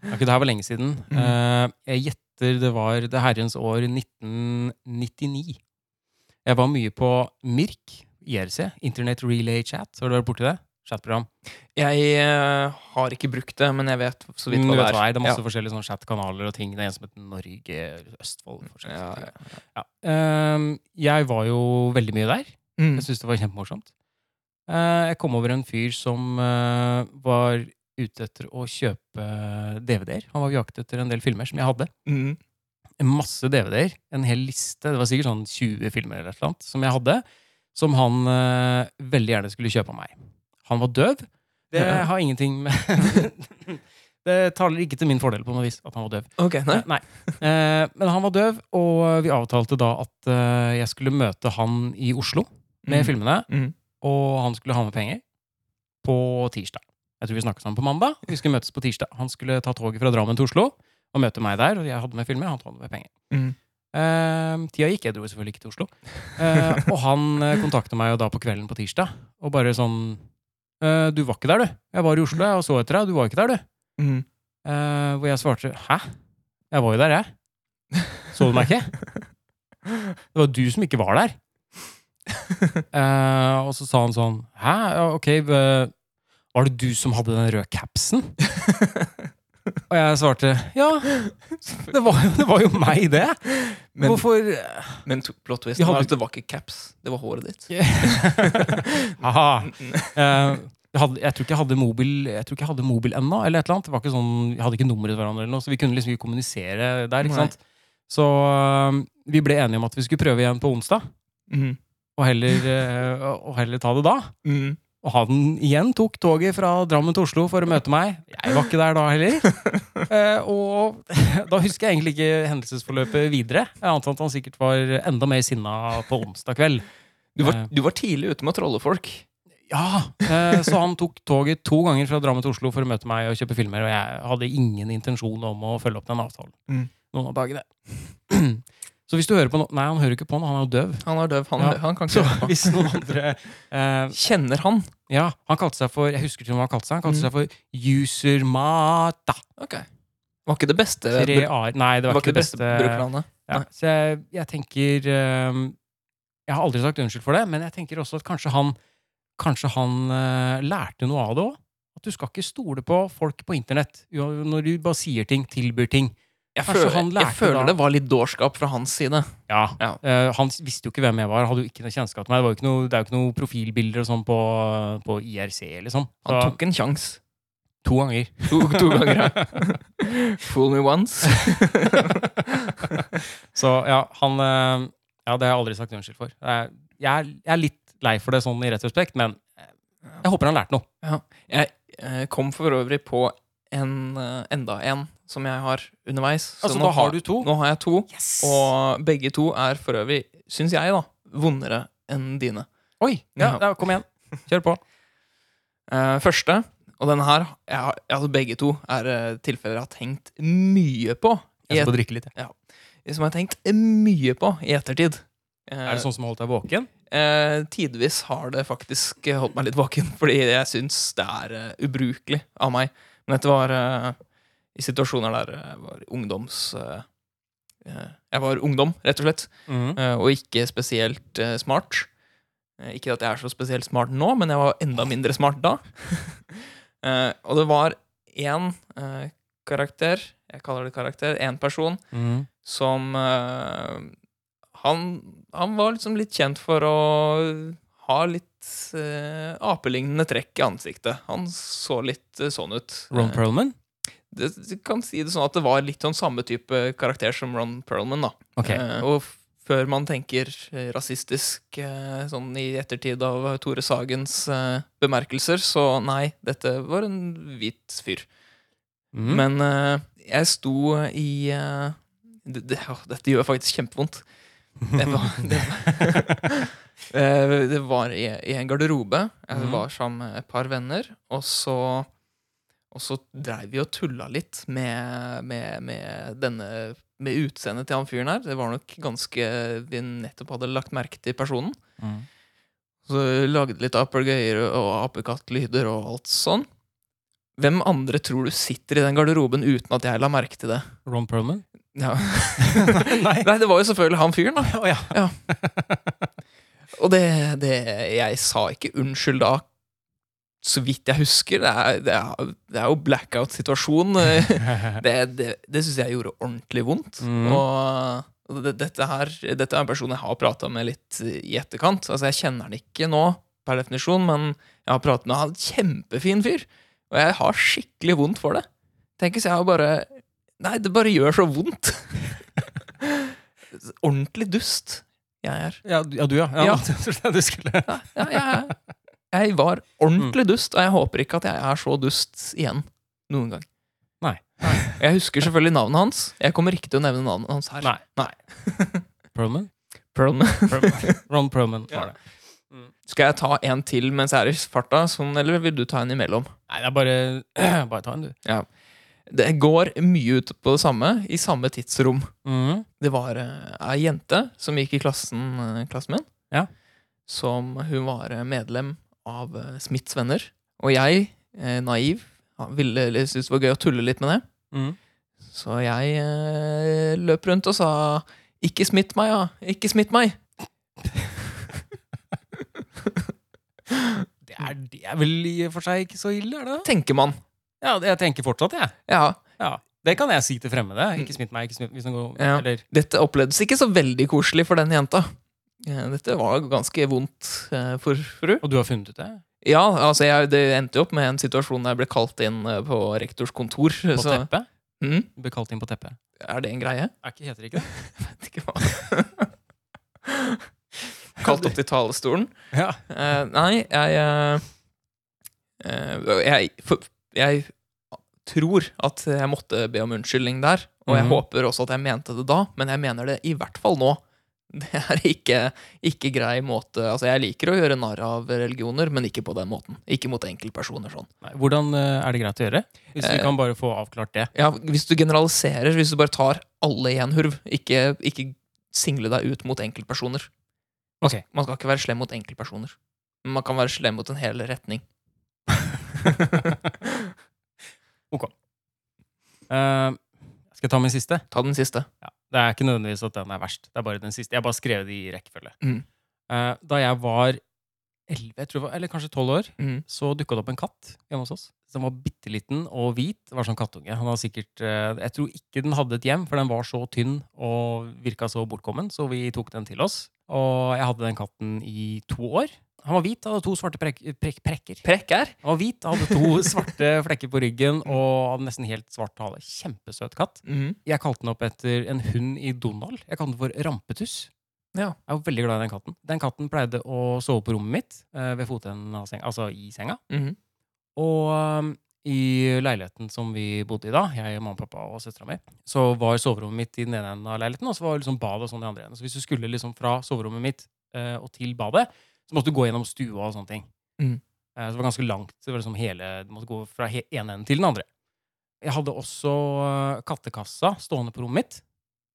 Speaker 1: Ok, det her var lenge siden.
Speaker 2: Mm.
Speaker 1: Eh, jeg gjetter det var det herrens år 1999. Jeg var mye på Mirk, IRC, Internet Relay Chat. Har du vært borti det? Chatprogram.
Speaker 2: Jeg eh, har ikke brukt det, men jeg vet så vidt
Speaker 1: Mm,
Speaker 2: hva
Speaker 1: du
Speaker 2: det
Speaker 1: vet
Speaker 2: er.
Speaker 1: hva Det er masse forskjellige sånne chatkanaler og ting. Det er en som heter Norge, Østfold forskjellige
Speaker 2: Ja,
Speaker 1: ting.
Speaker 2: ja.
Speaker 1: Ja. Ehm, jeg var jo veldig mye der.
Speaker 2: Mm.
Speaker 1: Jeg syntes det var kjempemorsomt. Eh, jeg kom over en fyr som eh, var ute etter å kjøpe DVD-er. Han var på jakt etter en del filmer som jeg hadde.
Speaker 2: Mm.
Speaker 1: Masse DVD-er. En hel liste. Det var sikkert sånn 20 filmer eller et eller annet som jeg hadde, som han eh, veldig gjerne skulle kjøpe av meg. Han var døv. Det
Speaker 2: Ja.
Speaker 1: har ingenting med Det taler ikke til min fordel på noe vis at han var døv.
Speaker 2: Ok, nei.
Speaker 1: Eh, Nei. Eh, men han var døv, og vi avtalte da at eh, jeg skulle møte han i Oslo med
Speaker 2: Mm.
Speaker 1: filmene,
Speaker 2: Mm.
Speaker 1: og han skulle ha med penger på tirsdag. Jeg tror vi snakket sammen på mandag. Vi skulle møtes på tirsdag. Han skulle ta toget fra Drammen til Oslo og møte meg der, og jeg hadde med filmer, han hadde med penger.
Speaker 2: Mm.
Speaker 1: Eh, tida gikk, jeg dro selvfølgelig ikke til Oslo. Eh, og han eh, kontakta meg jo da på kvelden på tirsdag, og bare sånn eh, Du var ikke der, du. Jeg var i Oslo, jeg, og så etter deg. Du var ikke der, du.
Speaker 2: Mm.
Speaker 1: Eh, hvor jeg svarte 'hæ? Jeg var jo der, jeg'. Så du meg ikke? Det var du som ikke var der. Eh, og så sa han sånn 'hæ, Ja, ok, eh, var det du som hadde den røde capsen? Og jeg svarte 'ja, det var, jo- det var jo meg, det'.
Speaker 2: Men,
Speaker 1: Hvorfor
Speaker 2: men to- plot twist
Speaker 1: Vi hadde-
Speaker 2: var at det var ikke caps, det var håret ditt.
Speaker 1: Haha. Eh, jeg, hadde, jeg tror ikke jeg hadde mobil Jeg tror ikke jeg hadde mobil ennå, eller et eller annet. Det var ikke sånn, vi hadde ikke nummeret til hverandre, eller noe, så vi kunne liksom ikke kommunisere der.
Speaker 2: Nei.
Speaker 1: ikke sant? Så eh, vi ble enige om at vi skulle prøve igjen på onsdag,
Speaker 2: Mm.
Speaker 1: og heller, eh, og heller ta det da.
Speaker 2: Mm.
Speaker 1: Og han igjen tok toget fra Drammen til Oslo for å møte meg. Jeg var ikke der da heller. Eh, og da husker jeg egentlig ikke hendelsesforløpet videre. Jeg antar at han sikkert var enda mer sinna på onsdag kveld.
Speaker 2: Du, var,
Speaker 1: Eh.
Speaker 2: du var tidlig ute med å trolle folk.
Speaker 1: Ja, eh, så han tok toget to ganger fra Drammen til Oslo for å møte meg og kjøpe filmer, og jeg hadde ingen intensjon om å følge opp den avtalen.
Speaker 2: Mm.
Speaker 1: Noen av dagene. Så hvis du hører på no Nei, han hører ikke på nå, han er jo døv.
Speaker 2: Han er døv, han,
Speaker 1: Ja.
Speaker 2: er døv, han kan
Speaker 1: Så
Speaker 2: ikke høre på.
Speaker 1: hvis noen andre eh,
Speaker 2: Kjenner han?
Speaker 1: Ja, han kalte seg for Jeg husker ikke hva han kalte seg. Han kalte seg for Usermata.
Speaker 2: Ok. Var ikke det beste,
Speaker 1: Tre
Speaker 2: br-
Speaker 1: a-er. Nei, det
Speaker 2: var
Speaker 1: var
Speaker 2: ikke det beste brukernavnet.
Speaker 1: Ja,
Speaker 2: Nei.
Speaker 1: så jeg, jeg tenker eh, Jeg har aldri sagt unnskyld for det, men jeg tenker også at kanskje han, kanskje han eh, lærte noe av det òg. At du skal ikke stole på folk på internett jo, når du bare sier ting, tilbyr ting.
Speaker 2: Jeg
Speaker 1: Kanskje
Speaker 2: føler,
Speaker 1: han
Speaker 2: jeg
Speaker 1: lærte da-
Speaker 2: føler det var litt dårskap fra hans side.
Speaker 1: Ja.
Speaker 2: Ja.
Speaker 1: Eh, han s- visste jo ikke hvem jeg var, hadde jo ikke noe kjennskap til meg. Det, var jo ikke noe, det er jo ikke noe profilbilder og sånn på, på IRC, liksom.
Speaker 2: Han
Speaker 1: Så-
Speaker 2: tok en sjanse.
Speaker 1: to ganger.
Speaker 2: To, to ganger, ja. Fool me once.
Speaker 1: Så ja, han eh, Ja, det har jeg aldri sagt unnskyld for. Det er- Jeg er, jeg er litt lei for det sånn i retrospekt, men eh, jeg håper han lærte noe.
Speaker 2: Jeg eh, kom for øvrig på en, eh, enda en som jeg har underveis. Så
Speaker 1: Altså,
Speaker 2: nå
Speaker 1: da har du to.
Speaker 2: Nå har jeg to,
Speaker 1: Yes!
Speaker 2: og begge to er for øvrig, syns jeg, da, vondere enn dine.
Speaker 1: Oi! Ja,
Speaker 2: Ja.
Speaker 1: ja, kom igjen. Kjør på.
Speaker 2: Eh, første, og denne her jeg har, altså Begge to er eh, tilfeller jeg har tenkt mye på. I et,
Speaker 1: drikke litt.
Speaker 2: som jeg har tenkt mye på i ettertid. Eh,
Speaker 1: Er det sånn som har holdt deg våken?
Speaker 2: Eh, tidvis har det faktisk eh, holdt meg litt våken, fordi jeg syns det er eh, ubrukelig av meg. Men dette var eh, i situasjoner der jeg var ungdoms... Eh, eh, jeg var ungdom, rett og slett,
Speaker 1: Mm.
Speaker 2: eh, og ikke spesielt eh, smart. Eh, ikke at jeg er så spesielt smart nå, men jeg var enda mindre smart da. eh, og det var én eh, karakter, jeg kaller det karakter, én person,
Speaker 1: Mm.
Speaker 2: som eh, han, han var liksom litt kjent for å ha litt eh, apelignende trekk i ansiktet. Han så litt eh, sånn ut.
Speaker 1: Ron
Speaker 2: Eh,
Speaker 1: Perlman?
Speaker 2: det, du kan si det sånn at det var litt sånn samme type karakter som Ron Perlman, da.
Speaker 1: Ok.
Speaker 2: Eh, og f- før man tenker eh, rasistisk eh, sånn i ettertid av Tore Sagens eh, bemerkelser, så nei, dette var en hvit fyr.
Speaker 1: Mhm.
Speaker 2: Men eh, jeg sto i eh, det, det, åh, Dette gjør faktisk kjempevondt. Det var, det, Eh, det var i, i en garderobe. Jeg
Speaker 1: Mhm.
Speaker 2: var sammen med et par venner. Og så, og så dreiv vi og tulla litt med, med, med denne med utseendet til han fyren her. Det var nok ganske Vi nettopp hadde lagt merke til personen.
Speaker 1: Mhm.
Speaker 2: Så lagde litt apegøyer og apekattlyder og alt sånn. Hvem andre tror du sitter i den garderoben uten at jeg la merke til det?
Speaker 1: Ron Perlman?
Speaker 2: Ja.
Speaker 1: Nei.
Speaker 2: Nei, det var jo selvfølgelig han fyren, da.
Speaker 1: Å ja.
Speaker 2: Og det, det Jeg sa ikke unnskyld da, så vidt jeg husker. Det er, det er, det er jo blackout-situasjon. Det, det, det syns jeg gjorde ordentlig vondt.
Speaker 1: Mhm.
Speaker 2: Og altså, det, dette, her, dette er en person jeg har prata med litt i etterkant. Altså Jeg kjenner han ikke nå, per definisjon, men jeg har pratet med han. Kjempefin fyr. Og jeg har skikkelig vondt for det. Tenk hvis jeg har bare Nei, det bare gjør så vondt. ordentlig dust jeg er.
Speaker 1: Ja, du- ja, du, ja. ja,
Speaker 2: Ja.
Speaker 1: det- Du skulle
Speaker 2: Ja, jeg, jeg var ordentlig
Speaker 1: Mm.
Speaker 2: dust, og jeg håper ikke at jeg er så dust igjen noen gang.
Speaker 1: Nei.
Speaker 2: Jeg husker selvfølgelig navnet hans. Jeg kommer ikke til å nevne navnet hans her.
Speaker 1: Nei. Perlman?
Speaker 2: Perlman.
Speaker 1: Ron Perlman var
Speaker 2: Ja.
Speaker 1: det.
Speaker 2: Skal jeg ta en til mens jeg er i farta, sånn, eller vil du ta en imellom?
Speaker 1: Nei, det er bare Bare ta en, du.
Speaker 2: Det går mye ut på det samme i samme tidsrom.
Speaker 1: Mhm.
Speaker 2: Det var eh, ei jente som gikk i klassen, eh, klassen min.
Speaker 1: Ja.
Speaker 2: Som hun var eh, medlem av eh, Smiths venner. Og jeg, eh, naiv, ja, ville eller syntes det var gøy å tulle litt med det.
Speaker 1: Mhm.
Speaker 2: Så jeg eh, løp rundt og sa 'ikke smitt meg', ja. Ikke smitt meg.
Speaker 1: Det, er, det er vel i og for seg ikke så ille, er det? da?
Speaker 2: Tenker man.
Speaker 1: Ja, det- jeg tenker fortsatt, jeg.
Speaker 2: Ja,
Speaker 1: Ja. Det kan jeg si til fremmede. Ikke smitt meg. ikke smitt, hvis den går,
Speaker 2: Ja.
Speaker 1: eller,
Speaker 2: Dette opplevdes ikke så veldig koselig for den jenta. Eh, Dette var ganske vondt eh, for fru.
Speaker 1: Og du har funnet ut det?
Speaker 2: Ja, altså jeg, det endte jo opp med en situasjon der jeg ble kalt inn eh, på rektors kontor.
Speaker 1: På
Speaker 2: så,
Speaker 1: teppet?
Speaker 2: mm,
Speaker 1: Du ble kalt inn på teppet.
Speaker 2: er det en greie?
Speaker 1: Er ikke, heter det ikke det?
Speaker 2: Vet ikke hva. Kalt opp til talerstolen.
Speaker 1: Ja.
Speaker 2: Eh, nei, jeg eh, eh, jeg, for, jeg tror at jeg måtte be om unnskyldning der. Og jeg
Speaker 1: Mhm.
Speaker 2: håper også at jeg mente det da, men jeg mener det i hvert fall nå. Det er ikke, ikke grei måte Altså, jeg liker å gjøre narr av religioner, men ikke på den måten. Ikke mot enkeltpersoner sånn.
Speaker 1: Nei, hvordan eh, er det greit å gjøre? Hvis vi
Speaker 2: Eh.
Speaker 1: kan bare få avklart det.
Speaker 2: Ja, hvis du generaliserer, hvis du bare tar alle i en hurv, ikke, ikke single deg ut mot enkeltpersoner.
Speaker 1: Ok.
Speaker 2: Man skal ikke være slem mot enkeltpersoner. Men man kan være slem mot en hel retning.
Speaker 1: Eh, skal jeg ta min siste?
Speaker 2: Ta den siste.
Speaker 1: Ja. Det er ikke nødvendigvis at den er verst. Det er bare den siste. Jeg har bare skrevet de i rekkefølge.
Speaker 2: Mm.
Speaker 1: Eh, da jeg var 11, jeg tror, jeg var- eller kanskje 12 år,
Speaker 2: Mm.
Speaker 1: så dukka det opp en katt hjemme hos oss. Som var bitte liten og hvit. Det var sånn kattunge. Han hadde sikkert, eh, jeg tror ikke den hadde et hjem, for den var så tynn og virka så bortkommen, så vi tok den til oss. Og jeg hadde den katten i to år. Han var hvit, hadde to svarte prek prek prekker.
Speaker 2: Prekk er
Speaker 1: Han var hvit, hadde to svarte flekker på ryggen og hadde nesten helt svart hale. Kjempesøt katt.
Speaker 2: mm.
Speaker 1: Jeg kalte den opp etter en hund i Donald. Jeg kalte den for Rampetuss.
Speaker 2: Ja.
Speaker 1: Jeg var veldig glad i den katten. Den katten pleide å sove på rommet mitt eh, ved fotenden av senga, altså i senga.
Speaker 2: Mm.
Speaker 1: Og um, i leiligheten som vi bodde i da, jeg, mamma, pappa og søstera mi, så var soverommet mitt i den ene enden av leiligheten, og så var liksom badet og sånn i den andre enden. Så hvis du skulle liksom fra soverommet mitt eh, og til badet, så måtte du gå gjennom stua og sånne ting.
Speaker 2: Mhm.
Speaker 1: Eh, så det var ganske langt. så Det var liksom hele, du måtte gå fra he ene enden til den andre. Jeg hadde også eh, kattekassa stående på rommet mitt.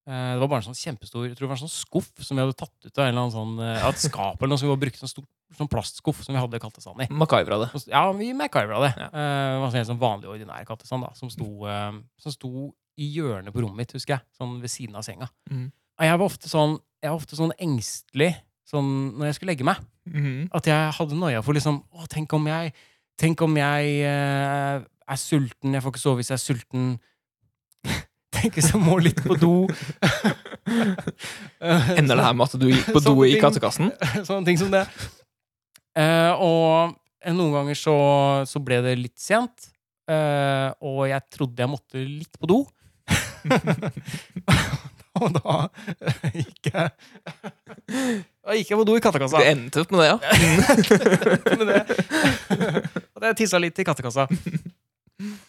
Speaker 1: Eh, Det var bare en sånn kjempestor jeg tror det var en sånn skuff som vi hadde tatt ut av en eller annen sånn, eh, av et skap eller noe som vi bare brukte en stor sånn plastskuff som vi hadde kattesand i.
Speaker 2: MacGyver av det.
Speaker 1: Og s- Ja, vi MacGyvera det.
Speaker 2: Ja.
Speaker 1: Eh, det var sånn helt sånn vanlig ordinær kattesand da, som sto, eh, som sto i hjørnet på rommet mitt, husker jeg. Sånn ved siden av senga.
Speaker 2: Mhm.
Speaker 1: Og jeg var ofte sånn, jeg var ofte sånn engstelig sånn, når jeg skulle legge meg.
Speaker 2: Mm.
Speaker 1: At jeg hadde noia for liksom Å, tenk om jeg Tenk om jeg eh, er sulten, jeg får ikke sove hvis jeg er sulten. Tenk hvis jeg må litt på do.
Speaker 2: Ender det her med at du gikk på do
Speaker 1: Sånne
Speaker 2: i
Speaker 1: ting.
Speaker 2: kattekassen?
Speaker 1: Sånne ting som det. Eh, og eh, noen ganger så, så ble det litt sent, eh, og jeg trodde jeg måtte litt på do. og da eh, gikk jeg Da gikk jeg på do i
Speaker 2: Du
Speaker 1: kattekassa.
Speaker 2: endte opp med det, ja?
Speaker 1: med det. At jeg tissa litt i kattekassa.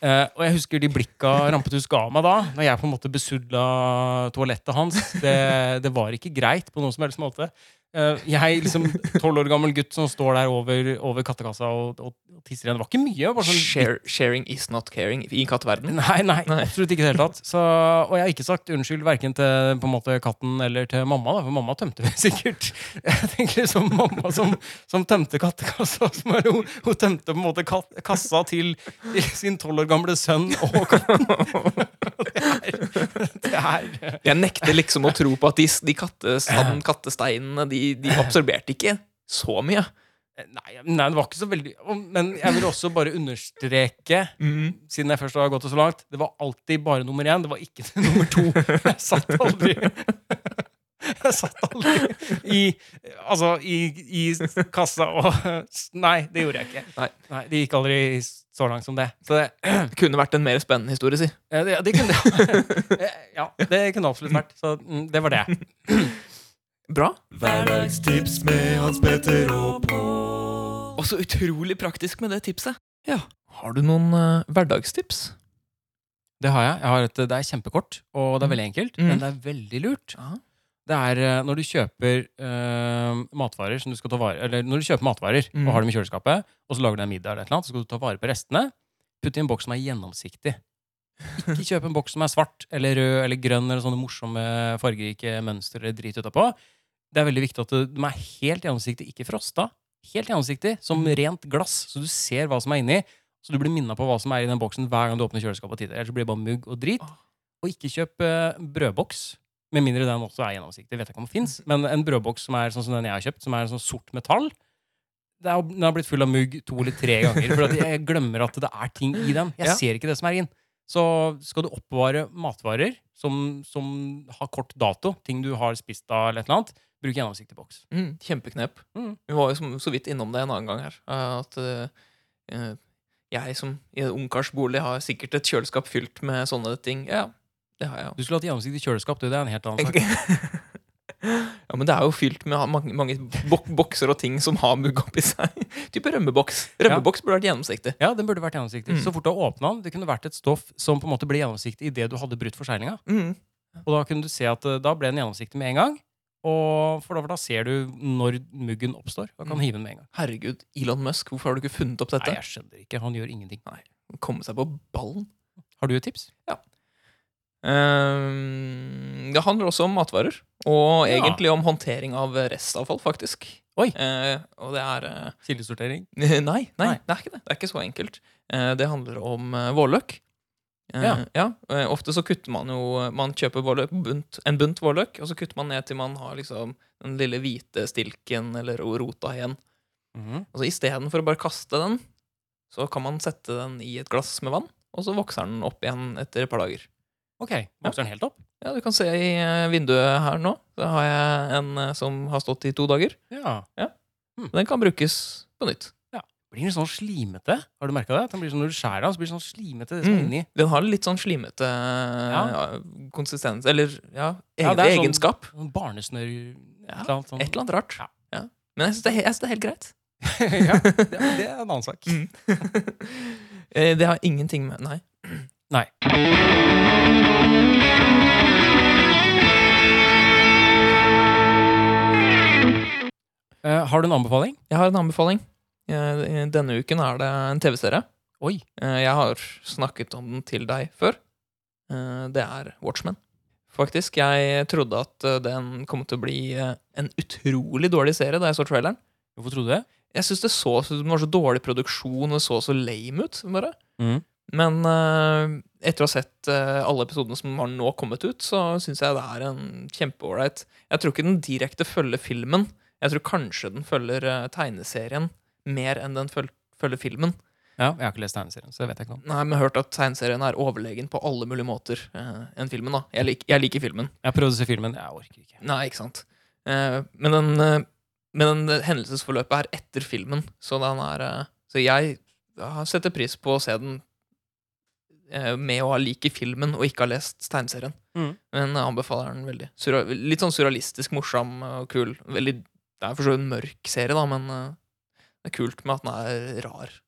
Speaker 1: Eh, og jeg husker de blikka Rampetus ga meg da, når jeg på en måte besudla toalettet hans. Det, det var ikke greit på noen som helst måte. Eh, jeg, liksom tolv år gammel gutt som står der over, over kattekassa og, og, og tisser igjen. Det var ikke mye. Bare sånn
Speaker 2: Share, sharing is not caring i katteverden.
Speaker 1: Nei, nei,
Speaker 2: Nei.
Speaker 1: absolutt ikke i det hele tatt. Så, og jeg har ikke sagt unnskyld verken til på en måte, katten eller til mamma, da, for mamma tømte vel sikkert. Jeg tenker liksom mamma som, som tømte kattekassa. Som er, hun, hun tømte på en måte kat, kassa til, til sin tolv år gamle sønn og katten. Det er, det er
Speaker 2: Jeg nekter liksom å tro på at de, de kattesand, kattesteinene de, de absorberte ikke så mye.
Speaker 1: nei, nei, det var ikke så veldig Men jeg vil også bare understreke
Speaker 2: Mhm.
Speaker 1: siden jeg først har gått det så langt, det var alltid bare nummer én. Det var ikke nummer to. Jeg satt aldri Jeg satt aldri i Altså, i, i kassa og Nei, det gjorde jeg ikke.
Speaker 2: Nei.
Speaker 1: det gikk aldri så langt som det. Så det,
Speaker 2: Det kunne vært en mer spennende historie, si.
Speaker 1: eh, det, det kunne Ja, det kunne absolutt vært. Så mm, det var det.
Speaker 2: Bra.
Speaker 5: Hverdagstips med Hans Petter og Pål.
Speaker 2: Og så utrolig praktisk med det tipset. Ja. Har du noen eh, hverdagstips?
Speaker 1: Det har jeg. jeg har et, det er kjempekort, og det er veldig enkelt,
Speaker 2: Mm.
Speaker 1: men det er veldig lurt.
Speaker 2: Ja.
Speaker 1: Det er eh, når du kjøper eh, matvarer som du skal ta vare Eller når du kjøper matvarer
Speaker 2: Mm.
Speaker 1: og har dem i kjøleskapet, og så lager du en middag, eller et eller annet, så skal du ta vare på restene. Putt i en boks som er gjennomsiktig. Ikke kjøp en boks som er svart eller rød eller grønn eller sånne morsomme fargerike mønstre eller drit utapå. Det er veldig viktig at det- de er helt gjennomsiktige, ikke frosta. Helt gjennomsiktig, som
Speaker 2: Mm.
Speaker 1: rent glass, så du ser hva som er inni. Så du blir minna på hva som er i den boksen hver gang du åpner kjøleskapet. og titter. Ellers så blir det bare mugg og drit. Og ikke kjøp eh, brødboks, med mindre den også er gjennomsiktig. Vet jeg ikke om den finnes, Men en brødboks som er sånn som den jeg har kjøpt, som er sånn sort metall, det er, den har blitt full av mugg to eller tre ganger. For at jeg glemmer at det er ting i den. Jeg
Speaker 2: Ja.
Speaker 1: ser ikke det som er i den. Så skal du oppbevare matvarer som, som har kort dato, ting du har spist av, eller et eller annet, bruk gjennomsiktig boks.
Speaker 2: Mm, kjempeknep.
Speaker 1: Mm.
Speaker 2: Vi var jo som, så vidt innom det en annen gang her. eh, At eh, eh, jeg som i en ungkarsbolig har sikkert et kjøleskap fylt med sånne ting. Ja, det har jeg jo.
Speaker 1: Du skulle hatt gjennomsiktig kjøleskap. du, Det er en helt annen sak.
Speaker 2: ja, men det er jo fylt med mange, mange bok bokser og ting som har mugg oppi seg. Type rømmeboks. Rømmeboks burde vært gjennomsiktig.
Speaker 1: Ja, den burde vært gjennomsiktig.
Speaker 2: Mm.
Speaker 1: Så fort du har åpna den, det kunne vært et stoff som på en måte ble gjennomsiktig idet du hadde brutt forseglinga.
Speaker 2: Mm.
Speaker 1: Og da kunne du se at eh, da ble den gjennomsiktig med en gang. Og for da, for da ser du når muggen oppstår, og kan
Speaker 2: Mm.
Speaker 1: hive den med en gang.
Speaker 2: Herregud, Elon Musk, hvorfor har du ikke funnet opp dette?
Speaker 1: Nei, jeg skjønner ikke. Han gjør ingenting.
Speaker 2: Komme seg på ballen.
Speaker 1: Har du et tips?
Speaker 2: Ehm, det handler også om matvarer, og
Speaker 1: Ja.
Speaker 2: egentlig om håndtering av restavfall, faktisk.
Speaker 1: Oi.
Speaker 2: Eh, og det er eh,
Speaker 1: Kildesortering?
Speaker 2: nei, nei,
Speaker 1: Nei.
Speaker 2: det er ikke det. Det er ikke så enkelt. Eh, det handler om eh, vårløk. Eh,
Speaker 1: Ja.
Speaker 2: eh, ofte så kutter man jo Man kjøper vårløk, bunt, en bunt vårløk, og så kutter man ned til man har liksom den lille hvite stilken eller rota igjen.
Speaker 1: Mm-hmm.
Speaker 2: Altså Istedenfor å bare kaste den, så kan man sette den i et glass med vann, og så vokser den opp igjen etter et par dager.
Speaker 1: Ok. Vokser den helt opp?
Speaker 2: Ja, du kan se i eh, vinduet her nå. Da har jeg en eh, som har stått i to dager.
Speaker 1: Ja.
Speaker 2: Den kan brukes på nytt.
Speaker 1: Blir den sånn slimete? Har du merka det? At Den blir sånn, når du skjærer den, så blir den sånn slimete. Det som er
Speaker 2: Mm.
Speaker 1: inni.
Speaker 2: Den har litt sånn slimete eh,
Speaker 1: Ja.
Speaker 2: konsistens Eller ja,
Speaker 1: Ja,
Speaker 2: egen,
Speaker 1: det er sånn-
Speaker 2: egenskap.
Speaker 1: Sånn barnesnørr
Speaker 2: Ja,
Speaker 1: eller annet sånn.
Speaker 2: Et eller annet rart.
Speaker 1: Ja.
Speaker 2: Ja. Men jeg syns det, er he- jeg synes det er helt greit.
Speaker 1: ja, det, det er en annen sak.
Speaker 2: Eh, Det har ingenting med Nei.
Speaker 1: Nei. Eh, har du en anbefaling?
Speaker 2: Jeg har en anbefaling. Eh, Denne uken er det en TV-serie.
Speaker 1: Oi.
Speaker 2: Eh, Jeg har snakket om den til deg før. Eh, Det er Watchmen. Faktisk, jeg trodde at eh, den kom til å bli eh, en utrolig dårlig serie da jeg så traileren.
Speaker 1: Hvorfor trodde du det?
Speaker 2: Jeg syns det så den var så dårlig produksjon, og det så så lame ut. bare.
Speaker 1: Mhm.
Speaker 2: Men eh, etter å ha sett eh, alle episodene som har nå kommet ut, så syns jeg det er en kjempeålreit Jeg tror ikke den direkte følger filmen. Jeg tror kanskje den følger eh, tegneserien mer enn den føl følger filmen.
Speaker 1: Ja, jeg har ikke lest tegneserien, så det vet jeg ikke om.
Speaker 2: Nei, men jeg har hørt at tegneserien er overlegen på alle mulige måter eh, enn filmen. da. Jeg, lik, jeg liker filmen.
Speaker 1: Jeg har prøvd å se filmen. Jeg orker ikke.
Speaker 2: Nei, ikke sant. Eh, men den, eh, men den hendelsesforløpet er etter filmen, så den er eh, Så jeg har- setter pris på å se den eh, med å ha lik i filmen og ikke ha lest tegneserien.
Speaker 1: Mhm.
Speaker 2: Men jeg anbefaler den veldig. Surra- litt sånn surrealistisk, morsom og kul. Veldig, det er for så vidt en mørk serie, da, men eh, det er kult med at den er rar.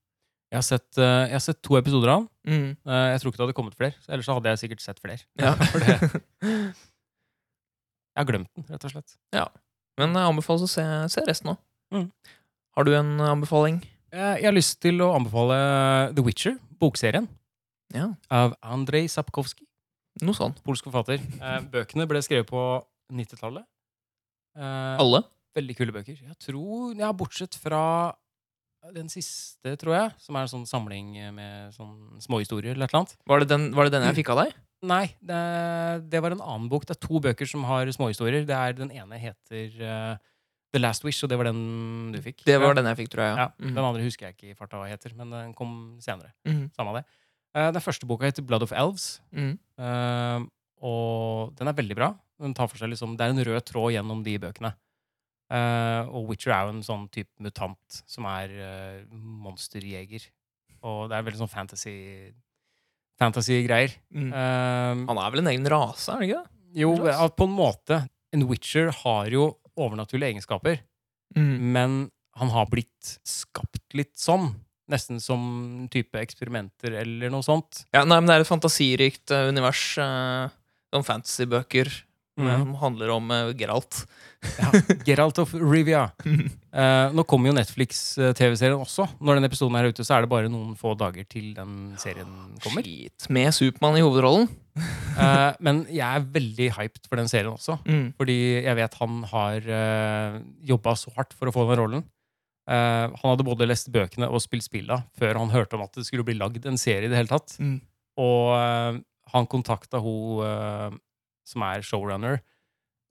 Speaker 1: Ja, Jeg har sett, eh, jeg har sett to episoder av den.
Speaker 2: Mm.
Speaker 1: Eh, jeg tror ikke det hadde kommet flere. så Ellers så hadde jeg sikkert sett flere.
Speaker 2: Ja.
Speaker 1: For det, jeg har glemt den, rett og slett.
Speaker 2: Men jeg anbefales å se, se resten òg.
Speaker 1: Mm.
Speaker 2: Har du en anbefaling?
Speaker 1: Eh, jeg har lyst til å anbefale The Witcher, bokserien,
Speaker 2: Ja.
Speaker 1: av Andrej Sapkowski,
Speaker 2: Noe sånn.
Speaker 1: polsk forfatter. Eh, bøkene ble skrevet på 90-tallet. Eh,
Speaker 2: Alle?
Speaker 1: Veldig kule bøker. Jeg tror, ja, Bortsett fra den siste, tror jeg, som er en sånn samling med sånn småhistorier eller et eller annet.
Speaker 2: Var det, den, var det den jeg fikk av deg?
Speaker 1: Nei, det, det var en annen bok. Det er to bøker som har småhistorier. Det er Den ene heter eh, The Last Wish, og det var den du fikk.
Speaker 2: Det
Speaker 1: Ja.
Speaker 2: var den jeg fikk, tror jeg.
Speaker 1: Ja,
Speaker 2: Ja.
Speaker 1: Den andre husker jeg ikke i farta hva heter, men den kom senere.
Speaker 2: Mhm.
Speaker 1: Samme av det. Eh, Den første boka heter Blood of Elves,
Speaker 2: Mm. Mm.
Speaker 1: eh, og den er veldig bra. Den tar for seg liksom, Det er en rød tråd gjennom de bøkene. Eh, og Witcher er jo en sånn type mutant som er eh, monsterjeger. Og det er veldig sånn fantasy fantasy-greier.
Speaker 2: Mm.
Speaker 1: Eh,
Speaker 2: Han er vel en egen rase, er det ikke det?
Speaker 1: jo,
Speaker 2: Andreas?
Speaker 1: at på en måte. En Witcher har jo overnaturlige egenskaper Mm.
Speaker 2: Mm.
Speaker 1: men han har blitt skapt litt sånn. Nesten som type eksperimenter eller noe sånt.
Speaker 2: Ja, nei, men det er et fantasirikt eh, univers. eh, Sånn fantasybøker
Speaker 1: Mm.
Speaker 2: eh, som handler om eh, Geralt.
Speaker 1: Geralt of Rivia. Eh, nå kommer jo Netflix-TV-serien også. Når denne episoden er ute, så er det bare noen få dager til den serien kommer.
Speaker 2: Shit. Med Supermann i hovedrollen.
Speaker 1: Eh, men jeg er veldig hyped for den serien også.
Speaker 2: Mm.
Speaker 1: Fordi jeg vet han har uh, jobba så hardt for å få den rollen. Eh, han hadde både lest bøkene og spilt spilla før han hørte om at det skulle bli lagd en serie i det hele tatt.
Speaker 2: Mm.
Speaker 1: Og eh, han kontakta hun eh, som er showrunner,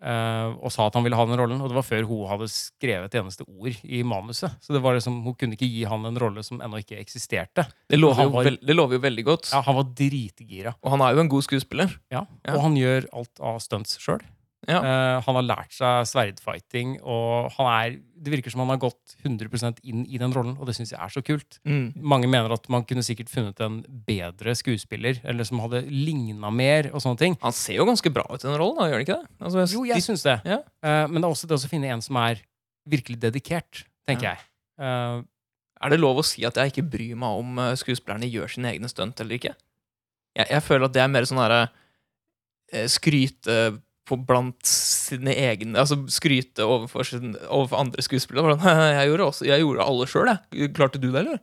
Speaker 1: eh, og sa at han ville ha den rollen. Og det var før hun hadde skrevet et eneste ord i manuset. Så det var liksom, hun kunne ikke gi han en rolle som ennå ikke eksisterte.
Speaker 2: Det, lover
Speaker 1: Han
Speaker 2: jo
Speaker 1: var-
Speaker 2: vel- det lover jo veldig godt.
Speaker 1: Ja, Han var dritgira.
Speaker 2: Og han er jo en god skuespiller.
Speaker 1: Ja.
Speaker 2: Ja.
Speaker 1: Og han gjør alt av stunts sjøl.
Speaker 2: Ja.
Speaker 1: Eh, han har lært seg sverdfighting, og han er, det virker som han har gått 100 inn i den rollen, og det syns jeg er så kult. Mange mener at man kunne sikkert funnet en bedre skuespiller, eller som hadde ligna mer, og sånne ting.
Speaker 2: Han ser jo ganske bra ut i den rollen, da, gjør han ikke det? Altså,
Speaker 1: Jo, jeg
Speaker 2: de-
Speaker 1: syns det.
Speaker 2: Ja.
Speaker 1: Eh, men det er også det å finne en som er virkelig dedikert, tenker
Speaker 2: Ja.
Speaker 1: jeg. Eh,
Speaker 2: Er det lov å si at jeg ikke bryr meg om eh, skuespillerne gjør sine egne stunt eller ikke? Jeg, jeg føler at det er mer sånn herre eh, Skryte på blant sine egne Altså skryte overfor, sin, overfor andre skuespillere. Bare sånn, jeg, gjorde også, jeg gjorde alle sjøl, jeg. Klarte du det, eller?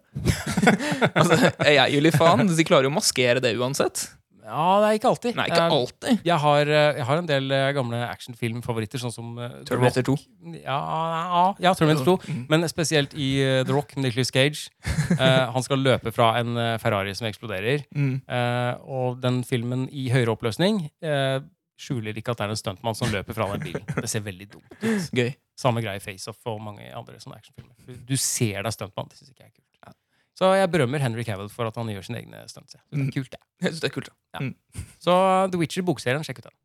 Speaker 2: altså, jeg gir litt faen. De klarer jo å maskere det uansett.
Speaker 1: ja, det er ikke alltid.
Speaker 2: Nei, ikke
Speaker 1: Eh,
Speaker 2: alltid.
Speaker 1: jeg, har, eh, jeg har en del eh, gamle actionfilmfavoritter, sånn som eh, The
Speaker 2: Terminator 2.
Speaker 1: Rock. Ja, ja, ja Terminator 2.
Speaker 2: Mm.
Speaker 1: Men spesielt i eh, The Rock med Nicolas Cage. Eh, han skal løpe fra en eh, Ferrari som eksploderer.
Speaker 2: Mm.
Speaker 1: Eh, og den filmen i høyere oppløsning eh, skjuler ikke at det er en stuntmann som løper fra den bilen. Det ser veldig dumt ut.
Speaker 2: Gøy.
Speaker 1: Samme greie i Face Off og mange andre sånne actionfilmer. Du- Du ser deg stuntmann. Det syns ikke jeg er kult. Så jeg berømmer Henry Cavill for at han gjør sine egne stunts. jeg. Det er kult, det.
Speaker 2: Jeg syns det er kult. da. Mm.
Speaker 1: Så The Witcher bokserien, sjekk ut den.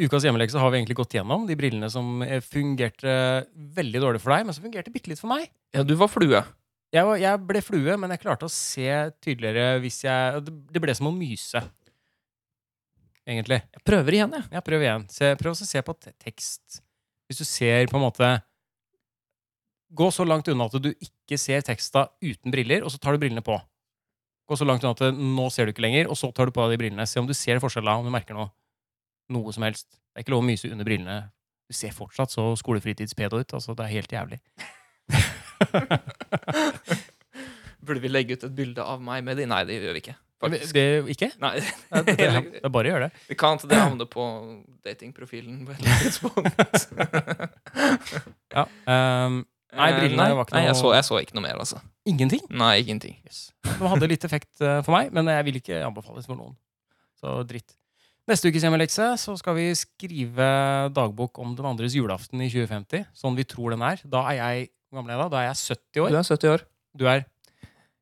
Speaker 1: Ukas hjemmelekse har vi egentlig gått gjennom. De brillene som eh, fungerte veldig dårlig for deg, men som fungerte bitte litt for meg.
Speaker 2: Ja, du var flue.
Speaker 1: Jeg, var, jeg ble flue, men jeg klarte å se tydeligere hvis jeg Det det ble som å myse, egentlig.
Speaker 2: Jeg prøver igjen, jeg.
Speaker 1: Ja, prøv igjen. Se, prøv også å se på te- tekst. Hvis du ser på en måte Gå så langt unna at du ikke ser teksta uten briller, og så tar du brillene på. Gå så langt unna at nå ser du ikke lenger, og så tar du på deg de brillene. Se om du ser forskjella, om du merker noe. Noe som helst. Det er ikke lov å myse under brillene. Du ser fortsatt så skolefritidspedo ut. Altså, det er helt jævlig.
Speaker 2: Burde vi legge ut et bilde av meg med de? Nei, det gjør vi ikke. Faktisk.
Speaker 1: Det, ikke?
Speaker 2: Nei,
Speaker 1: Ja, Det, det, er- det er bare å gjøre det.
Speaker 2: Vi kan til det havne på datingprofilen på et eller annet tidspunkt.
Speaker 1: Ja. ehm, Nei, brillene
Speaker 2: Eh,
Speaker 1: var ikke
Speaker 2: nei, jeg,
Speaker 1: noe-
Speaker 2: så, jeg så ikke noe mer, altså.
Speaker 1: ingenting.
Speaker 2: Nei, ingenting.
Speaker 1: Yes. Den hadde litt effekt eh, for meg, men jeg vil ikke anbefales for noen. Så dritt. Neste ukes hjemmelekse så skal vi skrive dagbok om den andres julaften i 2050. Sånn vi tror den er. Da er jeg hvor gammel er jeg da? Da er jeg 70
Speaker 2: Du
Speaker 1: år.
Speaker 2: er 70 år.
Speaker 1: Du er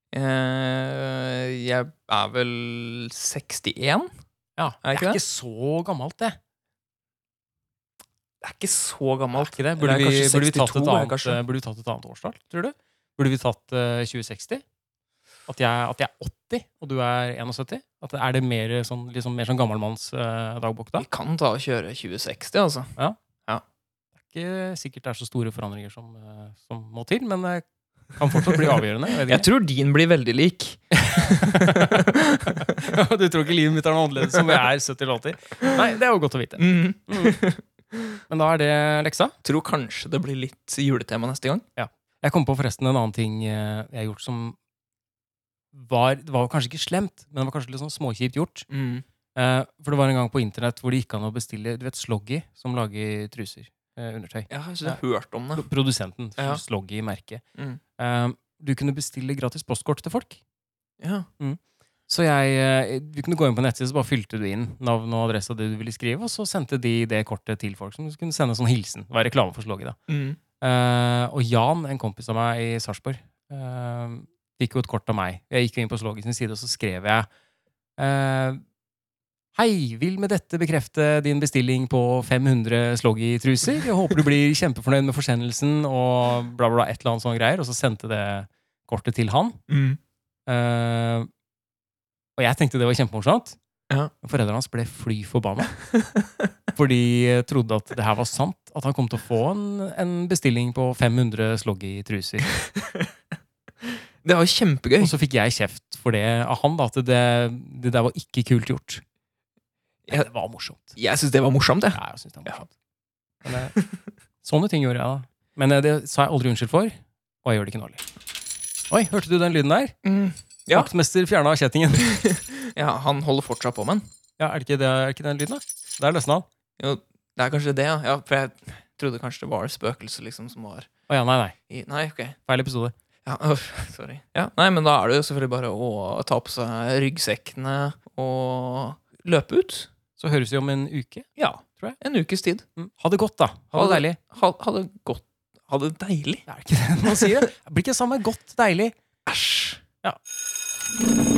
Speaker 2: Eh, jeg er vel 61?
Speaker 1: Ja,
Speaker 2: Er
Speaker 1: det
Speaker 2: jeg
Speaker 1: er
Speaker 2: ikke det?
Speaker 1: ikke så gammelt, det.
Speaker 2: Det er ikke så gammelt.
Speaker 1: Ikke det.
Speaker 2: Det er
Speaker 1: Burde, vi,
Speaker 2: kanskje
Speaker 1: burde, vi tatt
Speaker 2: 62
Speaker 1: et
Speaker 2: er
Speaker 1: annet,
Speaker 2: kanskje.
Speaker 1: eh, burde vi tatt et annet årstall, tror du? Burde vi tatt eh, 2060? At jeg, at jeg er 80, og du er 71? At, er det mer sånn, eh, liksom, mer sånn gammelmannsdagbok uh, dagbok da?
Speaker 2: Vi kan ta og kjøre 2060, altså.
Speaker 1: ikke sikkert det er så store forandringer som, eh, som må til, men det kan fortsatt bli avgjørende. jeg
Speaker 2: Jeg
Speaker 1: vet ikke.
Speaker 2: tror din blir veldig lik.
Speaker 1: du tror ikke livet mitt er noe annerledes som jeg er 70 eller 80? Nei, det er jo godt å vite.
Speaker 2: Mm.
Speaker 1: Men da er det leksa.
Speaker 2: Tror kanskje det blir litt juletema neste gang.
Speaker 1: Jeg kom på forresten en annen ting eh, jeg har gjort som var, Det var jo kanskje ikke slemt, men det var kanskje litt sånn småkjipt gjort. Eh, for det var en gang på internett hvor det gikk an å bestille Du vet Sloggy, som lager truser. Eh, undertøy.
Speaker 2: Jeg har ikke hørt om det.
Speaker 1: Pro- Produsenten.
Speaker 2: Ja.
Speaker 1: Sloggy i merket.
Speaker 2: Mm.
Speaker 1: Eh, du kunne bestille gratis postkort til folk.
Speaker 2: Ja.
Speaker 1: Så jeg, eh, du kunne gå inn på nettsiden, så bare fylte du inn navn og adresse og det du ville skrive, og så sendte de det kortet til folk som kunne sende en sånn hilsen. Det var reklame for Sloggy, da.
Speaker 2: Mm.
Speaker 1: Eh, og Jan, en kompis av meg i Sarpsborg, eh, fikk jo et kort av meg. Jeg gikk jo inn på Sloggy sin side, og så skrev jeg eh, Hei, vil med dette bekrefte din bestilling på 500 Sloggy-truser. Jeg håper du blir kjempefornøyd med forsendelsen og bla, bla, bla, et eller annet sånn greier. Og så sendte det kortet til han. Eh, og jeg tenkte det var kjempemorsomt.
Speaker 2: Ja.
Speaker 1: Men Foreldrene hans ble fly forbanna. For de trodde at det her var sant. At han kom til å få en, en bestilling på 500 sloggy-truser.
Speaker 2: Det var kjempegøy.
Speaker 1: Og så fikk jeg kjeft for det av han, da, at det, det der var ikke kult gjort. Men
Speaker 2: Ja.
Speaker 1: det var morsomt.
Speaker 2: Jeg syns det var morsomt, jeg.
Speaker 1: Ja, jeg synes det var morsomt. Men, eh, sånne ting gjorde jeg, da. Men eh, det sa jeg aldri unnskyld for, og jeg gjør det ikke nå heller. Oi, hørte du den lyden der?
Speaker 2: Ja.
Speaker 1: Vaktmester fjerna kjettingen.
Speaker 2: Ja, han holder fortsatt på med den.
Speaker 1: Ja, er det ikke, det, er det ikke den lyden, da? Der løsna han.
Speaker 2: Jo, det er kanskje det, ja. ja. For jeg trodde kanskje det var spøkelset liksom, som var
Speaker 1: Å ja, nei, nei.
Speaker 2: i Nei, ok.
Speaker 1: Feil episode.
Speaker 2: Ja, øh, sorry. Ja, nei, men da er det jo selvfølgelig bare å ta på seg ryggsekkene og løpe ut.
Speaker 1: Så høres vi om en uke.
Speaker 2: Ja.
Speaker 1: Tror jeg.
Speaker 2: En ukes tid.
Speaker 1: Ha det godt, da. Ha det
Speaker 2: Ha
Speaker 1: deilig.
Speaker 2: Ha, ha det godt. Ha det deilig.
Speaker 1: Det er ikke det man sier. Det blir ikke det samme godt deilig.
Speaker 2: Æsj.